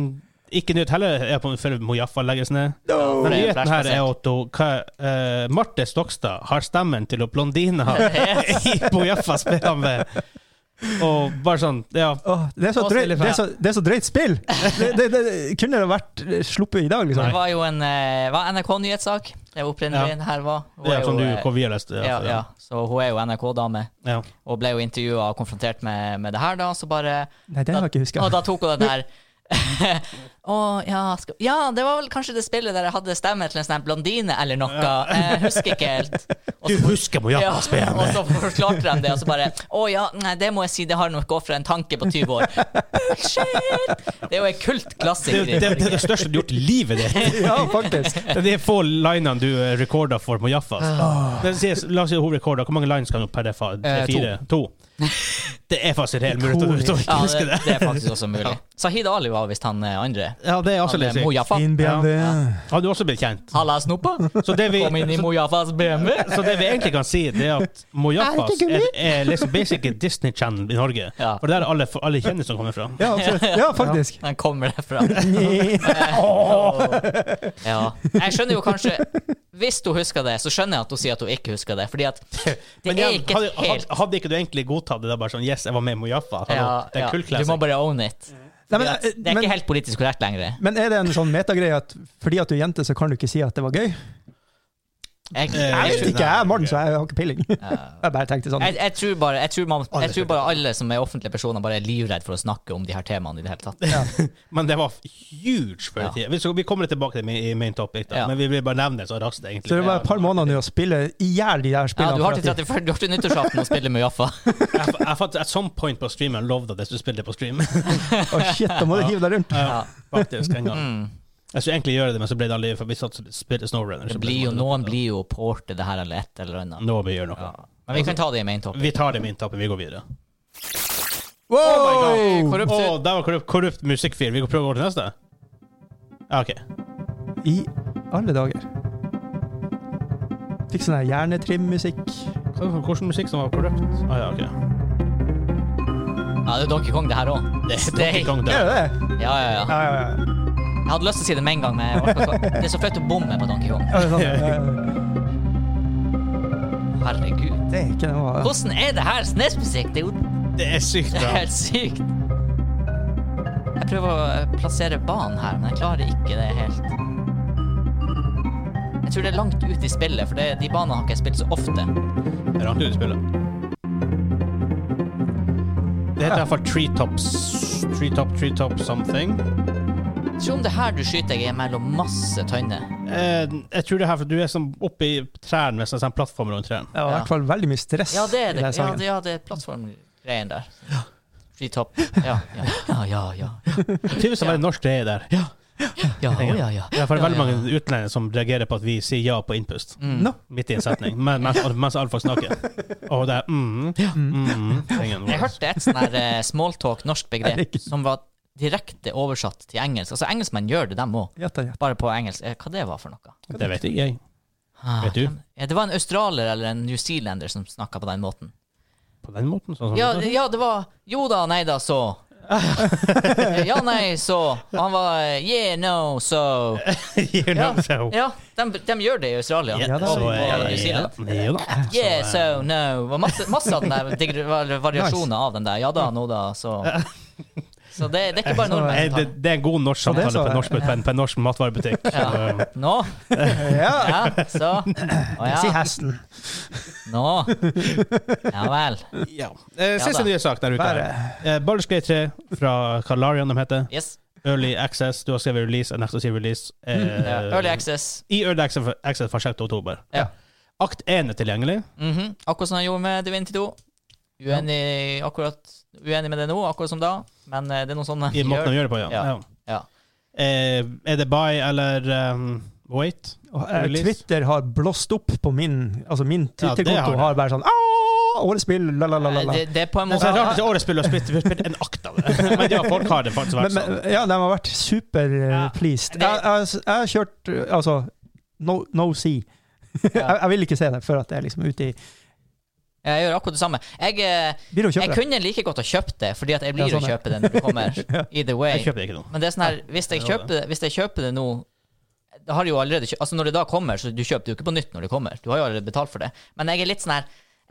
S4: ikke nyhet heller er på før Mojaffa legges ned.
S1: No.
S4: Men
S2: det er
S4: nyheten her er
S2: flashbasert.
S4: at hun- hva, eh, Marte Stokstad har stemmen til hun blondina i Mojaffa spiller med. Og bare sånn, ja.
S1: Åh, det, er så
S2: Og
S1: drøyt,
S2: stille
S1: det, er så, det er så drøyt spill! Det, det, det, kunne det vært eh, sluppet i dag,
S2: Det
S1: liksom?
S2: var jo en eh, var NRK-nyhetssak. Det er opprinnelig her var. Hun
S4: Det
S2: er
S4: er
S2: jo,
S4: som du,
S2: eh,
S4: hvor vi har lest det.
S2: ja, ja. Så hun er jo NRK-dame,
S4: Ja.
S2: og ble jo intervjua og konfrontert med, med det her, da. Så bare
S1: Nei, det har jeg ikke huska.
S2: Og da tok hun den her Å, ja, skal, ja, det var vel kanskje det spillet der jeg hadde stemme til en sånn her blondine eller noe. Eh, Jeg husker ikke helt. Og
S4: Du
S2: så-
S4: husker på
S2: ja,
S4: Jakobs BMW.
S2: og så forklarte de det, og så bare Å ja, nei, det må jeg si, det har nok gått for en tanke på 20 år. Bullshit! Det er jo en
S4: Det,
S2: kultklassiker.
S4: det, det er det største du har gjort i livet ditt.
S1: Ja, faktisk.
S4: Det er de få linene du eh, recorder for på Jaffas. Det sies- La oss si hun recorder. Hvor mange lines kan hun per defa? Tre,
S2: Eh, to.
S4: fire? To. Det er faktisk reelt mulig at du at du
S2: ja,
S4: ikke husker
S2: det,
S4: det.
S2: det er faktisk også mulig. Sahid Ali var visst han eh, andre.
S4: Ja, det er også
S2: Han
S4: litt
S2: eh,
S4: sykt.
S2: Mojaffa.
S1: Din BMW.
S4: Har du også blitt kjent?
S2: Halla, snoppa.
S4: Så det vi,
S2: Kom inn i
S4: så,
S2: Mojaffas BMW.
S4: så det vi egentlig kan si, det er at Mojafas er, er liksom basically Disney Channel i Norge.
S2: Ja.
S4: For der er alle, alle kjendisene kommer fra.
S1: Ja, absolutt. Ja, faktisk.
S2: Den kommer derfra. Ja. Jeg skjønner jo kanskje Hvis hun husker det, så skjønner jeg at hun sier at hun ikke husker det. Fordi at det
S4: Men
S2: er
S4: igjen,
S2: ikke
S4: hadde,
S2: helt
S4: hadde, hadde ikke du egentlig godtatt det? da, Bare sånn, yes, jeg var med i Mojaffa. Hallo,
S2: ja,
S4: det er
S2: ja,
S4: kult
S2: Du må bare own it.
S1: Nei,
S2: Fordi
S1: men, eh,
S2: at Det er
S1: men,
S2: ikke helt politisk korrekt lenger.
S1: men er det en sånn metagreie at fordi at du er jente, så kan du ikke si at det var gøy?
S2: Jeg,
S1: Jeg
S2: jeg,
S1: vet ikke, jeg er mann, så jeg har ikke peiling. Jeg
S2: Ja.
S1: bare tenkte sånn.
S2: jeg, jeg tror bare jeg tror, man, jeg tror bare alle som er offentlige personer, bare er livredd for å snakke om de her temaene i det hele tatt.
S4: Men det var huge før i
S2: Ja.
S4: tida. Vi, skal- vi kommer litt tilbake til main, i main topic, da.
S2: Ja.
S4: men vi vil bare nevne det så raskt, egentlig.
S1: Så det er bare et par måneder nå å spille i hjel de der
S2: Ja,
S1: spillene.
S2: du har
S1: for
S2: til
S1: at de-
S2: 34, du har til nyttårsaften å spille med Jaffa.
S4: Jeg, jeg fant at some point på streamen lovde at hvis du spilte på stream.
S1: Å, shit, da må du hive deg rundt.
S4: ja. Faktisk, en gang.
S2: Mm.
S4: Jeg skulle egentlig gjøre det, men så ble det aldri For vi satt og spilte Snowrunner.
S2: Det
S4: så ble
S2: blir jo,
S4: det-
S2: noen blir jo Mm. porter det her eller et eller annet.
S4: Nå må vi gjøre noe.
S2: Ja. Men vi kan ta det i main topic.
S4: Vi tar det med inntappet, vi går videre.
S2: Oh Oi,
S1: Wow!
S2: korrupt.
S4: Å, der var korrupt, korrupt musikkfil. Vi går prøve å gå til neste. Ja, OK.
S1: I alle dager. Fikk sånn her hjernetrimmusikk.
S4: Hva- Hvilken musikk som var korrupt? Ah, ja, ok.
S2: Ja, det er Donkey Kong, det her òg.
S4: Det er Donkey Kong
S1: Er
S4: der.
S1: det det?
S2: Ja, ja, ja.
S1: Ja, ja, ja.
S2: Jeg hadde lyst til å si det med en gang, men jeg orker ikke. det er så flaut å bomme på Donkey Kong.
S1: Ja, det er sant, ja, ja, ja.
S2: Herregud.
S1: Det er ikke noe
S2: Hvordan er det her snesmusikk? Det er jo
S4: Det er sykt
S2: det er
S4: bra.
S2: helt sykt. Jeg prøver å eh, plassere banen her, men jeg klarer ikke det helt. Jeg tror det er langt ut i spillet, for det, de banene har ikke jeg spilt så ofte.
S4: Det er rart ut i spillet. Det heter i hvert fall Treetops Treetop, Treetop something.
S2: Se om det her du skyter jeg er mellom masse tønner.
S4: Eh, jeg tror det her, for du er som oppe i trærne med sånn sånn plattform rundt trærne.
S1: Det var i hvert fall veldig mye stress
S2: Ja, det
S1: i
S2: er det.
S1: den
S2: Ja,
S1: sangen.
S2: det, ja, det er plattformgreien der. Fritopp. Ja, ja, ja, ja. ja.
S4: Tydeligvis er det norsk det er der. Ja,
S2: Ja, å, ja, ja.
S4: det er for
S2: Ja,
S4: veldig
S2: ja.
S4: mange utlendinger som reagerer på at vi sier ja på innpust.
S1: Nå,
S4: Midt i en setning, men, mens, mens alle folk snakker. Og det er mm, mm, ingen
S2: Jeg hørte et sånn her eh, smalltalk, norsk begrep, som var direkte oversatt til engelsk. Altså, engelskmenn gjør det, dem òg.
S1: gjett det, gjett.
S2: Bare på engelsk. Eh, Hva det var for noe?
S4: Det vet ikke jeg.
S2: Ah,
S4: Vet du?
S2: dem- Ja, det var en australier eller en newzealender som snakka på den måten.
S4: På den måten, sånn som
S2: Ja,
S4: du sa.
S2: det- ja, det var Jo da, nei da, så. Eh, Ja, nei, så. Og Han var eh, Yeah, no, so.
S4: You
S2: Ja,
S4: know, so.
S2: ja de, gjør det i Australia.
S1: Ja, da.
S2: Og-
S4: Og,
S2: og
S4: eh,
S2: New Zealand.
S4: ja, da.
S2: Yeah,
S4: Så, eh,
S2: so, no. Det var Masse, masse av den der digre- var- variasjoner av den der. Ja da, nå da, så. Så det, det er ikke bare nordmenn
S4: eh,
S2: som
S4: det,
S2: tar
S4: det er en god norsk
S1: det
S4: samtale
S1: sa
S4: på en
S1: jeg.
S4: norsk, på en, på en norsk matvarebutikk. Så,
S2: Ja.
S4: eh,
S2: Nå?
S1: Ja,
S2: Ja, så. Å
S1: si
S2: ja.
S1: hesten.
S2: Nå. Ja vel.
S4: Ja. Eh, Siste
S2: da.
S4: nye sak der ute.
S1: Bare-
S4: her. Eh, Baldur's Gate 3 fra Kalarion, de heter.
S2: Yes.
S4: Early Access. Du har skrevet release, og neste sier release. Eh,
S2: Ja. Early access.
S4: I Early Access, access fra 6. oktober.
S2: Ja.
S4: Akt 1 er tilgjengelig.
S2: Mhm. Akkurat som han gjorde med Divinity 2. Uenig, akkurat, uenig med det nå, akkurat som da, men eh, det er noe sånn
S4: I måten de gjør det på, ja.
S2: Ja.
S4: ja.
S2: Ja.
S4: Eh, er det buy eller um, wait?
S1: Og, eh,
S4: Release.
S1: Twitter har blåst opp på min Altså min
S4: Ja, det
S1: Twitter-konto
S4: har
S1: har
S4: det.
S1: bare sånn «Åh, Årets spill, la, la, la, la. la».
S2: Eh, Det, det er på en
S4: Det er
S2: måte
S4: så rart at årets spill har spilt, spilt en akt av det. Men ja, folk har det faktisk
S1: Men,
S4: vært sånn.
S1: men, ja, de har vært super eh, pleased.
S2: det-
S1: Jeg, jeg, jeg har kjørt eh, altså no, no see. jeg, jeg vil ikke se det før at det er liksom ute i
S2: Jeg gjør akkurat det samme. Jeg, eh,
S1: Blir å
S2: jeg
S1: kjøpe det.
S2: kunne like godt ha kjøpt det, fordi at jeg
S1: Ja,
S2: blir å
S1: sånn er.
S2: kjøpe det når det kommer. Either way.
S4: Jeg kjøper det ikke nå.
S2: Men det er sånn her, hvis jeg kjøper det, hvis jeg kjøper det nå da har jeg jo allerede kjøpt, altså Når det da kommer, så du kjøper det jo ikke på nytt når det kommer. Du har jo allerede betalt for det. Men jeg er litt sånn her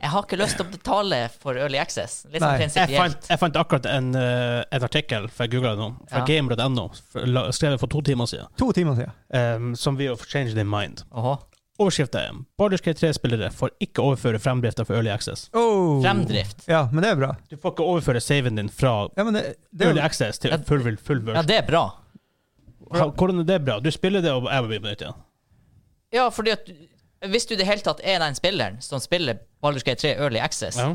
S2: Jeg har ikke lyst til å betale for Early Access. Litt sånn
S1: Nei.
S4: Jeg
S2: prinsipielt.
S4: fant, jeg fant akkurat en, eh, en artikkel, for jeg googlet det nå, fra
S2: Ja.
S4: gamer.no, for- la- skrevet for to timer siden,
S1: To timer siden.
S4: eh, som vi har changed in mind.
S2: Åhå.
S4: Overskriften er Baldur's Gate 3-spillere får ikke overføre fremdriften for Early Access.
S1: Oh.
S2: Fremdrift.
S1: Ja, men det er bra.
S4: Du får ikke overføre saven din fra
S1: Ja, men det, det,
S4: Early
S1: er,
S4: Access til
S2: Ja,
S4: full, full version.
S2: Ja, det er bra.
S4: Ha- Hvordan er det bra? Du spiller det, og jeg må bli på nytt igjen.
S2: Ja, fordi at hvis du i det hele tatt er den spilleren som spiller Baldur's Gate 3 Early Access,
S4: Ja.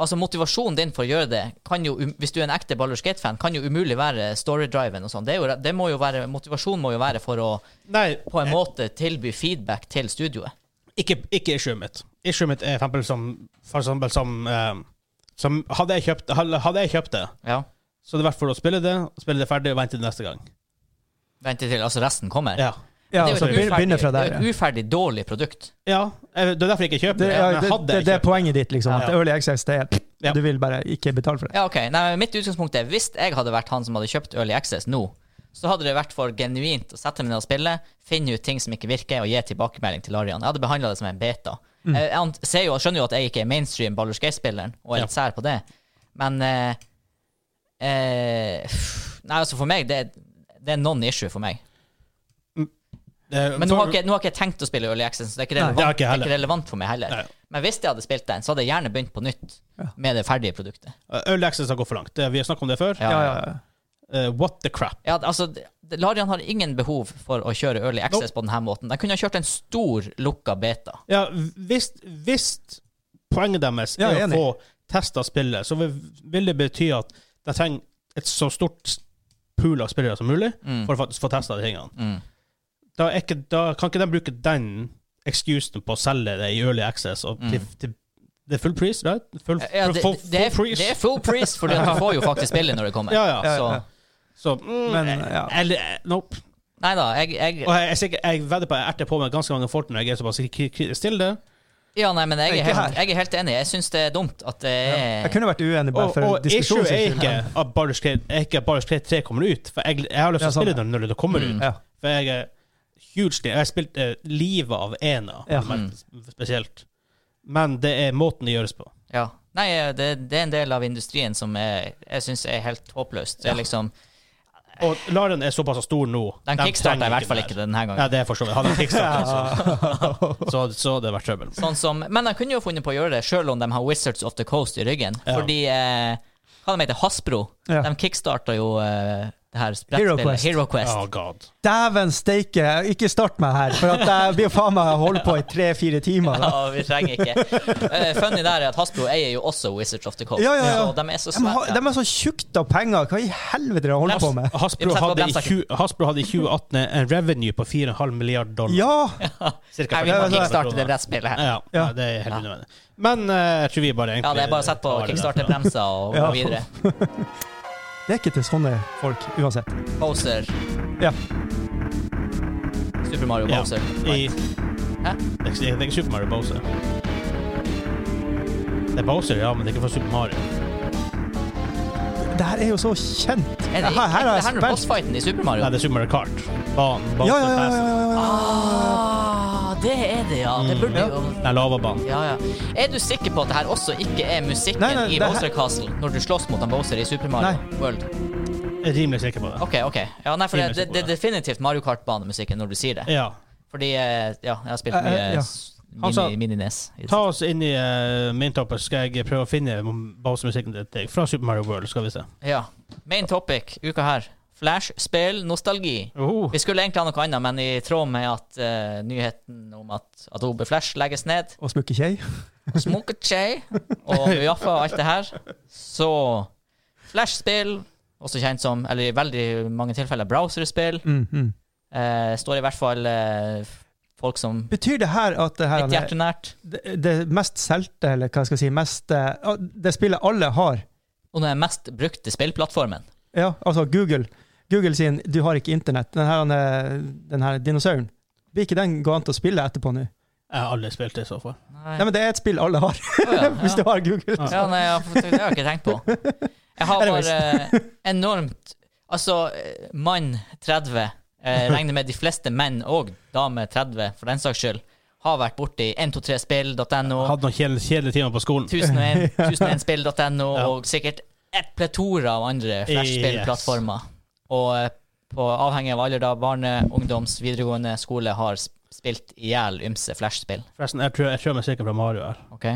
S2: altså motivasjonen din for å gjøre det, kan jo, um- hvis du er en ekte Baldur's Gate-fan, kan jo umulig være storydriven og sånn. Det, er jo- det må jo være, motivasjonen må jo være for å
S4: Nei,
S2: på en måte tilby feedback til studioet.
S4: ikke, ikke issuet mitt. Issuet mitt er for eksempel som, for eksempel som, eh, som hadde, jeg kjøpt, hadde hadde jeg kjøpt det,
S2: Ja.
S4: så det hadde vært for å spille det, spille det ferdig og vente til neste gang.
S2: Vente til altså resten kommer.
S4: Ja.
S1: ja,
S2: det er
S1: altså,
S2: jo et
S1: begynne begynne fra
S2: uferdig, det
S1: der.
S2: er
S1: ja.
S2: jo et uferdig dårlig produkt.
S4: ja. eh, Det er derfor jeg ikke kjøper
S1: Det,
S4: det.
S1: ja,
S4: men
S1: det,
S4: hadde
S1: det,
S4: jeg
S1: det er
S4: kjøpt
S1: poenget ditt, liksom. At
S4: Ja.
S1: Early Access, det er
S4: Ja.
S1: Du vil bare ikke betale for det.
S2: Ja, ok. Nei, mitt utgangspunkt er hvis jeg hadde vært han som hadde kjøpt Early Access nå, så hadde det vært for genuint å sette meg ned og spille, finne ut ting som ikke virker, og gi tilbakemelding til Larian. Jeg hadde behandla det som en beta. Eh, Jeg, ant- ser jo, jeg skjønner jo at jeg ikke er mainstream Baldur's Gate-spilleren, og er litt sær på det, men eh, eh, pff, Nei, altså, for meg, det, er- det er non-issue for meg.
S4: Eh,
S2: Men nå
S4: for-
S2: har, ikke, nå har ikke jeg tenkt å spille Early Access, så det er ikke
S1: Nei,
S2: relevant,
S4: det har ikke jeg
S2: det er
S4: heller.
S2: ikke relevant for meg heller.
S4: Nei.
S2: Men hvis jeg hadde spilt den, så hadde jeg gjerne begynt på nytt
S1: Ja.
S2: med det ferdige produktet.
S4: Eh, Early Access har gått for langt. Det- Vi har snakket om det før.
S1: Ja,
S2: Ja, ja,
S1: ja, ja.
S4: Eh, what the crap.
S2: Ja, altså, det- Larian har ingen behov for å kjøre Early Access på denne måten. De kunne ha kjørt en stor lukka beta.
S4: Ja, hvis, hvis poenget deres
S1: Ja,
S4: er
S1: jeg er
S4: å få testa spillet, så vil, vil det bety at de trenger et så stort pool av spillere som mulig
S2: Mm.
S4: for å faktisk få testa de tingene.
S2: Mm.
S4: Da, er ikke, da kan ikke de bruke den excusen på å selge det i early access og til, til det er full pris, right? Full,
S2: Mm. Ja, det,
S4: full,
S2: det, det, er,
S4: full pris.
S2: det er full priest, for du får jo faktisk spillet når det kommer.
S4: Ja, ja.
S1: Ja, ja.
S2: Så
S4: Så mm,
S1: Men,
S4: eh,
S1: ja.
S4: eller, eh, Nope.
S2: nei da, jeg, jeg
S4: Og jeg, jeg, sikker- jeg vedder på at jeg erter på meg ganske mange folk når jeg er såpass kri- kri- stille. det.
S2: Ja, nei, men jeg er
S1: Ikke
S2: helt,
S1: her.
S2: jeg er helt enig. Jeg syns det er dumt at det
S1: Jeg
S2: er
S1: kunne vært uenig bare
S4: Og,
S1: for
S4: og issue
S1: diskusjonens
S4: er
S1: skyld.
S4: ikke at Baldur's Gate, er ikke at Baldur's Gate 3 kommer ut. For jeg, jeg har lyst til
S1: Ja,
S4: å
S1: sant.
S4: spille den når det kommer ut.
S1: Ja.
S4: For jeg er huge Jeg har spilt eh, livet av Ena,
S1: Ja.
S4: men spesielt. Men det er måten det gjøres på.
S2: Ja. Nei, det, det er en del av industrien som er, jeg syns er helt håpløst. Det er liksom
S4: Og Laren er såpass stor nå.
S2: Den
S4: de
S2: kickstarta
S4: trenger
S2: i hvert fall
S4: mer.
S2: ikke det denne gangen.
S4: Ja, det er for så vidt. Hadde de kickstarta, så, altså. så, så hadde det vært trøbbel.
S2: Sånn som, men de kunne jo funnet på å gjøre det sjøl om de har Wizards of the Coast i ryggen.
S4: Ja.
S2: Fordi eh, Hva de heter Hasbro?
S1: Ja.
S2: De kickstarta jo eh, det her
S1: Hero
S2: brettspillet
S1: Quest.
S2: Hero Quest.
S4: Oh, god.
S1: Dæven steike, ikke start meg her, for at jeg blir faen meg holdt på i tre-fire timer. Da.
S2: Ja, vi trenger ikke. Eh, funny der er at Hasbro eier jo også Wizards of the Coast.
S1: Ja, ja, ja.
S2: Så de er så
S1: De, har,
S2: svære.
S1: de er så tjukt av penger, hva i helvete de holder på med?
S4: Hasbro
S2: Vi må sette på
S4: hadde, i
S2: bremsekken.
S4: 20 Hasbro hadde i 2018 en revenue på 4,5 milliard dollar.
S1: Ja!
S4: Cirka
S2: Nei, vi må
S1: Ja,
S4: 45
S2: kickstarte
S4: kroner.
S2: det brettspillet her.
S4: Ja,
S1: Ja.
S4: ja, det er helt
S2: Ja.
S4: unødvendig. Men eh, jeg tror vi bare egentlig
S2: Ja, det er bare å sette på
S4: tar det derfra.
S2: kickstarte-bremser og gå
S1: Ja.
S2: videre.
S1: Det er ikke til sånne folk, uansett.
S2: Bowser.
S1: Ja.
S2: Super Mario
S4: Ja.
S2: Bowser. Hæ?
S4: I, det er ikke- det er ikke Super Mario Bowser. Det er Bowser, ja, men det er ikke fra Super Mario.
S1: Det her er jo så kjent.
S2: Er det,
S1: her, her har
S2: er
S1: jeg
S2: det her
S1: spilt
S2: bossfighten i Super Mario?
S4: Nei, det er Super Mario Kart. Banen. Bowser
S1: Ja, ja, ja. ja,
S4: Pass.
S1: ja, ja.
S2: Ah, det er det, ja. Det burde
S1: Ja.
S2: jo
S4: Nei, lavabanen.
S2: Ja, ja. Er du sikker på at det her også ikke er musikken
S1: Nei, nei,
S2: i
S1: det her-
S2: Bowser Castle når du slåss mot han Bowser i Super Mario World?
S4: Jeg er rimelig sikker på det.
S2: OK, OK. Ja, nei, for det,
S4: Rimelig
S2: det,
S4: sikker på
S2: det er
S4: det.
S2: definitivt Mario Kart-banemusikken når du sier det.
S4: Ja.
S2: Fordi eh, ja, jeg har spilt
S1: Eh,
S2: mye
S1: eh, ja.
S2: s-
S4: Han sa-
S2: mini- mini-nes. i det
S4: Ta oss inn i uh, min topp, og skal jeg prøve å finne Bowser-musikken til deg fra Super Mario World. skal vi se.
S2: siste. Ja. Main topic uka her. Flash, spill, nostalgi.
S4: Oh.
S2: Vi skulle egentlig ha noe annet, men i tråd med at eh, nyheten om at Adobe Flash legges ned,
S1: Og smukke kjei.
S2: og Smokechey og Jaffa og alt det her, så Flash-spill, også kjent som, eller i veldig mange tilfeller, browserspill,
S1: Mm, mm.
S2: eh, står i hvert fall eh, folk som
S1: Betyr det her at det her
S2: litt
S1: er
S2: hjertenært.
S1: det, det mest solgte, eller hva skal jeg si, mest eh, Det spillet alle har.
S2: Og den mest brukte spillplattformen.
S1: Ja, altså Google. Google sin 'du har ikke internett'. Den her, eh, den her dinosauren. Vil ikke den gå an til å spille etterpå nå?
S4: Jeg har aldri spilt det i så fall.
S1: Nei, men det er et spill alle har,
S2: Å, ja,
S1: hvis du
S2: ja.
S1: har Google.
S2: Ja, nei, jeg har fått- det har jeg ikke tenkt på. Jeg har
S1: Anyways.
S2: bare eh, enormt Altså, eh, mann 30, eh, regner med de fleste menn og dame 30, for den saks skyld, Har vært borti 123spill.no,
S4: Hadde noen kjedelige kjedelige timer på skolen.
S2: 1001 1001spill.no
S4: Ja.
S2: og sikkert et pletora av andre flashspillplattformer. Og eh, på avhengig av alder, da, barne, ungdoms, videregående skole har sp- spilt i hjel ymse flashspill.
S4: Forresten, jeg tror jeg tror jeg er sikker på Mario her.
S2: OK?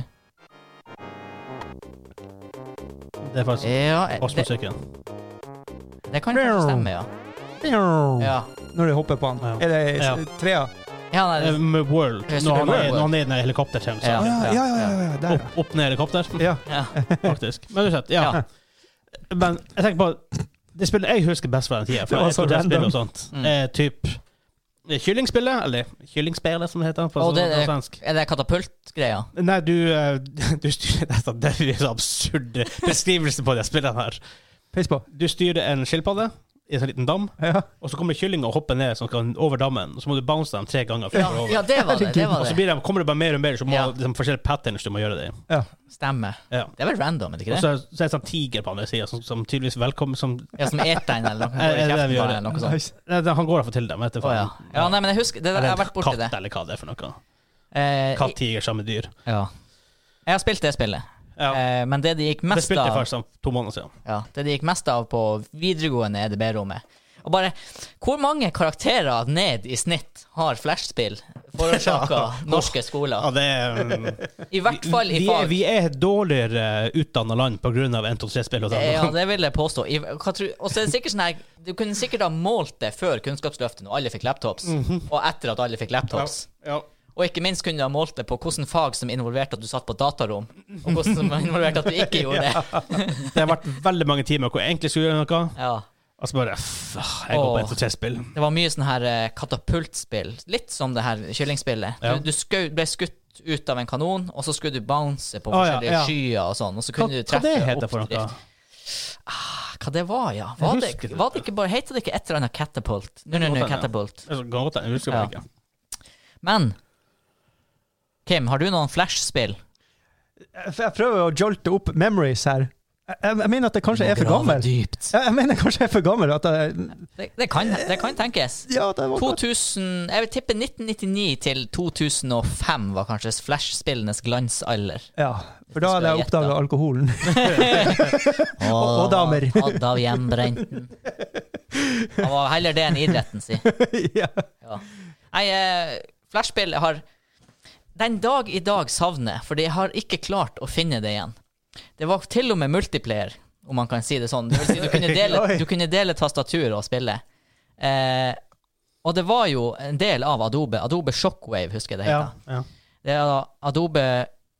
S4: Det er faktisk
S2: Ja, eh,
S4: oss
S2: det,
S4: musikken.
S2: det kan kanskje stemme, ja.
S1: Når
S2: Ja,
S1: du hopper på han.
S4: Ja.
S1: Er det
S4: Ja.
S1: s- trea?
S2: ja nei,
S4: Eh, med World.
S2: Jeg
S4: Når
S2: tror
S4: han
S2: det er
S4: er,
S2: World.
S4: når han er i den helikoptertjenesten.
S1: Å,
S2: Ja,
S1: Ja, ja, ja. ja, ja. Der,
S4: Opp, opp ned i helikopter,
S1: ja.
S2: ja.
S4: faktisk. Men uansett, ja.
S2: Ja.
S4: Men jeg tenker på Det spillet jeg husker best fra den tida,
S1: Det var
S4: for jeg
S1: så
S4: tror det spillet
S1: random.
S4: og sånt,
S2: Mm.
S4: er typ Kyllingspillet, eller Kyllingspelet, som det heter på,
S2: Å,
S4: sånn-
S2: det-
S4: på svensk.
S2: Er det katapultgreia?
S4: Nei, du, eh, du styrer dette, Det er så absurd beskrivelse på de spillene her.
S1: Peis på.
S4: Du styrer en skilpadde i en sånn liten dam,
S1: Ja.
S4: og så kommer det kyllinger og hopper ned som kan over dammen. Og så må du bounce dem tre ganger.
S2: Ja,
S4: før de går over.
S2: ja, det var det. det var
S4: Og så
S2: det.
S4: blir de, kommer det bare mer og mer, så må
S2: Ja.
S4: liksom, forskjellige patterns du må gjøre det i.
S2: Stemmer.
S4: Ja.
S2: Det er vel random, er det
S4: Og
S2: ikke det?
S4: så, så er det sånn tiger på andre sida, som, som tydeligvis velkommen som
S2: Ja, som eter den, eller noe,
S4: Er- er det det vi
S2: kjeften på
S4: gjør?
S2: den, eller noe sånt.
S1: Nice.
S4: Nei, det- Han går iallfall til dem. Vet du,
S2: Å ja. ja, nei, men jeg husker det, der- Jeg har vært borti
S4: katt,
S2: det.
S4: eller hva det er for noe.
S2: Eh,
S4: Katt, tiger, samme dyr.
S2: i- ja. Jeg har spilt det spillet,
S4: Ja.
S2: eh, men det de gikk
S4: Det
S2: mest
S4: spilte jeg
S2: av
S4: faktisk for to måneder siden.
S2: ja, Det de gikk mest av på videregående EDB-rommet Og bare Hvor mange karakterer ned i snitt har flashspill forårsaka norske
S4: Ja,
S2: skoler?
S4: det er, um,
S2: I hvert fall i
S4: vi, er,
S2: fag.
S4: vi er et dårligere utdanna land pga. 1-2-3-spill.
S2: Eh, Ja, det vil jeg påstå. I, hva tror, og så er det sikkert sånn her Du kunne sikkert ha målt det før Kunnskapsløftet, når alle fikk laptops,
S4: Mhm.
S2: og etter at alle fikk laptops. Og ikke minst kunne du ha målt det på hvilke fag som involverte at du satt på datarom, og hvordan som involverte at du ikke gjorde det.
S4: Det har vært veldig mange timer hvor jeg egentlig skulle gjøre noe,
S2: Ja.
S4: og så bare pff, Jeg går på
S2: Åh.
S4: 1-2-3-spill.
S2: Det var mye sånn her eh, katapultspill, litt som det her kyllingspillet.
S4: Ja.
S2: Du, du skau, ble skutt ut av en kanon, og så skulle du bounce på
S4: Å, ja,
S2: forskjellige
S4: ja.
S2: skyer og sånn, og så
S4: Hva,
S2: kunne du
S4: hva
S2: treffe
S4: det heter for noe?
S2: oppdrift. Hva det var, ja. Var
S4: Jeg
S2: det,
S4: husker det.
S2: var det ikke bare Heter det ikke et eller annet catapult? Nå, nå,
S4: Godt
S2: nå,
S4: hende, ja.
S2: catapult.
S4: Jeg skal godt, jeg husker det
S2: Ja.
S4: ikke.
S2: Men Kim, har du noen flashspill?
S1: Jeg jeg prøver å jolte opp memories her. Jeg, jeg- jeg mener at det kanskje er for
S2: Grave
S1: gammel.
S2: Dypt.
S1: Jeg, jeg mener kanskje jeg er for gammel. At jeg,
S2: Det, det, kan, det kan tenkes.
S1: ja, det var godt.
S2: 2000, jeg vil tippe 1999 til 2005 var kanskje flashspillenes glansalder.
S1: Ja, for da hadde jeg
S2: Skal jeg
S1: oppdaga
S2: gjette?
S1: alkoholen.
S2: Og,
S1: og damer.
S2: Hadde av hjemmebrenten. Han var heller det enn idretten sin.
S1: ja.
S2: Ja. Nei, eh, flashspill har den dag i dag savner, jeg, fordi jeg har ikke klart å finne det igjen. Det var til og med multiplayer, om man kan si det sånn. Det vil si, du kunne dele,
S1: Oi.
S2: du kunne dele tastatur og spille. Eh, og det var jo en del av Adobe. Adobe Shockwave, husker jeg det
S4: Ja,
S2: heter.
S4: ja.
S2: Det er da Adobe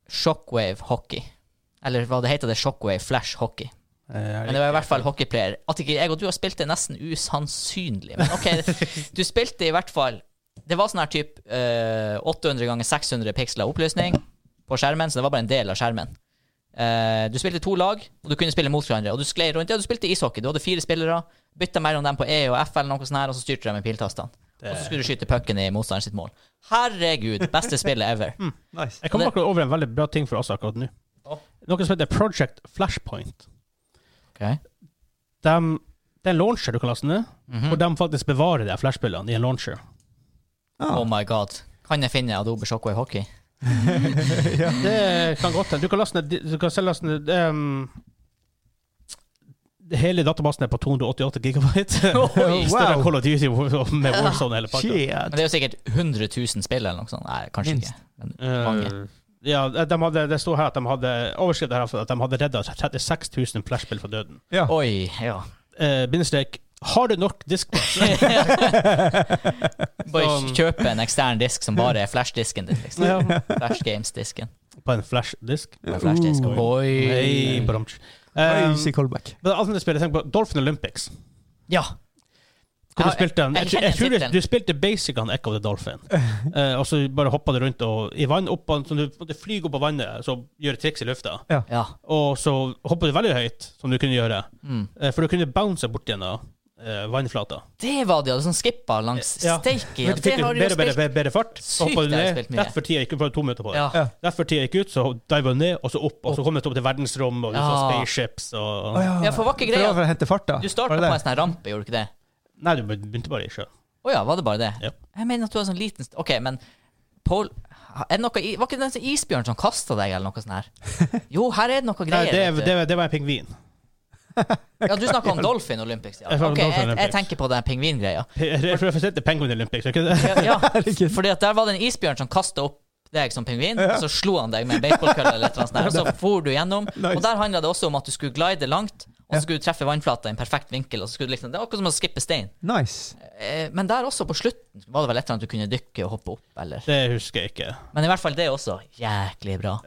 S2: Shockwave Hockey. Eller hva det heter det? Shockwave Flash Hockey. Men det var i hvert fall hockeyplayer. At ikke jeg og du har spilt det, er nesten usannsynlig. Men ok, du spilte i hvert fall Det var sånn her type 800 ganger 600 piksler oppløsning på skjermen, så det var bare en del av skjermen. Eh, du spilte to lag, og du kunne spille mot hverandre. Og du sklei rundt. Ja, du spilte ishockey. Du hadde fire spillere. Bytta mellom dem på E og F, eller noe sånt her, og så styrte de med piltastene. Og så skulle du skyte pucken i motstanderen sitt mål. Herregud, beste spillet ever.
S1: Nice.
S4: Jeg kom akkurat over en veldig bra ting for oss akkurat nå.
S2: Å.
S4: Noe som heter Project Flashpoint.
S2: Ok.
S4: De, det er en launcher du kan laste ned,
S2: Mhm. Mm.
S4: hvor de faktisk bevarer de her flashspillene i en launcher.
S2: Oh my god. Kan jeg finne Adobe Shockwave Hockey?
S4: Det kan godt hende. Du kan laste ned Du kan selv laste ned ehm, Hele databasen er på 288 gigabyte.
S1: Oi, wow.
S4: Større enn Call of Duty med Warzone og hele pakka.
S2: Men
S1: Shit.
S2: det er jo sikkert 100 000 spill eller noe sånt. Nei, kanskje
S1: Minst.
S2: ikke. Men mange.
S4: Eh, ja, de hadde, det står her at de hadde overskriften her at de hadde redda 36 000 flashspill fra døden.
S1: Ja.
S2: Oi, ja.
S4: Uh, Bindestrek Har du nok diskplass?
S2: Bare
S4: Sånn.
S2: kjøpe en ekstern disk som bare er flashdisken din, liksom.
S4: Ja.
S2: Flash Games-disken.
S4: på en flashdisk?
S2: Med Flashdisk.
S1: Uh.
S2: Oi.
S4: Hei, bromsj. Um,
S1: Crazy callback.
S4: men det andre spillet, tenk på Dolphin Olympics.
S2: Ja.
S4: Hvor
S2: Ja,
S4: du spilte den.
S2: jeg
S4: Jeg, tror- jeg
S2: kjenner
S4: tror
S2: tittelen.
S4: du, du spilte basic on Echo the Dolphin. Eh, og så bare hoppa du rundt og, i vann opp, og- så du måtte flyge opp på vannet så gjøre triks i lufta.
S2: Ja.
S4: Og så hoppa du veldig høyt, som du kunne gjøre.
S2: Mm.
S4: Eh, for du kunne bounce bort gjennom eh, vannflata.
S2: Det var det, ja. Sånn skippa langs
S4: Ja.
S2: steike.
S4: Men
S2: Ja.
S4: du
S2: Det
S4: fikk jo
S2: har du jo
S4: bedre, bedre,
S2: spilt.
S4: bedre, bedre fart. Så
S2: Sykt,
S4: hoppa du
S2: jeg har
S4: ned.
S2: spilt mye.
S4: Rett før tida gikk ut, bare to minutter på det.
S2: Ja.
S1: Ja.
S4: Rett før tida gikk ut, så diva du ned, og så opp. Og så kom du opp til verdensrom, og du så
S2: Ja.
S4: spaceships
S1: Å,
S4: og
S1: ja.
S2: ja, for var ikke
S1: For det var
S2: greia
S1: for å hente farta.
S2: Du
S1: Var
S2: starta
S1: det
S2: på
S1: det?
S2: en sånn her rampe, gjorde du ikke det?
S4: Nei, du begynte bare i sjøen.
S2: Å ja, var det bare det?
S4: Ja.
S2: Jeg mener at du har sånn liten st- OK, men Pol er det noe, i- var ikke det den isbjørn som kasta deg, eller noe sånt? her? Jo, her er det noe
S4: Nei,
S2: greier.
S4: det,
S2: vet du.
S4: det, det var en pingvin.
S2: ja, du snakker om Dolphin Olympics. Ja.
S4: Jeg snakker om
S2: Ok,
S4: Dolphin
S2: jeg, jeg
S4: Olympics.
S2: tenker på den pingvingreia.
S4: For å fortsette Penguin Olympics, er ikke det?
S2: Ja, ja, fordi at der var det en isbjørn som kasta opp deg som pingvin, og så slo han deg med en baseballkølle, eller et eller annet sånt der, og så for du gjennom. Og der handla det også om at du skulle glide langt, og så skulle du treffe vannflata i en perfekt vinkel. og så skulle du liksom, Det var akkurat som å skippe stein.
S1: Nice.
S2: Eh, Men der også, på slutten, var det vel et eller annet du kunne dykke og hoppe opp, eller
S4: Det husker jeg ikke.
S2: Men i hvert fall det også. Jæklig bra.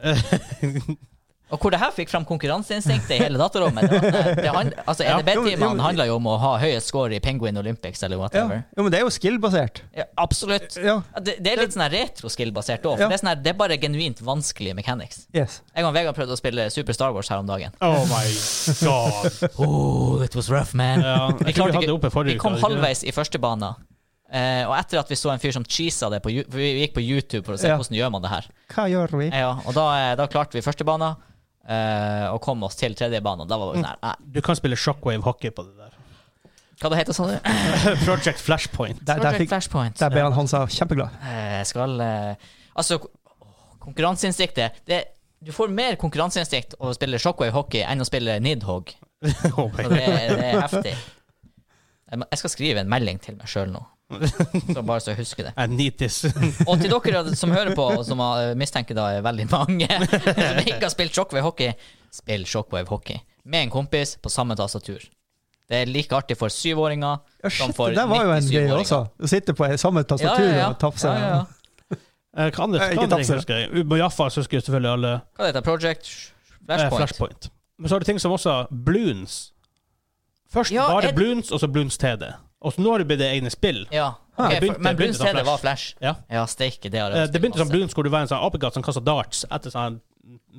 S2: Og hvor det her fikk fram konkurranseinstinktet i hele datarommet. Det var sånn, eh, det hand- altså,
S1: Ja, jo, jo,
S2: EDB-timene
S1: jo.
S2: handla jo om å ha høyest score i Penguin Olympics eller
S1: Ja.
S2: whatever.
S1: Jo, men det er jo skill-basert.
S2: Ja, absolutt.
S1: Ja.
S2: Ja, Det, det er litt sånn her retro-skill-basert òg.
S1: Ja.
S2: Det, er sånn her- det er bare genuint vanskelige mechanics.
S1: Yes.
S2: Jeg og Vegard prøvde å spille Super Star Wars her om dagen.
S4: Oh my god.
S2: Oh, it was rough, man.
S4: Ja, jeg
S2: Vi,
S4: tror vi
S2: klarte
S4: hadde det oppe
S2: ikke,
S4: forrige
S2: vi kom
S4: uke, hadde vi ikke
S2: halvveis i første bane. Eh, og etter at vi så en fyr som cheesa det på Yo- for Vi vi gikk på YouTube for å se
S1: Ja.
S2: hvordan gjør man det her.
S1: Hva gjør vi?
S2: Ja, og da, eh, da klarte vi første bane eh, og kom oss til tredje bane. og Da var det sånn her nei,
S4: Du kan spille shockwave hockey på det der.
S2: Hva det heter det?
S4: Project Flashpoint.
S1: Der, der,
S2: Project
S1: fikk,
S2: Flashpoint.
S1: der ble han Hansa kjempeglad.
S2: Eh, skal eh, Altså, k- åh, konkurranseinstinktet det, Du får mer konkurranseinstinkt å spille shockwave hockey enn å spille Nidhogg.
S4: Oh my
S2: Så
S4: god.
S2: det, er- det er heftig. Jeg må- Jeg skal skrive en melding til meg sjøl nå, så bare så jeg husker det.
S4: I need this.
S2: Og til dere som hører på, og som eh, mistenker da er veldig mange, som ikke har spilt shockwave hockey, spill shockwave hockey med en kompis på samme tastatur. Det er like artig for syvåringer
S1: Ja,
S2: som
S1: shit,
S2: for
S1: det der var jo en greie
S2: 97-åringer.
S1: også. Å sitte på samme tastatur og tapse.
S2: Ja, ja, ja.
S4: Eh, Hva andre
S1: Eh, ikke
S4: hva andre ting
S1: tapse.
S4: husker jeg? På Jaffa så husker jeg selvfølgelig alle eh,
S2: Hva heter det? Project Flashpoint?
S4: Flashpoint. Men så har du ting som også Bloons. Først
S2: Ja,
S4: bare
S2: er det-
S4: Bloons, og så Bloons TD. Og så nå har det blitt det egne spill.
S2: Ja.
S4: Ah,
S2: ok,
S4: det begynte-
S2: for, men
S4: det begynte
S2: Bluns
S4: som
S2: CD
S4: Flash.
S2: var Flash.
S4: Ja.
S2: Ja, steike, det har
S4: Eh,
S2: jeg
S4: Det begynte som
S2: masse.
S4: Bloons, hvor du var en sånn apekatt som kastet darts etter sånne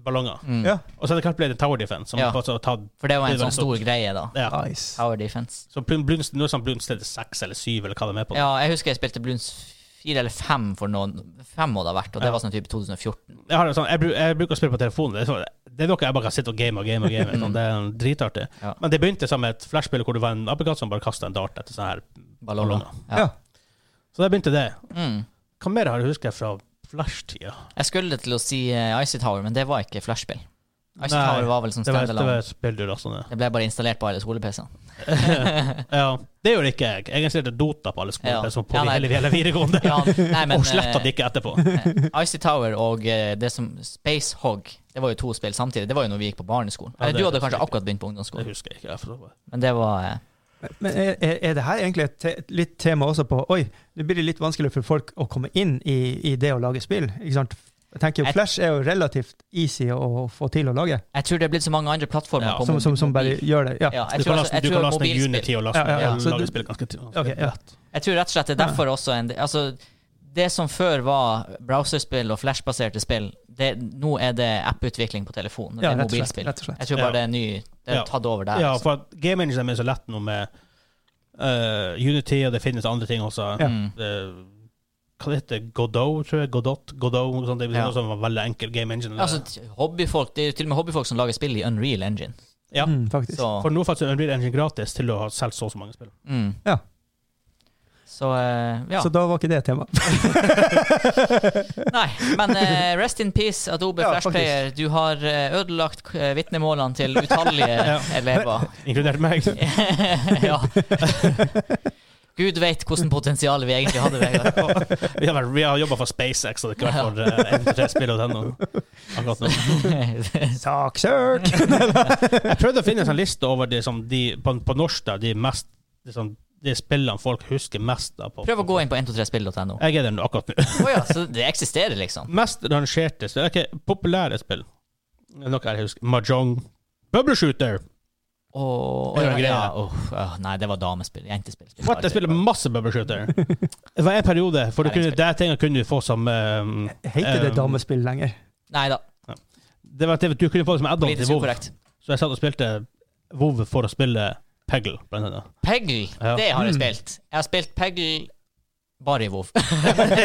S4: ballonger.
S1: Ja.
S4: Og så etter hvert ble det Tower Defense, som
S2: Mm. Ja.
S4: var så tatt
S2: For det var en
S4: Det var
S2: sånn stor greie, da.
S4: ja.
S1: Nice.
S2: Power defense.
S4: Så Blun- Bloons, nå er det sånn Bloons TD 6 eller 7, eller hva de er på.
S2: Ja, jeg husker jeg spilte Bluns fire eller fem for noen Fem må det ha vært, og det
S4: Ja.
S2: var sånn type 2014.
S4: Jeg, har det sånn, jeg, bru- jeg bruker å spille på telefonen. Det er, sånn, det er noe jeg bare kan sitte og game og game. og game sånn, Det er dritartig.
S2: Ja.
S4: Men det begynte som et flashspill hvor det var en apekatt som bare kasta en dart etter sånne her
S2: Ballonger.
S4: ballonger.
S1: Ja.
S4: Så der begynte det.
S2: Mm.
S4: Hva mer har du husket fra flashtida?
S2: Jeg skulle til å si eh, Icy Tower, men det var ikke flashspill. Icy
S4: Nei,
S2: Tower var vel som
S4: Det var, det
S2: standalone.
S4: var spill du lasta ned.
S2: Det, ble bare installert på alle skole-PC-ene.
S4: Ja, det gjorde ikke jeg. Jeg installerte Dota på alle skoler
S2: Ja.
S4: som på
S2: Ja, nei.
S4: hele, hele videregående.
S2: Ja, nei, men
S4: og sletta det
S2: eh,
S4: ikke etterpå.
S2: eh, Icy Tower og eh, det som Space Hog, det var jo to spill samtidig. Det var jo når vi gikk på barneskolen.
S4: Ja,
S2: Eller
S4: det
S2: du hadde
S4: husker
S2: kanskje
S4: jeg ikke.
S2: akkurat begynt på
S4: Det
S2: ungdomsskolen.
S4: husker jeg ikke. Jeg forstår.
S2: Men det var eh,
S1: Men er, er- er det her egentlig et te litt tema også på Oi, nå blir det litt vanskelig for folk å komme inn i, i det å lage spill. Ikke sant? Jeg tenker
S2: Jeg-
S1: jo Flash er jo relativt easy å få til å lage,
S2: Jeg tror det er blitt så mange andre plattformer.
S4: Ja,
S2: på
S1: som,
S2: mobil-
S1: som, som bare gjør det. Ja.
S2: ja, jeg tror,
S4: Du kan
S2: altså-
S4: laste,
S2: jeg
S4: du
S2: tror
S4: kan laste ned
S2: mobilspill-
S4: Unity og laste
S1: Ja, ja, ja.
S4: og
S1: Så
S4: lage
S1: du-
S4: spill ganske tidlig.
S1: Ok, ja.
S2: Jeg tror rett og slett det er derfor også en Altså, det som før var browserspill og flashbaserte spill, det, nå er det apputvikling på telefon. Det
S1: Ja,
S2: er
S1: rett og slett.
S2: mobilspill.
S1: Rett og slett.
S2: Jeg tror
S4: Ja.
S2: bare det er ny Det er
S4: Ja.
S2: tatt over der.
S4: Ja,
S2: altså.
S4: for at game engine er så lett nå med eh, Unity, og det finnes andre ting også.
S1: Ja.
S2: Mm.
S4: Eh, hva det heter Godot, tror jeg? Godot? Godot noe sånt. Det er
S2: Ja.
S4: noe som var veldig enkel game engine.
S2: Altså, t- hobbyfolk, det er jo til og med hobbyfolk som lager spill i Unreal Engine.
S4: Ja.
S1: Mm, faktisk.
S2: Så,
S4: For nå er faktisk Unreal Engine gratis til å ha solgt så og så mange spill.
S2: mm.
S1: Ja.
S2: Så eh, ja.
S1: Så da var ikke det et tema.
S2: Nei, men eh, rest in peace, Adobe
S1: Ja,
S2: Flash Player. Du har eh, ødelagt eh, vitnemålene til utallige elever.
S4: Inkludert meg.
S2: ja. Gud veit hvordan potensial vi egentlig hadde, Vegard.
S4: Vi har, vært- vi har jobba for SpaceX, og det har ikke vært for uh, MT3-spill og den. og- Akkurat nå.
S1: Saksøk!
S4: Jeg prøvde å finne en sånn liste over de, som de på, på norsk, da, de mest de, som, de spillene folk husker mest av. På,
S2: Prøv å gå inn på 123spill.no.
S4: Jeg er der nå, akkurat nå.
S2: Å ja, så det eksisterer, liksom?
S4: Mest rangerte spill Ok, populære spill. Det er Noe jeg husker. Mahjong. Bubble Shooter.
S2: Å, å,
S4: Det er
S2: ja,
S4: en greie.
S2: ja, åh, åh, nei, det var damespill. Jentespill.
S4: What? Jeg spiller masse Bubble Shooter. Det var en periode for du kunne, det er ting jeg kunne få som um,
S1: Heter det
S2: Eh,
S4: um,
S1: damespill lenger?
S2: Nei da,
S4: Det var at du kunne få det som add-on til
S2: politisk
S4: WoW.
S2: ukorrekt.
S4: Så jeg satt og spilte WoW for å spille Peggle, blant annet.
S2: Peggle,
S4: Ja. Mm.
S2: det har jeg spilt. Jeg har spilt Peggle bare i WoW.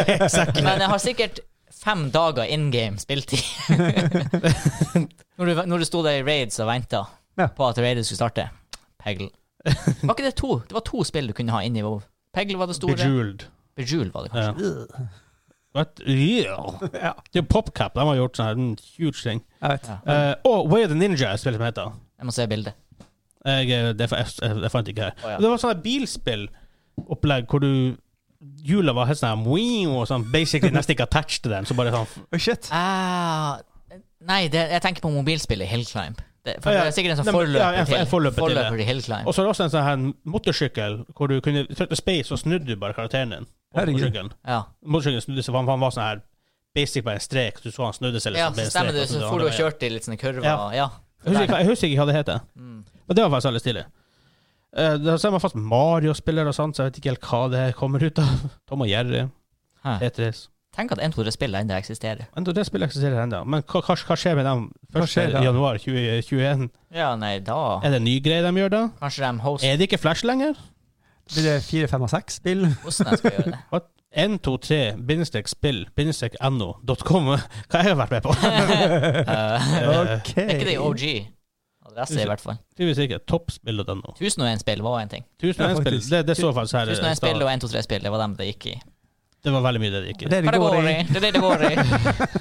S4: Exactly.
S2: Men jeg har sikkert fem dager in game spiltid. når, du, når du sto der i raids og venta
S1: Ja.
S2: på at raidet skulle starte. Peggle. Var ikke det to? Det var to spill du kunne ha inni WoW. Peggle var det store.
S4: Bejeweled.
S2: Bejewel var det kanskje.
S4: Ja. What? Yeah.
S1: Ja,
S4: Det er PopCap. De har gjort sånn her, en huge ting.
S1: jeg vet.
S2: Ja.
S4: Eh, og Way of the Ninja er spillet som heter.
S2: Jeg må se bildet.
S4: Jeg, eh, det, fa- jeg, jeg fant ikke her.
S2: Å, ja.
S4: Det var sånn her bilspillopplegg hvor du Hjula var helt sånn her, «Wii», og sånn, basically nesten ikke attached til den. Så bare sånn
S1: Å, shit.
S2: Ah, nei, det, jeg tenker på mobilspillet Hill Climb. Det, for
S4: Ja, ja.
S2: det er sikkert en
S4: Nei,
S2: sånn
S4: men- ja,
S2: forløper,
S4: en- en
S2: til,
S4: forløper til det.
S2: til Hill Climb.
S4: Og så er det også en sånn her motorsykkel hvor du kunne trykke space, og snudde du bare karakteren din. på
S1: Herregud.
S4: motorsykkelen.
S2: Ja,
S4: Motorsykkelen snudde seg, for han, han var sånn her basic bare en strek. så Du så han snudde seg.
S2: ja
S4: ble
S2: så
S4: en
S2: stemmer det.
S4: strek,
S2: Så
S4: og
S2: får du og
S4: ja.
S2: kjørte i litt sånne kurver.
S4: Ja.
S2: og- Ja.
S4: Jeg husker, ikke, jeg husker ikke hva det heter.
S2: Mm.
S4: Men det var faktisk veldig stilig. Eh, Da ser man fast Mario-spiller og sånt, så jeg vet ikke helt hva det her kommer ut av. Tom og Jerry,
S2: Hæ.
S4: Tetris.
S2: Tenk at 1-2-spillet ennå eksisterer.
S4: Enda det spillet eksisterer ennå. Men hva, hva, hva skjer med dem
S1: Hva skjer da?
S4: 1.1.2021?
S2: Ja, nei, da
S4: eh, Er det en ny greie de gjør da?
S2: Kanskje de hoster
S4: Er det ikke Flash lenger?
S1: Blir det fire, fem og seks spill?
S2: hvordan de skal gjøre det.
S4: 123-spill-no.com Hva jeg har vært med på?
S2: Eh,
S1: Ok.
S2: er ikke det i OG? Adresse, i hvert fall.
S4: Tydeligvis ikke. Toppspill.no.
S2: 1001-spill var en ting.
S4: 1001
S1: Ja,
S4: spill.
S1: faktisk.
S4: Det, det så faktisk her. eh, i
S2: 1001-spill
S4: stad.
S2: og 1-2-3-spill, det var dem det gikk i.
S4: Det var veldig mye det det gikk i.
S1: Det er det går i.
S2: Kategori, det er det det går i.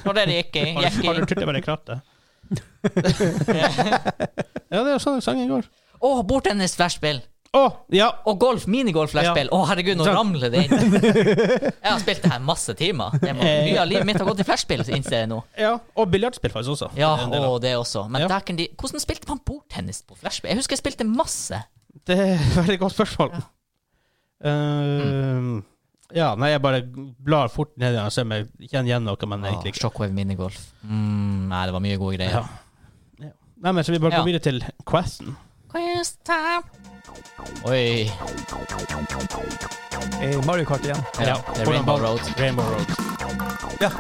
S2: Og det det gikk i.
S4: Har
S2: Gikk
S4: du, har du
S2: i.
S4: turt å være i krattet? ja, det er jo sånn sangen går.
S2: Å, bordtennis-flashspill!
S4: Å, ja!
S2: Og golf, minigolf-flashspill. Å, herregud, nå
S4: Sant.
S2: ramler det inn. Jeg har spilt det her masse timer. Det må,
S4: Eh.
S2: mye av livet mitt har gått i flashspill, innser jeg nå.
S4: ja. Og biljardspill faktisk også.
S2: Ja,
S4: Det er en del av-
S2: og det også. Men
S4: Ja.
S2: dæken de Hvordan spilte man bordtennis på flashspill? Jeg husker jeg spilte masse.
S4: Det er et veldig godt spørsmål. Ja. ja, nei, jeg bare blar fort ned igjen og ser om jeg kjenner igjen noe, men egentlig
S2: Åh,
S4: ikke.
S2: Shockwave minigolf. Mm, nei, det var mye gode
S4: Ja.
S2: greier.
S4: Ja. Nei, men så vi bare
S2: Ja.
S4: går videre til Questen.
S2: Quiz time. Oi.
S1: I Mario Kart igjen.
S2: Ja, det er Rainbow Road.
S4: Rainbow Road.
S1: Ja.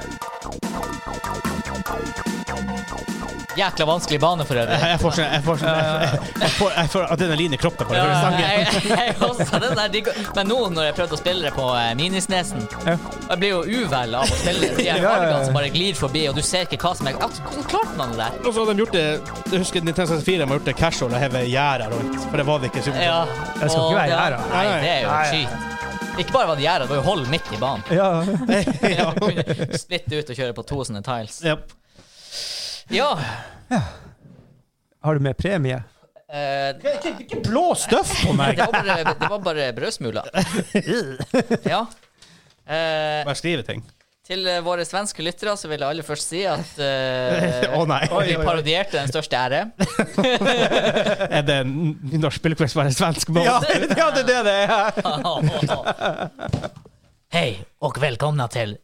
S2: Jækla vanskelig bane for øvrig.
S4: Jeg får sånn jeg får sånn- jeg- jeg får- jeg får adrenalin i kroppen på
S2: Ja,
S4: det. Ja,
S2: jeg, jeg, også, den der, de, går- men nå når jeg prøvde å spille det på eh, minisnesen
S1: Ja.
S2: Jeg blir jo uvel av å spille det. De
S1: Ja, ja,
S2: her
S1: ja.
S2: fargene som bare glir forbi, og du ser ikke hva som er At- Hvordan klarte man det der?
S4: Og så har de gjort det Jeg husker Nintendo 64 har gjort det casual og hevet gjerder rundt, for det var det ikke super.
S2: Ja.
S1: Jeg skal
S2: og
S1: ikke være
S2: det-
S1: her, da.
S2: Nei, det er jo
S1: Nei.
S2: cheat. Ikke bare var det gjerdet, det var jo hold midt i banen.
S1: Ja.
S4: ja.
S2: Kunne Splitte ut og kjøre på to sånne tiles.
S4: Yep.
S2: Ja.
S1: Har du med premie?
S2: eh,
S4: Ikke blå støff på meg!
S2: det, var bare, det var bare brødsmuler. Ja. Eh,
S4: Bare skrive ting.
S2: Til eh, våre svenske lyttere så vil jeg aller først si at eh,
S4: Å, nei. Oi,
S2: vi
S4: oi, oi.
S2: parodierte Den største ære.
S4: Er det en norsk spillquiz bare svensk mål?
S1: Ja, det ja, det er det det er.
S2: Hei og velkomna til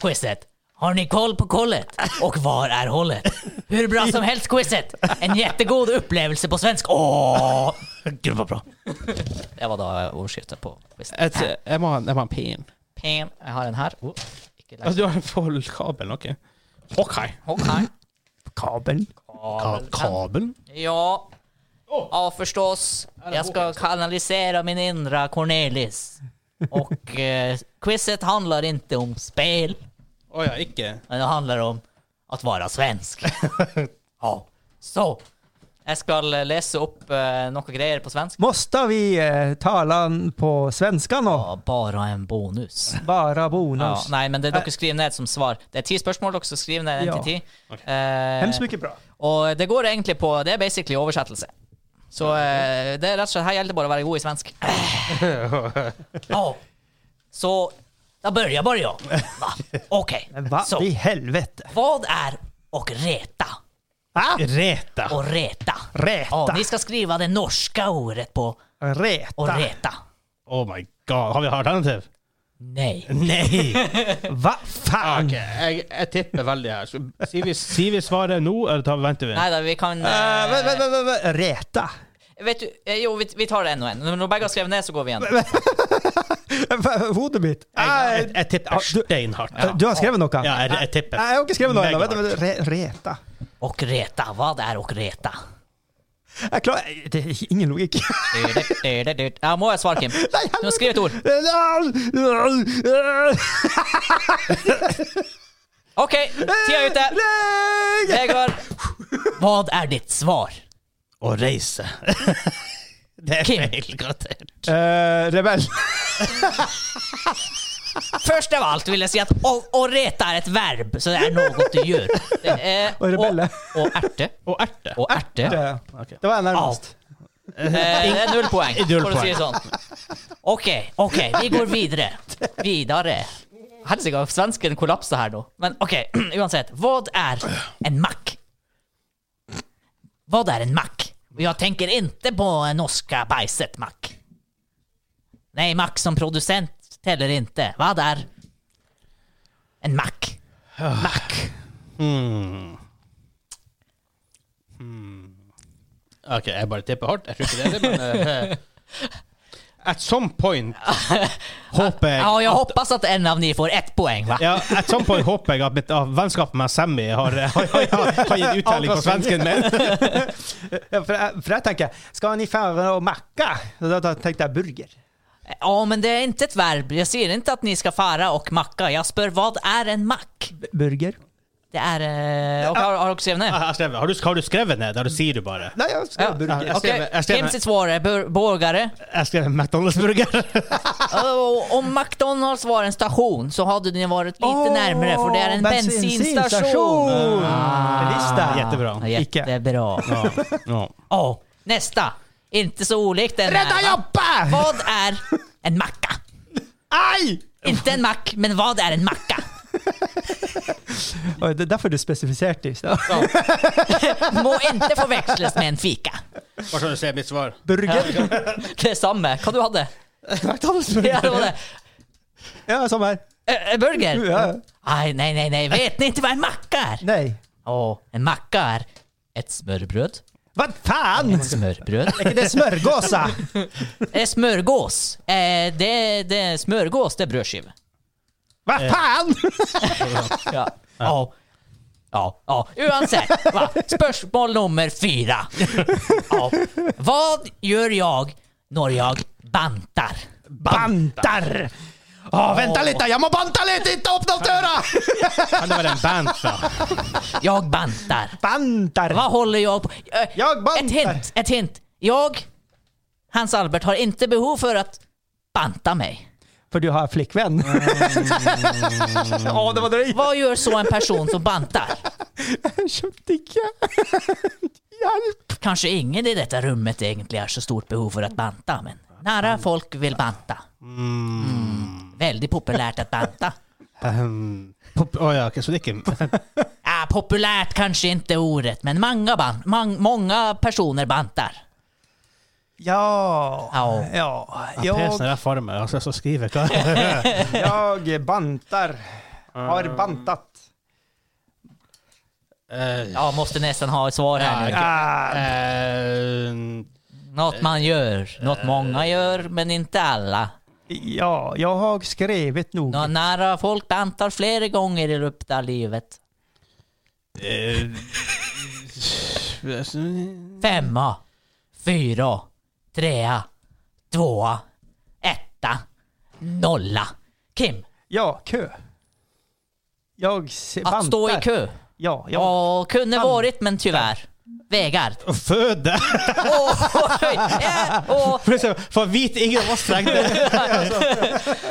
S2: quizet. Har ni koll på kollet? Och var är hållet? Hur bra som helst quizet! En jättegod upplevelse på svensk. Åh!
S4: Gud, var bra.
S2: Det var da overskriften på quizet.
S4: Et, jeg, må ha, en- jeg må ha en pin.
S2: Pen. Jeg har en her. Oh, ikke
S4: Altså,
S2: lenge.
S4: du har en foldkabel, ok? Ok.
S2: Hånd her.
S1: Kabelen.
S4: Ka kabelen?
S2: Ja. Ja, förstås. Jag ska kanalisera min inre Cornelis. Och eh, quizet handlar inte om spel,
S4: Å ja, ikke
S2: men det handlar om att vara svensk. ja. Så. Jag ska läsa upp eh, några grejer på svenska.
S1: Måste vi eh, tala på svenska nå?
S2: Ja, bara en bonus.
S1: Bara
S2: Ja, Eh.
S1: bonus.
S2: nej, men det dere skriver ned som svar. Det er ti spørsmål dere skal skrive ned. en
S1: Ja.
S2: til ti.
S1: Hemskt
S2: Eh,
S1: mycket bra.
S2: og det går egentlig på Det er basically oversettelse. Så eh, det er rett og slett her gjelder det bare å være god i svensk. Ja. Så Da börjar bara jag. Va? Okej.
S1: Men vad
S2: Så,
S1: i helvete?
S2: vad är och reta?
S4: Reta.
S2: Och reta.
S1: Reta.
S2: Ja, ni ska skriva det norska ordet på och
S1: Reta.
S2: reta.
S4: Oh my god. Har vi alternativ?
S2: Nej.
S4: Nei!
S1: Hva faen?
S4: Ok, jeg, jeg tipper veldig her. Så, sier, vi, sier vi svaret nå, eller tar, venter vi?
S2: Nej då, vi kan... eh,
S1: Eh, vä- vä- vä- vä- vä- Reta.
S2: vet du, eh, jo, vi, vi tar det en och en. Når begge har skrevet ned, så går vi igjen.
S1: Hva- Hodet mitt.
S4: Jeg,
S1: Eh,
S4: jeg, jeg tipper steinhardt.
S1: eh, Du har skrevet noe?
S4: Ja, jeg, jeg tipper.
S1: Nei, jeg har ikke skrevet noe ennå. Vent,
S4: Megahardt.
S1: vent, re- Reta.
S2: Och reta. Vad är och reta?
S1: Jeg klarer Det er ingen logikk.
S2: Du, du, du, du, du. Ja, må jeg svare, Kim? Du har skrevet et ord. OK, tida er
S1: Eh,
S2: ute. Vegard, hva er ditt svar?
S4: Å reise. det er
S2: Kim.
S4: feil, garantert.
S1: Eh, rebell.
S2: Først av alt vil jeg si at å, å rete er et verb, så det er noe du Eh, gjør. Det er
S1: Og rebelle.
S2: Å, å erte.
S4: Og erte.
S2: Å erte.
S1: Det,
S4: Ok.
S1: det var jeg nærmest.
S2: Eh, det er null poeng,
S4: Null
S2: for å si
S4: poeng.
S2: det sånn. OK, ok, vi går videre. Videre. Helsike, svensken kollapser her nå. Men OK, uansett. Hva er en mack? Hva er en mack? Og Jeg tenker ikke på en norska bajset mack. Nei, mack som produsent teller ikke. Hva er en mack? Mack.
S4: Hmm. Ok, jeg bare tipper hardt. Jeg tror ikke det er det, men eh, At some point håper jeg
S2: Ja, jeg håper at en av ni får ett poeng, va?
S4: ja, At some point håper jeg at mitt ah, vennskap med Sammy har, eh, har, har, har gitt uttelling på svensken min.
S1: Ja, for, jeg, for jeg tenker Skal han i ferde og mekke? Så Da da tenkte jeg burger.
S2: Ja, men det är inte ett verb. Jag säger inte att ni ska fara och macka. Jag spör vad är en mack?
S1: B- Burger?
S2: Det är... Eh, och har, har också skrivit ner?
S4: Jeg har skrevet- Har, du- har du skrevet ned det? Du sier du bare.
S1: Nei, jeg skrev
S2: Ja.
S1: burger.
S4: jeg skrev-
S2: Okej,
S4: jag skrev-
S2: Kim sitt svar är bur- borgare.
S4: Jeg skrev McDonald's-burger.
S2: Och Eh, Om McDonalds var en station så hade ni varit lite
S1: Åh,
S2: närmare för det är en bensinstation.
S1: bensinstation. Det visste jeg.
S4: Jättebra.
S2: Jättebra.
S4: Ja. ja.
S2: Ja, nästa. Inte så olikt den här,
S1: Rädda
S2: va?
S1: jobbet!
S2: Vad är en macka?
S1: Ai!
S2: Inte en mack, men vad är en macka?
S1: Og Det er derfor du spesifiserte i stad.
S2: Må inte förväxlas med en fika.
S4: Bare så sånn du ser mitt svar.
S1: Burger.
S2: Det er samme. Hva du hadde Ja, det var
S1: McDonald's-burger.
S2: det.
S1: Ja, samme her.
S2: Eh, eh, Burger?
S1: Ja.
S2: Nei, nei, nei, nei. Vet ni ikke hva en makka er?
S1: Nei.
S2: Åh, en makka er et smørbrød.
S1: Hva faen?
S2: Et smørbrød.
S1: Er ikke det smørgåsa?
S2: Eh, smørgås. Eh, det, det, smørgås, det er brødskive.
S1: Hva faen?
S2: Ja. Åh. Ja, ja. Uansett. Va? Spørsmål nummer fire. Ja. Hva gjør jeg når jeg banter?
S1: Banter! Å, vent litt, da. jeg må banta litt! Ikke åpne opp døra!
S4: Kan det være en band fra?
S2: Jeg banter.
S1: Banter!
S2: Vad håller jag på? Ö,
S1: Jag bantar.
S2: Ett hint, ett hint. Jag, Hans Albert, har inte behov för att banta mig.
S1: For du har flikkvenn? Å, det var drøyt!
S2: Vad gör så en person som bantar?
S1: Jeg skjønte ikke. Hjelp!
S2: Kanske ingen i detta rummet egentligen har så stort behov för att banta, men nära folk vill banta. Mm. Väldigt populärt att banta.
S4: Um, pop- Å ja, ok, så det er ikke
S2: Ja, populärt kanske inte är ordet, men många, ban- mang- många personer bantar.
S1: Ja
S2: Au.
S1: Ja.
S4: Pesen er der for meg, altså, så skriver jeg hva
S1: jeg banter. Har bantat.
S4: Eh,
S2: Ja, måste nästan ha ett svar här nu.
S1: Ah,
S4: eh,
S2: Något man gör, något många gör, men inte alla.
S1: ja, jag har skrivit nog.
S2: Nå, nära folk bantar flera gånger i uppta livet. Femma, fyra, trea, tvåa, etta, nolla. Kim,
S1: Ja, kö. Jag se-
S2: att stå i
S1: bantar.
S2: kö.
S1: Ja, jag
S2: Ja, kunde
S1: Fan.
S2: varit men tyvärr. Vägar.
S4: Å føde!
S2: Åh, oj, eh, åh,
S4: For vit ingen av oss trenger det.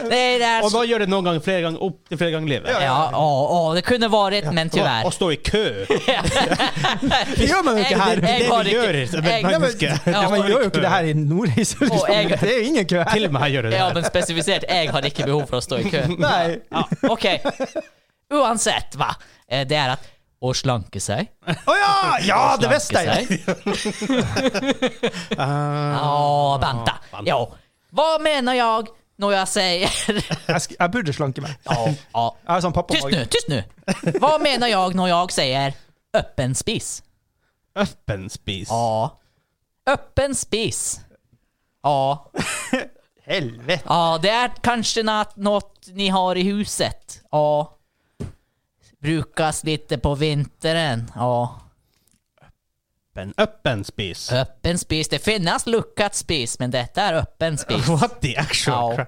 S2: det där.
S4: Og da gjør det noen ganger flere ganger opp til flere ganger i livet.
S2: Ja, åh, åh, det kunde varit men
S4: Å
S2: tyvärr.
S4: stå i kø.
S1: Det gjør man jo ikke her.
S2: Jeg- jeg-
S4: Det
S2: har
S4: vi
S2: ikke-
S4: gjør som et
S2: jeg-
S4: menneske.
S2: Ja,
S1: Ja, man
S2: men-
S1: gjør jo ikke det her i Nordreisa.
S2: Og jeg-
S1: Det er jo ingen kø her.
S4: Til og med her gjør det
S2: Ja,
S4: det.
S2: men spesifisert. Jeg hadde ikke behov for å stå i kø.
S1: Nei.
S2: Ja, ok. Uansett, va. Eh, Det er at å slanke seg.
S1: Å ja! Ja, det visste jeg!
S2: Slanke seg. Ja, vänta.
S1: Ah,
S2: Ja. Hva mener jeg når jeg sier
S1: Jeg, sk jeg burde slanke meg.
S2: ja, ja.
S1: Jeg har sånn
S2: Tyst
S1: pappamage.
S2: nu, tyst nu. Hva mener jeg når jeg sier öppen spis?
S4: Øppen spis.
S2: Ja. Öppen spis. Ja.
S1: Helvete.
S2: Ja, det är kanske något, något ni har i huset. Ja. Brukas lite på vintern. Ja.
S4: Øppen- Øppen spis.
S2: Öppen spis. Det finns luckat spis, men detta är öppen spis.
S4: What the actual
S2: Ja.
S4: crap?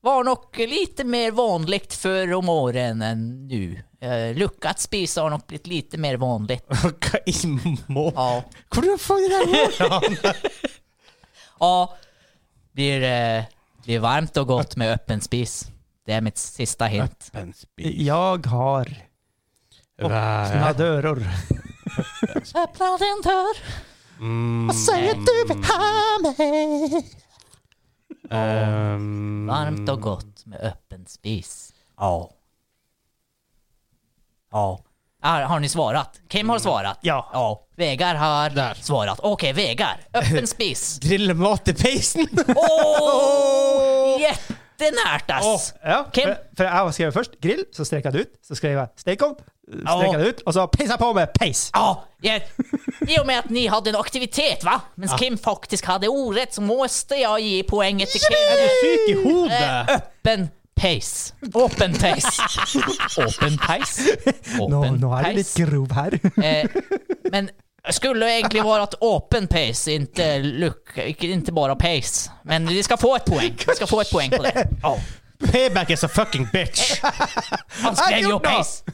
S2: Var nog lite mer vanligt förr om åren än nu. Eh, luckat spis har nog blivit lite mer vanligt.
S4: Hva i må...
S2: Ja.
S4: Hvor faen er det her?
S2: Ja. Blir, eh, blir varmt och gott med öppen spis. Det är mitt sista hint.
S4: Öppenspis.
S1: Jag har såna dörrar.
S2: Öppna din dörr
S4: Mm.
S2: ha mig.
S4: Ehm,
S2: Varmt och gott med öppen spis.
S4: Ja. Ja.
S2: Har, har ni svarat? Kim har svarat.
S1: Mm. Ja.
S2: ja. Vegar har
S4: Där.
S2: svarat. Okej, Vegar. Öppen spis.
S4: Grillmat i peisen!
S2: Åh! Jättenärt ass!
S1: Ja,
S2: Kim?
S1: for, for jeg har skrevet først grill, så streka det ut. Så skrev jeg stekeovn, streka det ut, og så peisa på med peis.
S2: Ja, jag- I och med att ni hade en aktivitet va? Men Kim faktiskt hade orätt så måste jag ge poänget till
S4: Er
S2: Kim.
S4: du syk i
S2: Eh,
S4: hodet?
S2: Öppen pace. Open pace. Open pace.
S1: Nå,
S2: Open
S1: nå er du litt
S2: pace.
S1: grov her.
S2: Eh, men skulle egentligen vara att open pace, inte look, inte bara pace. Men vi ska få ett poäng. Vi ska få ett poäng på det. Ja.
S4: Payback is a fucking bitch!
S2: Han skrev ju pace.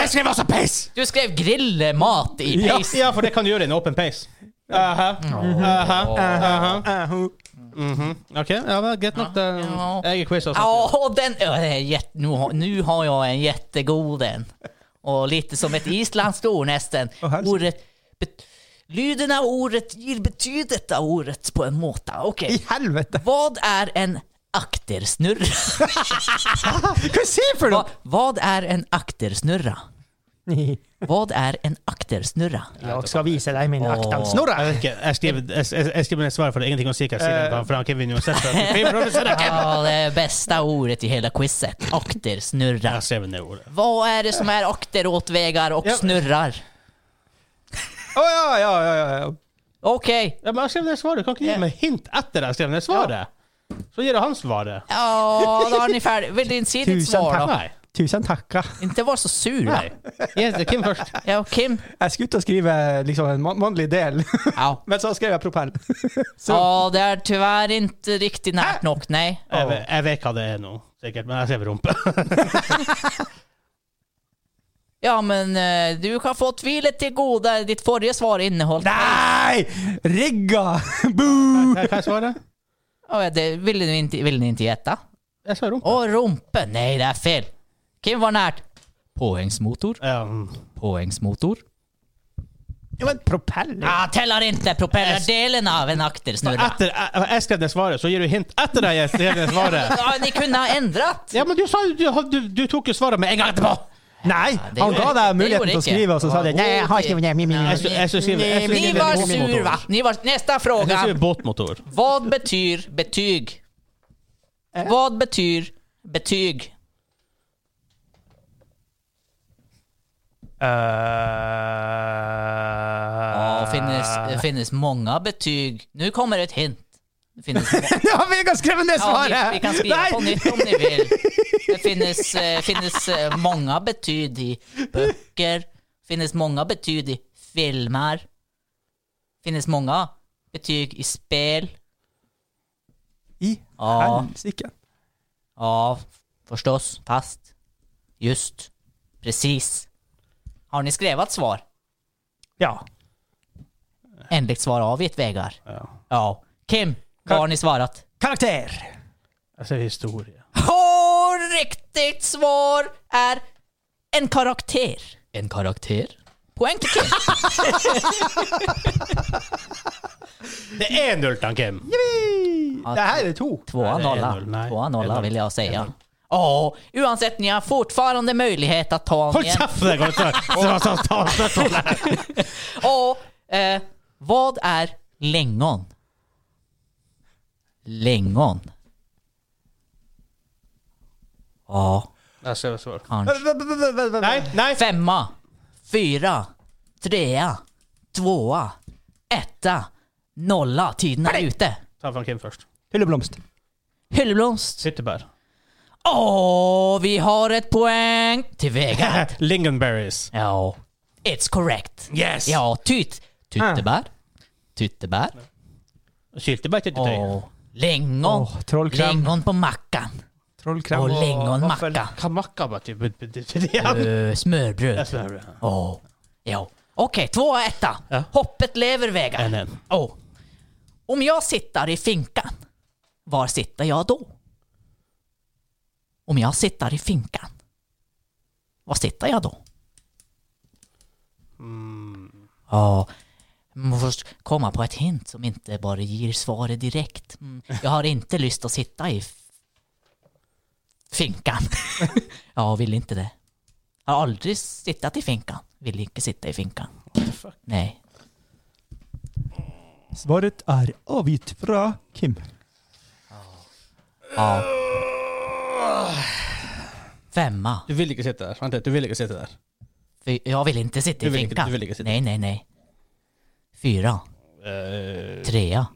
S4: Jeg skrev også peis!
S2: Du skrev grillmat i
S4: Ja,
S2: pace. Mm-hmm.
S4: ja, for det kan du gjøre i en åpen peis. Aha. Aha.
S2: Oh.
S4: Aha. Mm-hmm.
S1: Uh,
S4: Ok, ja, vel, greit nok. det.
S2: Ja.
S4: Jeg er quiz altså. også.
S2: Ja, och den... ja, det är jätte- nu, har- nu har jag en jättegod en. Och lite som ett isländskt ord nästan.
S1: Åh, hälsa.
S2: Ordet... Bet, lyden av ordet ger betydet av ordet på en måte. Okej.
S1: I helvete!
S2: Vad är en aktersnurra?
S1: Hva sier for
S2: Va,
S1: noe?!
S2: vad är en aktersnurra? Vad är en aktersnurra?
S1: Jeg skal vise deg min
S4: Jeg
S1: aktansnorre.
S4: vet ikke, jeg skriver, jeg, jeg, jeg skriver ned svaret, for det er ingenting å si hva jeg sier,
S1: Eh.
S4: for han kan vinne uansett. så Kim Robinson, Kim!
S2: Ja, det är bästa ordet i hela quizet. Aktersnurra.
S4: Jeg skrev ned ordet.
S2: Vad är det som är akteråtvägar och
S4: Ja.
S2: snurrar?
S1: Å ja, ja, ja, ja, ja.
S2: Okej.
S4: Ja, men jeg skrev ned svaret. Du kan ikke
S2: Ja.
S4: gi meg hint etter jeg skrev ned svaret. Så gir jeg han svaret.
S2: Ja, då är ni färdiga. Vill du inte se ditt
S1: Tusen
S2: svar
S1: tack.
S2: då?
S4: Nei.
S1: Tusen takker.
S2: Inte vara så sur.
S4: Nei. Yes, Kim først.
S2: Ja, och Kim.
S1: Jeg skulle ut og skrive liksom, en man- mannlig del,
S2: Ja.
S1: men så skrev jeg propell.
S2: ja, det är tyvärr inte riktigt närt nog, nej.
S4: Jeg, ve- jeg vet hva det er nå, sikkert, men jeg skrev rumpe.
S2: Ja, men eh, du kan få tvilet till goda. Ditt förra svar innehöll...
S1: Nei! Rigga! Boo!
S4: Hva er svaret?
S2: Ja, det ville ni inte, ville ni inte getta.
S4: Jeg svarer rumpe.
S2: Och rumpen. Nej, det är fel. Kim var närt. Påhängsmotor.
S4: Ja, mm.
S2: Påhängsmotor.
S1: Ja, men propell
S2: Ah, tällar inte propellerdelen av en aktersnurra.
S4: Etter jeg, jeg skrev ned svaret, så gir du hint etter jeg skrev ned svaret.
S2: Ja, ni kunde ha ändrat.
S4: Ja, men du sa jo du, du, du tok jo svaret med en gang etterpå!
S1: Nei!
S2: det
S1: Han
S2: gjorde
S1: ga
S2: ikke-
S1: deg
S2: det
S1: muligheten
S2: gjorde
S1: til å
S2: ikke.
S1: skrive, og så sa
S2: Ja,
S1: de Nei, jeg har ikke min, min, min.
S4: Jeg, jeg, jeg, skulle skrive- jeg, skulle
S2: Ni
S4: skrive
S2: var
S4: båtmotor.
S2: sur va? Ni var... Nästa
S4: Jeg
S2: fråga.
S4: skriver båtmotor.
S2: Vad betyr betyg? Vad betyr betyg?
S4: Eh.
S2: Ja, finnes, det finnes många betyg. Nu kommer ett hint. Det finnes
S1: Ja, Vegard skrev ned
S2: ja,
S1: svaret!
S2: ni, vi kan skriva på
S1: Nei!
S2: nytt om ni vill. Det finnes, eh, finnes eh, många betyg i böcker. finnes många betyg i filmer. finnes många betyg i spel.
S1: I
S2: Ja.
S1: helsike.
S2: Ja, förstås. Fast. Just. Precis. Har ni skrivit svar?
S1: Ja.
S2: Enligt svar avgitt, Vegard.
S4: Ja.
S2: Ja. Kim, vad har ni svarat?
S1: Karakter.
S4: Jeg sier historie.
S2: Åh, riktigt svar är en karaktär. En karaktär? Poäng till Kim.
S4: Det er null til han Kim.
S1: Det här är to.
S2: Tvåa
S4: Nej, det är noll,
S2: nolla.
S4: nej.
S2: Tvåa
S4: Det är
S2: nolla
S4: noll.
S2: vill jag
S4: Det är noll.
S2: säga. Ja, oavsett, ni har fortfarande möjlighet att ta
S4: Hold
S2: en igen.
S4: kjeft! Det går ikke. Så- så- så- så- så- så- så-
S2: Och, eh, vad är lingon? Lingon. Ja,
S4: Jeg skrev svar.
S2: kanske.
S4: Nei, nei.
S2: Femma, fyra, trea, tvåa, etta, nolla. Tiden är ute.
S4: Ta fra Kim først.
S1: Hylleblomst.
S2: Hylleblomst.
S4: Syttebær.
S2: Åh, vi har ett poäng till Vega.
S4: Lingonberries.
S2: Ja, it's correct.
S4: Yes!
S2: Ja, tyt. Tyttebär. Tyttebær.
S4: Syltebær til tøy.
S2: Åh, lingon.
S1: Åh, trollkräm.
S2: Lingon på mackan.
S1: Trollkrem
S2: Och lingonmacka.
S4: Hva makka var det?
S2: Ö, smörbröd. Åh. Ja. Okej, två och etta.
S4: Ja.
S2: Hoppet lever vägar.
S4: En, en.
S2: Åh. Om jag sitter i finkan, var sitter jag då? Om jag sitter i finkan, var sitter jag då? Ja, man måste först komma på ett hint som inte bara ger svaret direkt. Mm. Jag har inte lust att sitta i f- finkan. jag vill inte det. Jag har aldrig sittat i finkan. Vill inte sitta i finkan. Nej.
S1: Svaret er avgitt fra Kim.
S2: Ja. Femma.
S4: Du vil ikke sitte der. Vent litt, du vil ikke sitte der.
S2: Fy- Jag vill inte sitta
S4: Du
S2: i
S4: vill inte-
S2: finkan.
S4: du vill inte sitta.
S2: Nej, nej, nej. Fyra.
S4: Eh,
S2: Trea.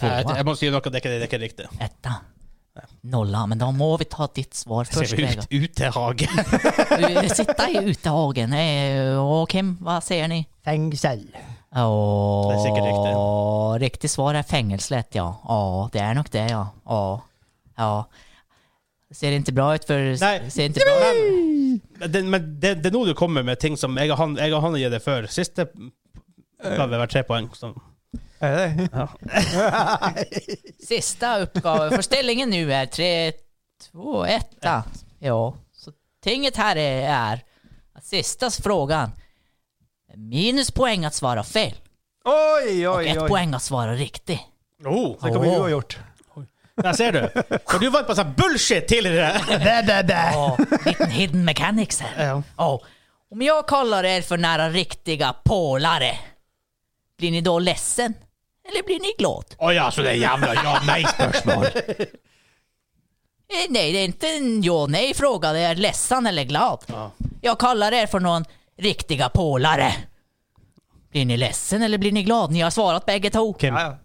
S4: jeg,
S2: Tvåa.
S4: Eh, jeg må si noe, det er ikke, det er ikke riktig.
S2: Etta. Nolla. Men då må vi ta ditt svar först.
S4: Ser vi ut, utehage?
S2: Vegard. Sitta i utehagen. Eh, Och Kim, vad säger ni?
S1: Fengsel.
S2: Åh,
S4: Det är säkert riktigt.
S2: Riktigt svar är fängelset, ja. Ja, det är nog det, ja. Ja. ja. Ser inte bra ut för...
S4: Nej.
S2: Ser inte bra ut.
S4: Men det, men det, det er nå du kommer med ting som jeg og han, jeg og han gir det før. Siste oppgave var tre poeng. Så.
S1: Er det det?
S2: Sista uppgave, för ställningen nu är 3, 2, 1. Ja, så tinget här är, är att sista frågan, minuspoäng att svara fel
S1: Oi,
S2: och
S1: oi,
S2: ett
S1: oi.
S2: poäng att svara riktigt.
S4: Oh,
S1: Det kan vi
S2: Åh.
S1: uavgjort.
S4: der ser du. For du vant på sånn bullshit tidligere!
S2: Ja, liten hidden mechanics här.
S4: Ja.
S2: Ja. Om jag kallar er för nära riktiga polare, blir ni då ledsen? Eller blir ni glad?
S4: Å ja, så det er jævla ja-nei-spørsmål.
S2: Eh, Nej, det är inte en ja nej fråga. Det är ledsen eller glad.
S4: Ja.
S2: Jag kallar er för någon riktiga polare. Blir ni ledsen eller blir ni glad? Ni har svarat bägge två.
S4: Kim.
S1: Ja, ja.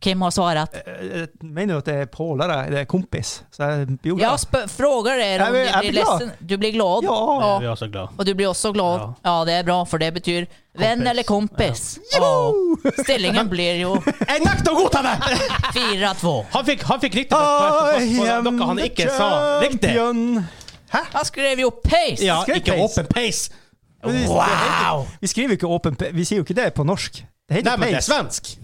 S2: Kim har svarat.
S1: Jeg Eh, mener jo at det er pålere, det er kompis. Så jeg blir jo
S2: Jag
S1: glad.
S2: sp- frågar er om
S1: Jag blir-
S2: ni
S1: jag
S2: blir
S1: blir glad.
S2: ledsen. Du blir glad.
S1: Ja.
S4: Vi er også glad.
S2: Och du blir också glad. Ja,
S4: Ja.
S2: det är bra för det betyder vän
S4: Kompis.
S2: eller kompis. Ja. Ställningen blir ju
S4: Jeg nekter å godta det!
S2: 4-2.
S4: Han fikk, han fikk riktig på på- på- på noe han ikke sa riktig.
S1: champion.
S2: Han skrev ju pace.
S4: Ja,
S1: Skrev
S4: ikke
S1: pace.
S4: åpen pace.
S1: Men det- det heter-
S4: Wow!
S1: Vi skriver jo ikke åpen pa- Vi sier jo ikke det på norsk. Det heter
S4: Nei, men det er
S1: pace.
S4: svensk.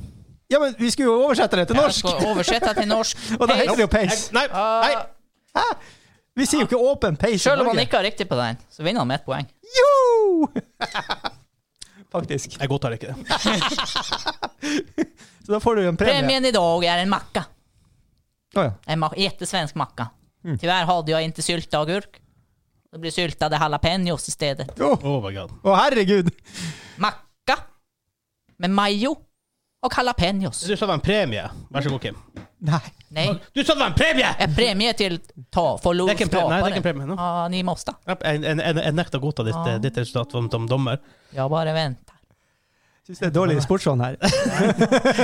S1: Ja, men vi skulle jo oversette det til
S2: Jag
S1: norsk!
S2: ska översätta till norsk.
S1: Och det heter det ju
S4: Jeg,
S1: pace.
S4: nei, nei.
S1: Vi sier jo ikke åpen pace i
S2: Själv om han
S1: Norge.
S2: inte har riktigt på den så vinner han med ett poäng.
S1: Jo! Faktisk.
S4: Jeg godtar ikke det.
S1: Så da får du en premie.
S2: Premien idag är en macka.
S1: Å ja.
S2: En ma- jättesvensk macka.
S4: Mm.
S2: Tyvärr hade jag inte sylta agurk. Det blir syltade jalapenos istället.
S1: Å,
S4: Oh my god.
S1: å, herregud!
S2: Macka med majo och jalapenos.
S4: Du sa det var en premie. Vær så god, Kim.
S1: Nei.
S2: Nej,
S4: Du sa det var en premie!
S2: en premie till ta, få lov
S4: Det är ingen pre- nej, det är
S2: skaparen.
S4: ingen premie, no.
S2: Ja, ni måste.
S4: Jeg, jeg, jeg, jeg nekter å godta ditt, eh, ditt resultat som, som dommer.
S2: Jag bara väntar.
S1: Syns det er dårlig sportsånd her.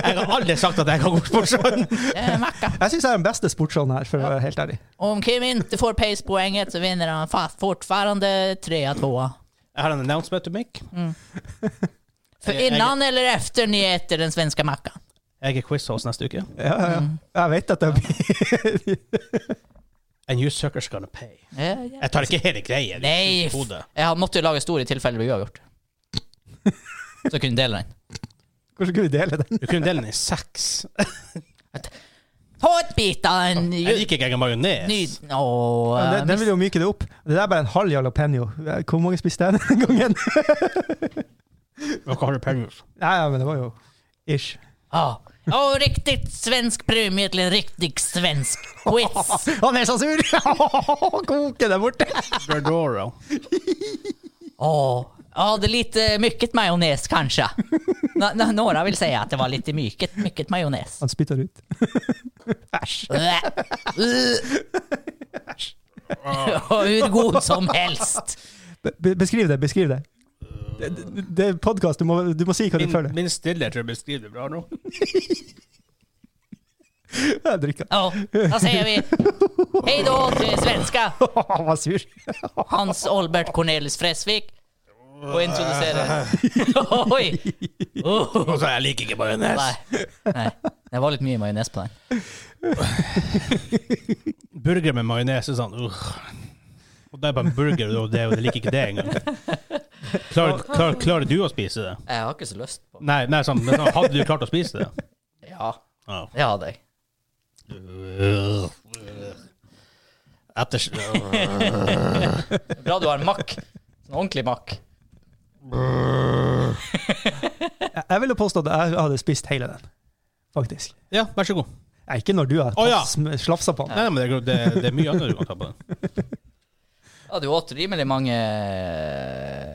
S4: Jeg har aldri sagt at jeg har god sportsånd.
S2: Det är en macka.
S1: Jeg syns jeg är den beste sportsånden her, for å være helt ærlig.
S2: Om Kim inte får pacepoänget så vinner han fast fortfarande 3-2.
S4: Jeg har en announcement to make.
S2: För
S4: Jag- jag-
S2: innan eller efter ni äter den svenska mackan.
S4: Jeg er quiz-host neste uke.
S1: Ja, ja, ja.
S4: Mm.
S1: Jeg vet at det blir
S4: And you suckers gonna pay.
S2: Ja, ja.
S4: Jeg tar ikke hele greia. du
S2: Nej!
S4: sjukt hode.
S2: Jag måste ju laga stor i tillfälle vi har gjort. Så jag kunde dela den.
S1: Hvordan kunne vi dele den?
S4: Du kunne dele den i seks.
S2: Ta ett bit av en...
S4: Jeg liker ikke engang majones.
S2: Ny... Åh,
S1: Ja,
S2: jag
S1: den, den vil jo myke det opp. Det der er bare en halv jalapeño. Hvor mange spiste jeg den gangen?
S4: Hva har du penger?
S1: Nei, ja, men det var jo ish.
S2: Ja. Ja, och riktigt svensk premie till en riktig svensk quiz.
S1: Han er så sur! Koker der borte.
S4: Bredoro.
S2: Åh. Ja, det är lite mycket majonnäs kanske. Nå- nå- några vill säga att det var lite mycket, mycket majonnäs.
S1: Han spytter ut. Æsj.
S2: Äh. Ja, Hur god som helst.
S1: Be beskriv det, beskriv det. Det, det, det er podkast, du, må- du må si hva du
S4: Min,
S1: føler.
S4: min stille tror jeg beskriver det bra nå.
S1: Jeg drikker.
S2: Ja, då säger vi hej då till svenska
S1: Han var sur.
S2: Hans Albert Cornelis Fresvik. Och introducerar. Oj!
S4: Og så jeg liker ikke majones.
S2: Nej. Nej. Det var lite mycket majonnäs på den.
S4: Burger med majones er sånn uh. Og det er bare en burger, og det, og det liker ikke det engang. Klarer, klarer, klarer du å spise det?
S2: Jag har inte så lust på
S4: Nei, nei sånn, men sånn, hadde du klart å spise det?
S2: Ja,
S4: Ja.
S2: det hade jag.
S4: Etter...
S2: Bra du har makk. Sånn ordentlig makk.
S1: Jeg, jeg ville påstå at jeg hadde spist hele den, faktisk.
S4: Ja, vær så god.
S1: Nei, ikke når du har
S4: Å, ja.
S1: tatt sm- slafsa på den.
S4: Nei, nei, men det, er- det, det er mye annet du kan ta på den.
S2: Ja, du åt rimelig mange eh,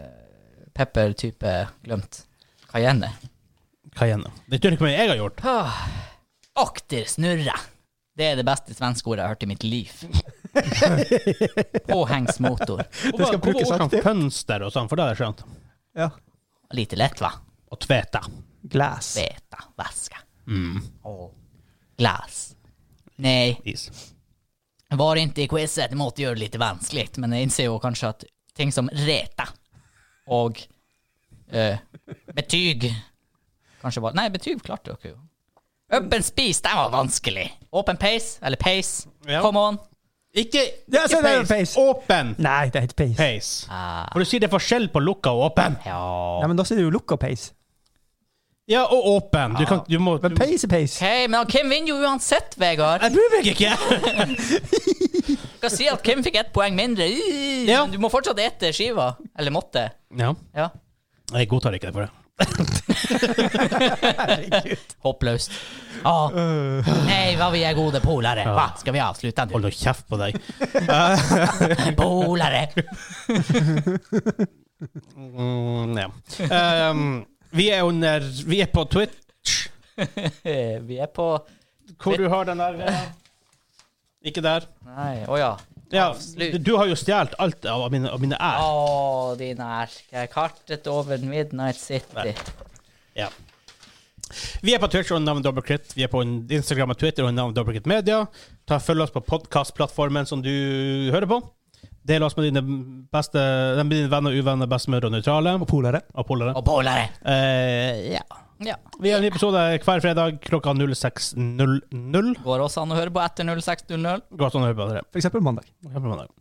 S2: pepper-type glemt. Cayenne.
S4: Cayenne. Det gjør ikke mye jeg har gjort.
S2: Ah, Akter snurre. Det er det beste svenske ordet jeg har hørt i mitt liv. Påhengsmotor.
S4: Hvorfor-
S1: skal
S4: hvorfor
S1: brukes
S4: orker han
S1: aktivt.
S4: Fønster og sånn, for det har jeg skjønt.
S1: Ja.
S2: Lite lett, va?
S4: Og tvete.
S1: Glass.
S2: Beta. Væske.
S4: Mm.
S2: Åh. Glass. Nei,
S4: Is.
S2: var inte i quizet. Det måste göra det lite vanskligt, men jag inser ju kanske att ting som reta och eh, betyg kanske var... Nej, betyg klarte dere jo. Öppen spis, den var vanskelig. Open pace, eller pace.
S4: Ja.
S2: Come on.
S4: Ikke,
S1: Ja,
S4: ikke
S1: se der,
S4: pace.
S1: pace.
S4: Åpen
S1: Nei, det heter peis.
S4: pace.
S2: Ah,
S4: For du sier det er forskjell på lukka og åpen.
S2: ja.
S1: Nei, men da sier du jo lukka peis.
S4: Ja, og åpen. Du kan, du må, du,
S1: Men peis er peis.
S2: Okej, men Kim vinner ju uansett, Vegard.
S4: jeg bryr meg ikke!
S2: Skal si at Kim fikk ett poäng mindre. Ih,
S4: Ja.
S2: Men du må fortsatt äta skiva. Eller måtte.
S4: Ja,
S2: Ja.
S4: jeg godtar ikke det for det.
S2: Hoppløst. Ja. Nei, hva vi er gode polare.
S4: Ja.
S2: Hva, skal vi avslutte nå?
S4: Hold nå kjeft på deg.
S2: Polare.
S4: Mm, ja. Ehm, vi er under Vi er på Twitch,
S2: Eh, Vi er på
S4: hvor du har den der eh, Ikke der.
S2: Nei, å ja.
S4: Ja,
S2: Absolutt.
S4: du har jo stjålet alt av mine, av mine
S2: Å,
S4: ær.
S2: din erke. Kartet over Midnight City.
S4: Ja. Vi er på Twitch under navnet Dobbeltkritt. Vi er på Instagram og Twitter under navnet Dobbeltkritt Media. Ta og Følg oss på podkastplattformen som du hører på. Del oss med dine, beste, med dine venner, uvenner, bestemødre og nøytrale.
S1: Og polare.
S4: Og polere.
S2: Og polare.
S4: Eh, ja.
S2: Ja.
S4: Vi har en episode hver fredag klokka 06.00.
S2: Går også an å høre på etter 06.00.
S4: Godt å høre på dere.
S1: For eksempel mandag.
S4: Hør på mandag.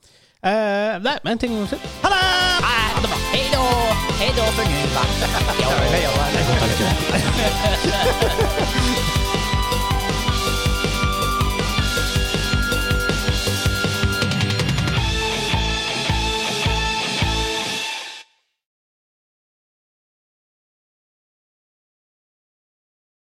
S4: Eh, nei, men en ting til. Ha det!
S2: Ha det bra. Hei da. Hei da for nå. va. Ja, ja, ja.